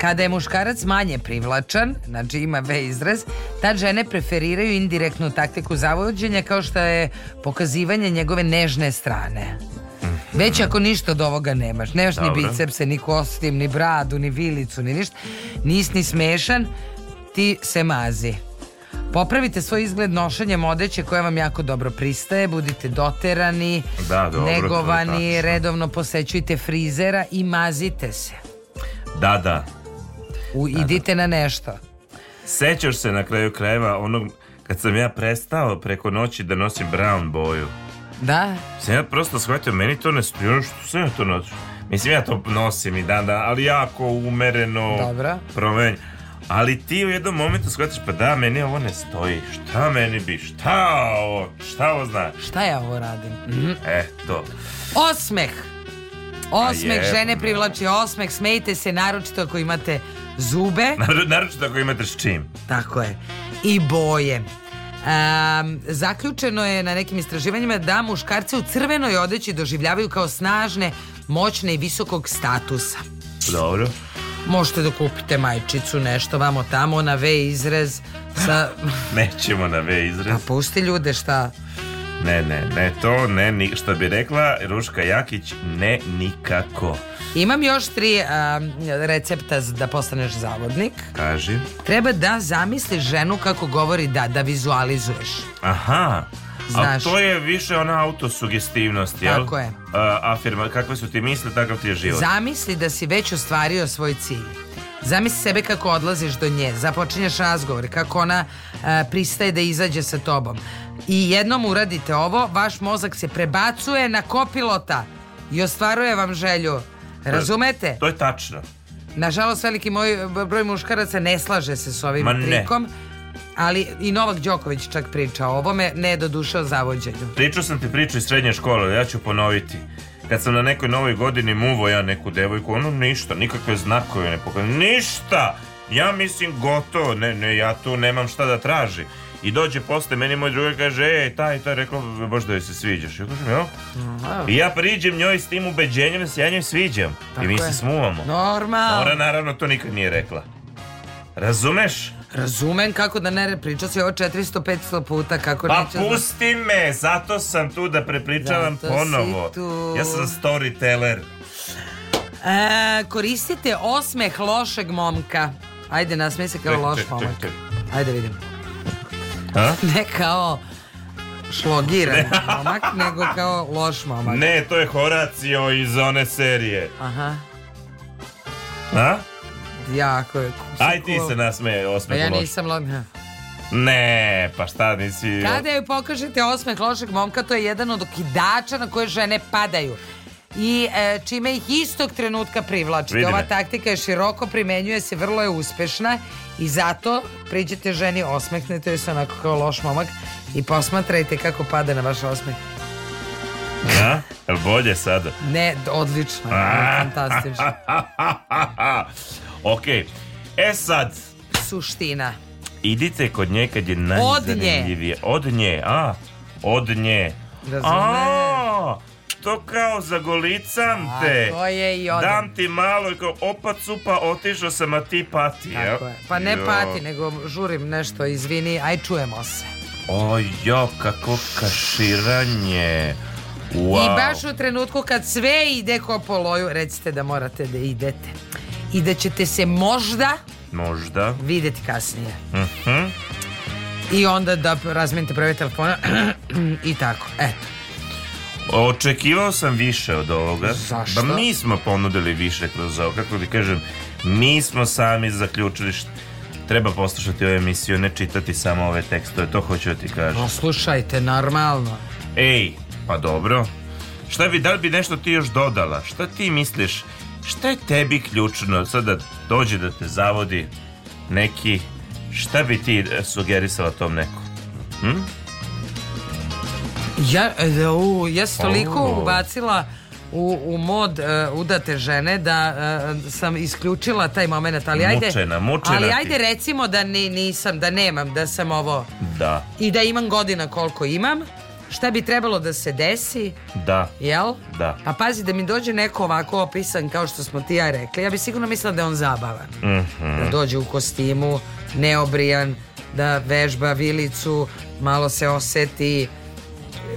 D: kada je muškarac manje privlačan, znači ima V izraz, tad žene preferiraju indirektnu taktiku zavođenja kao što je pokazivanje njegove nežne strane.
F: Mhm.
D: Već ako ništa od ovoga nemaš, nemaš ni
L: Dobro.
D: bicepse, ni kostim, ni bradu, ni vilicu, ni ništa, nis ni smešan, ti se mazi. Popravite svoj izgled nošenjem odeće koja vam jako dobro pristaje, budite doterani,
F: Da, dobro, to je
D: negovani,
F: tačno.
D: redovno posećujte frizera i mazite se.
F: Da, da.
D: U, idite na nešto.
F: Sećaš se na kraju krajeva onog kad sam ja prestao preko noći da nosim brown boju,
D: Da?
F: sam ja prosto shvatio, meni to ne stoji, ono što sam ja to nosim? Mislim, ja to nosim i dan, dan ali jako umereno,
D: Dobro.
F: promenj. Ali ti u jednom momentu shvatiš, pa da, meni ovo ne stoji, šta meni bi, šta ovo, šta ovo znači?
D: Šta ja ovo radim?
F: Eto.
D: Osmeh. Osmeh,
F: A jebno.
D: žene privlači osmeh, smejte se naročito ako imate zube
F: Naru- Naročito ako imate s čim.
D: Tako je. i boje. Am, zaključeno je na nekim istraživanjima da muškarce u crvenoj odeći doživljavaju kao snažne, moćne i visokog statusa.
F: Dobro.
D: Možete da kupite majčicu, nešto vamo tamo, na V izrez. Sa...
F: Nećemo na V izraz.
D: A pusti ljude šta.
F: Ne, ne, ne, to ne, ni, što bi rekla Ruška Jakić, ne nikako.
D: Imam još tri am, recepta z- da postaneš zavodnik.
F: Kaži.
D: Treba da zamisliš ženu kako govori da, da vizualizuješ.
F: Aha.
D: Znaš.
F: A to je više ona autosugestivnost, jel?
D: Tako je.
F: A, afirma, kakve su ti misle, takav ti je život.
D: Zamisli da si već ostvario svoj cilj. Zamisli sebe kako odlaziš do nje, započinješ razgovor, kako ona e, pristaje da izađe sa tobom. I jednom uradite ovo, vaš mozak se prebacuje na kopilota i ostvaruje vam želju. Razumete?
F: To je tačno.
D: Nažalost, veliki moj broj muškaraca ne slaže se s ovim
F: Ma ne.
D: trikom. Ali i Novak Đoković čak priča o ovome, ne doduše o zavođenju.
F: Pričao sam ti priču iz srednje škole, ali ja ću ponoviti. Kad sam na nekoj novoj godini muvo ja neku devojku, ono ništa, nikakve znakove ne pokazuje, ništa! Ja mislim gotovo, ne, ne, ja tu nemam šta da traži. I dođe posle, meni moj drugar kaže, ej, taj, taj, rekao, baš da joj se sviđaš. Ja kažem, jo. I ja priđem njoj s tim ubeđenjem da se ja njoj sviđam. I mi
D: Tako
F: se
D: je.
F: smuvamo.
D: Normalno.
F: Ona naravno to nikad nije rekla. Razumeš?
D: Razumem kako da ne pričao si ovo 400-500 puta kako
F: Pa
D: neću-
F: pusti me, zato sam tu da prepričavam
D: Zato si
F: ponovo.
D: tu.
F: Ja sam storyteller.
D: E, koristite osmeh lošeg momka. Ajde, nasmej se kao loš momak. Ajde vidim.
F: A?
D: Ne kao šlogiran momak, nego kao loš momak.
F: Ne, to je Horacio iz one serije.
D: Aha,
F: A?
D: jako je.
F: Aj ti se nasmeje
D: Pa
F: osmeh
D: ja
F: loš.
D: nisam lo- ha.
F: Ne, pa šta nisi...
D: Kada joj pokažete osmeh lošeg momka, to je jedan od okidača na koje žene padaju. I e, čime ih istog trenutka privlačite.
F: Vidi me.
D: Ova taktika je široko, primenjuje se, vrlo je uspešna i zato priđete ženi, osmehnete joj se onako kao loš momak i posmatrajte kako pada na vaš osmeh.
F: A? Jel bolje sada?
D: Ne, d- odlično, fantastično.
F: ok, e sad,
D: Suština.
F: idite kod nje kad je
D: Od nje.
F: najzanimljivije. Od nje, a? Od nje. A, to kao zagolicam te.
D: Tako je i odem.
F: Dam ti malo i kao opa cupa otišao sam a ti pati.
D: Tako
F: jel?
D: je. Pa ne
F: Jo.
D: pati, nego žurim nešto, izvini, aj čujemo se.
F: O jo, kako kaširanje. Wow.
D: I baš u trenutku kad sve ide ko po loju, recite da morate da idete. I da ćete se možda
F: Možda.
D: videti kasnije.
F: Mhm.
D: I onda da razmijenite broj telefona i tako. Eto.
F: Očekivao sam više od ovoga.
D: Zašto?
F: Ba mi smo ponudili više kroz ovo. Kako ti kažem, mi smo sami zaključili št- Treba poslušati ovu emisiju, ne čitati samo ove tekstove, to hoću da ti kažem.
D: No, slušajte, normalno.
F: Ej, pa dobro. Šta bi, da li bi nešto ti još dodala? Šta ti misliš? Šta je tebi ključno sad da dođe da te zavodi neki? Šta bi ti e, sugerisala tom nekom? Hm?
D: Ja, e, u, ja sam toliko
F: O.
D: ubacila u, u mod e, udate žene da e, sam isključila taj moment, ali ajde...
F: Mučena, mučena
D: ali
F: ti.
D: ajde recimo da ni, nisam, da nemam, da sam ovo...
F: Da,
D: I da imam godina koliko imam, šta bi trebalo da se desi,
F: da,
D: jel?
F: da.
D: Pa pazi, da mi dođe neko ovako opisan kao što smo ti i ja rekli, ja bi sigurno mislila da je on zabavan.
F: Mhm.
G: Mm.
D: Da dođe u kostimu, neobrijan, da vežba vilicu, malo se oseti,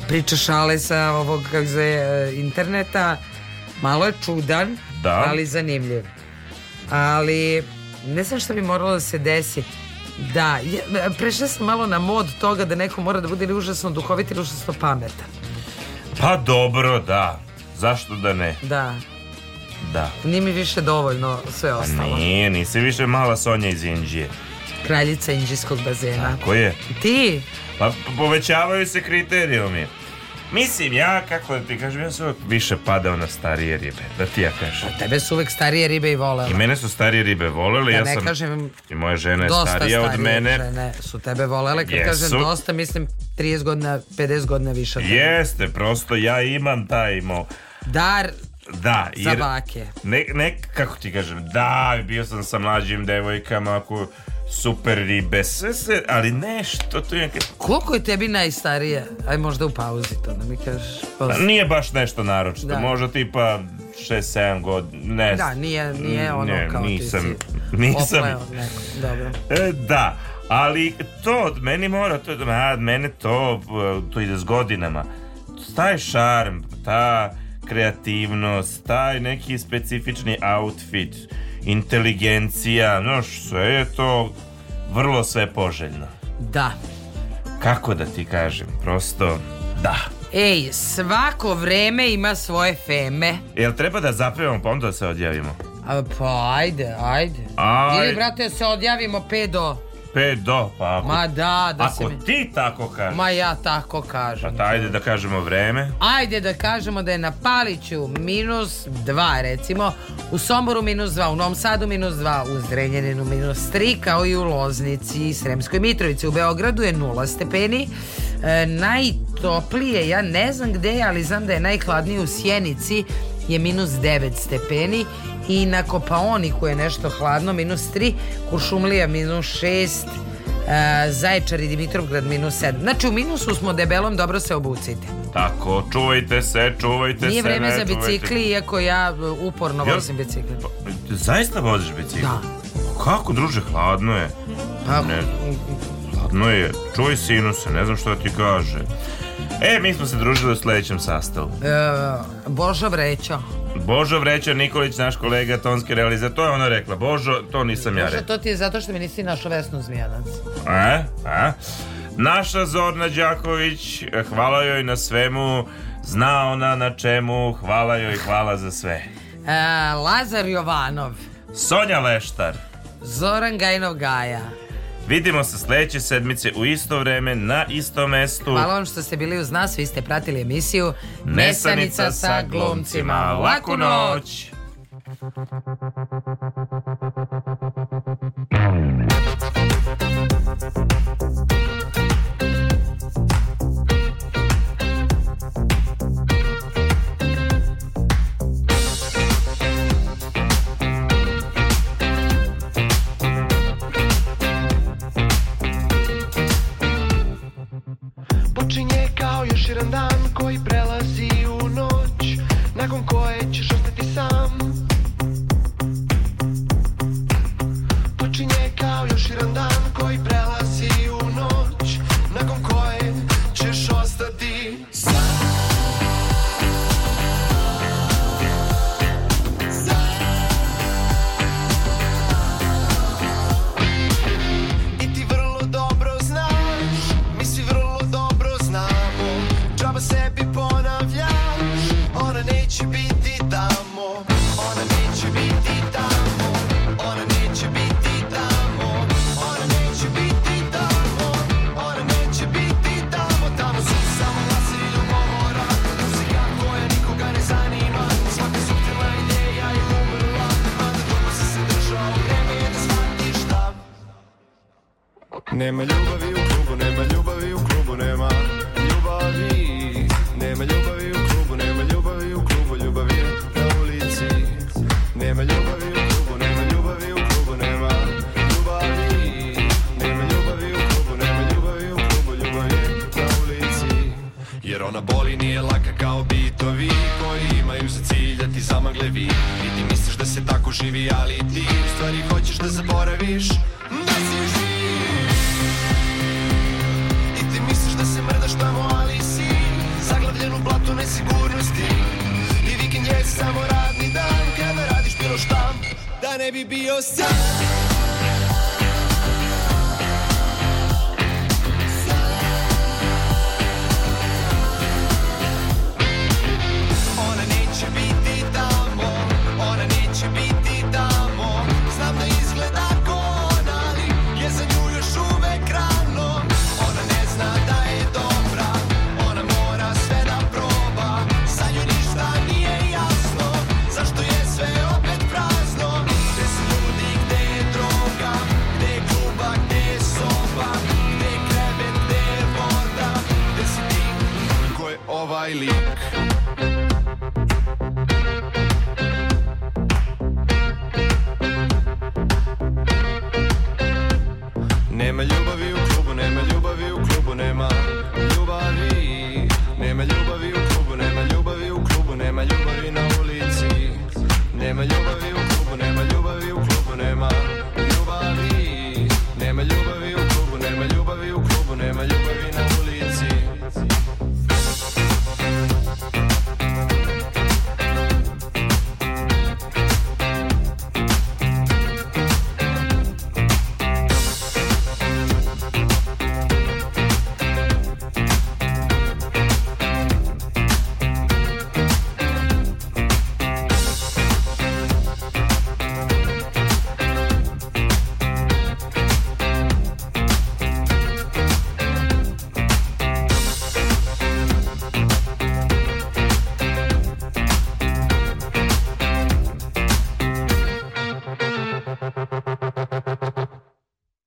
D: priča šale sa ovog kako se zove, e, interneta, malo je čudan,
F: Da.
D: ali zanimljiv. Ali ne znam što bi moralo da se desi. Da, je- e, prešla sam malo na mod toga da neko mora da bude ili užasno duhovit ili užasno pametan.
F: Pa dobro, da. Zašto da ne?
D: Da,
F: Da. Pa
D: nije mi više dovoljno sve ostalo.
F: Nije, nisi više mala Sonja iz Inđije.
D: kraljica Inđijskog bazena.
F: Ko je?
D: Ti?
F: Pa p- povećavaju se kriterijumi. Mislim, ja, kako da ti kažem, ja sam uvijek više padao na starije ribe, da ti ja kažem.
D: Tebe su uvek starije ribe i volele.
F: I mene su starije ribe volele,
D: Da
F: ja
D: ne
F: sam...
D: kažem,
F: I moja žena je
D: dosta
F: starija od
D: starije
F: mene.
D: žene su tebe volele, kad
F: Jesu.
D: kažem dosta, mislim 30 godina, 50 godina više. od tebe.
F: Jeste, prosto ja imam taj mo...
D: Dar
F: Da,
D: za bake.
F: Ne, ne, kako ti kažem, da, bio sam sa mlađim devojkama, ako super ribe, sve se, ali nešto tu je neke...
D: Koliko je tebi najstarija? Aj možda u pauzi to da mi kažeš.
F: Pa Nije baš nešto naročito,
D: Da.
F: možda tipa 6-7 godina, ne
D: Da,
F: znam.
D: nije, nije ono
F: ne,
D: kao
F: nisam,
D: ti si
F: nisam,
D: opleo neko. Dobro.
F: E, da, ali to od meni mora, to, a, mene to, e, to ide s godinama. Taj šarm, ta kreativnost, taj neki specifični outfit, inteligencija, no sve je to vrlo sve poželjno.
D: Da.
F: Kako da ti kažem, prosto da.
D: Ej, svako vreme ima svoje feme.
F: Jel treba da zapevamo pa onda da se odjavimo?
D: A, pa ajde, ajde.
F: Aj.
D: Ili brate se odjavimo pedo.
F: Pe do, pa ako,
D: Ma da, da se
F: ako
D: mi-
F: ti tako kažeš,
D: Ma ja tako kažem.
F: pa ta, ajde da kažemo vreme.
D: Ajde da kažemo da je na Paliću minus 2 recimo, u Somboru minus 2, u Novom Sadu minus 2, u Zrenjaninu minus 3, kao i u Loznici i Sremskoj Mitrovici. U Beogradu je 0 stepeni, E, najtoplije, ja ne znam gde je, ali znam da je najhladnije u Sjenici, je minus 9 stepeni i na Kopaoniku je nešto hladno, minus 3, Kuršumlija minus 6, e, Zaječar i Dimitrovgrad minus 7. Znači u minusu smo debelom, dobro se obucite.
F: Tako, čuvajte se, čuvajte
D: Nije
F: se.
D: vreme
F: ne
D: za
F: čuvajte-
D: bicikli, iako ja e, uporno
F: Jel?
D: vozim bicikli.
F: Ti zaista voziš bicikl? Da. Kako, druže, hladno je.
D: Pa-
F: Ne, hladno je. Čuj sinuse, ne znam što ti kaže. E, mi smo se družili u sljedećem sastavu.
D: E, Božo vrećo.
F: Božo Vreća Nikolić, naš kolega, tonski realizator, to je ona rekla. Božo, to nisam ja
D: Bože,
F: rekao.
D: to ti je zato što mi nisi našao Vesnu Zmijanac.
F: E, e. Naša Zorna Đaković, hvala joj na svemu, zna ona na čemu, hvala joj, hvala za sve.
D: E, Lazar Jovanov.
F: Sonja Leštar,
D: Zoran Gajnov Gaja.
F: vidimo se sljedeće sedmice u isto vreme, na istom mestu.
D: Hvala vam što ste bili uz nas, vi ste pratili emisiju
F: Nesanica sa glumcima. Laku noć!
G: Počinje kao još jedan dan koji prelazi u noć Nakon koje ćeš ostati sam Počinje kao još jedan dan koji prelazi u noć Nakon koje ćeš ostati sam I ti vrlo dobro znaš, mi svi vrlo dobro znamo Džaba sebi ponavljaš, ona neće biti tamo Ona neće biti tamo, ona neće biti tamo Ona neće biti tamo, ona neće biti tamo Tamo su samo glasovi ljubomora, muzika koja nikoga ne zanima Svaka suptilna ideja je umrla, a da dugo si se držao, vreme je da shvatiš da
Q: Nema ljubavi u klubu, nema ljubavi u klubu, nema ljubavi. Nema ljubavi u klubu, nema ljubavi u klubu, ljubavi je na ulici. Nema ljubavi u klubu, nema ljubavi u klubu, nema ljubavi. Nema ljubavi u klubu, nema ljubavi u klubu, ljubavi je na ulici. Jer ona boli nije laka kao bitovi Koji imaju za cilj da ti zamagle vid I ti misliš da se tako živi, ali ti U stvari hoćeš da zaboraviš Da si živ I ti misliš da se mrdaš tamo, ali si Zaglavljen u blatu nesigurnosti I vikend je samo radni dan Kada radiš bilo šta Da ne bi bio sam
G: Ona neće biti tamo, ona neće biti tamo Znam da izgleda ko ona, ali je za nju
Q: Nema ljubavi u klubu, nema ljubavi u klubu, nema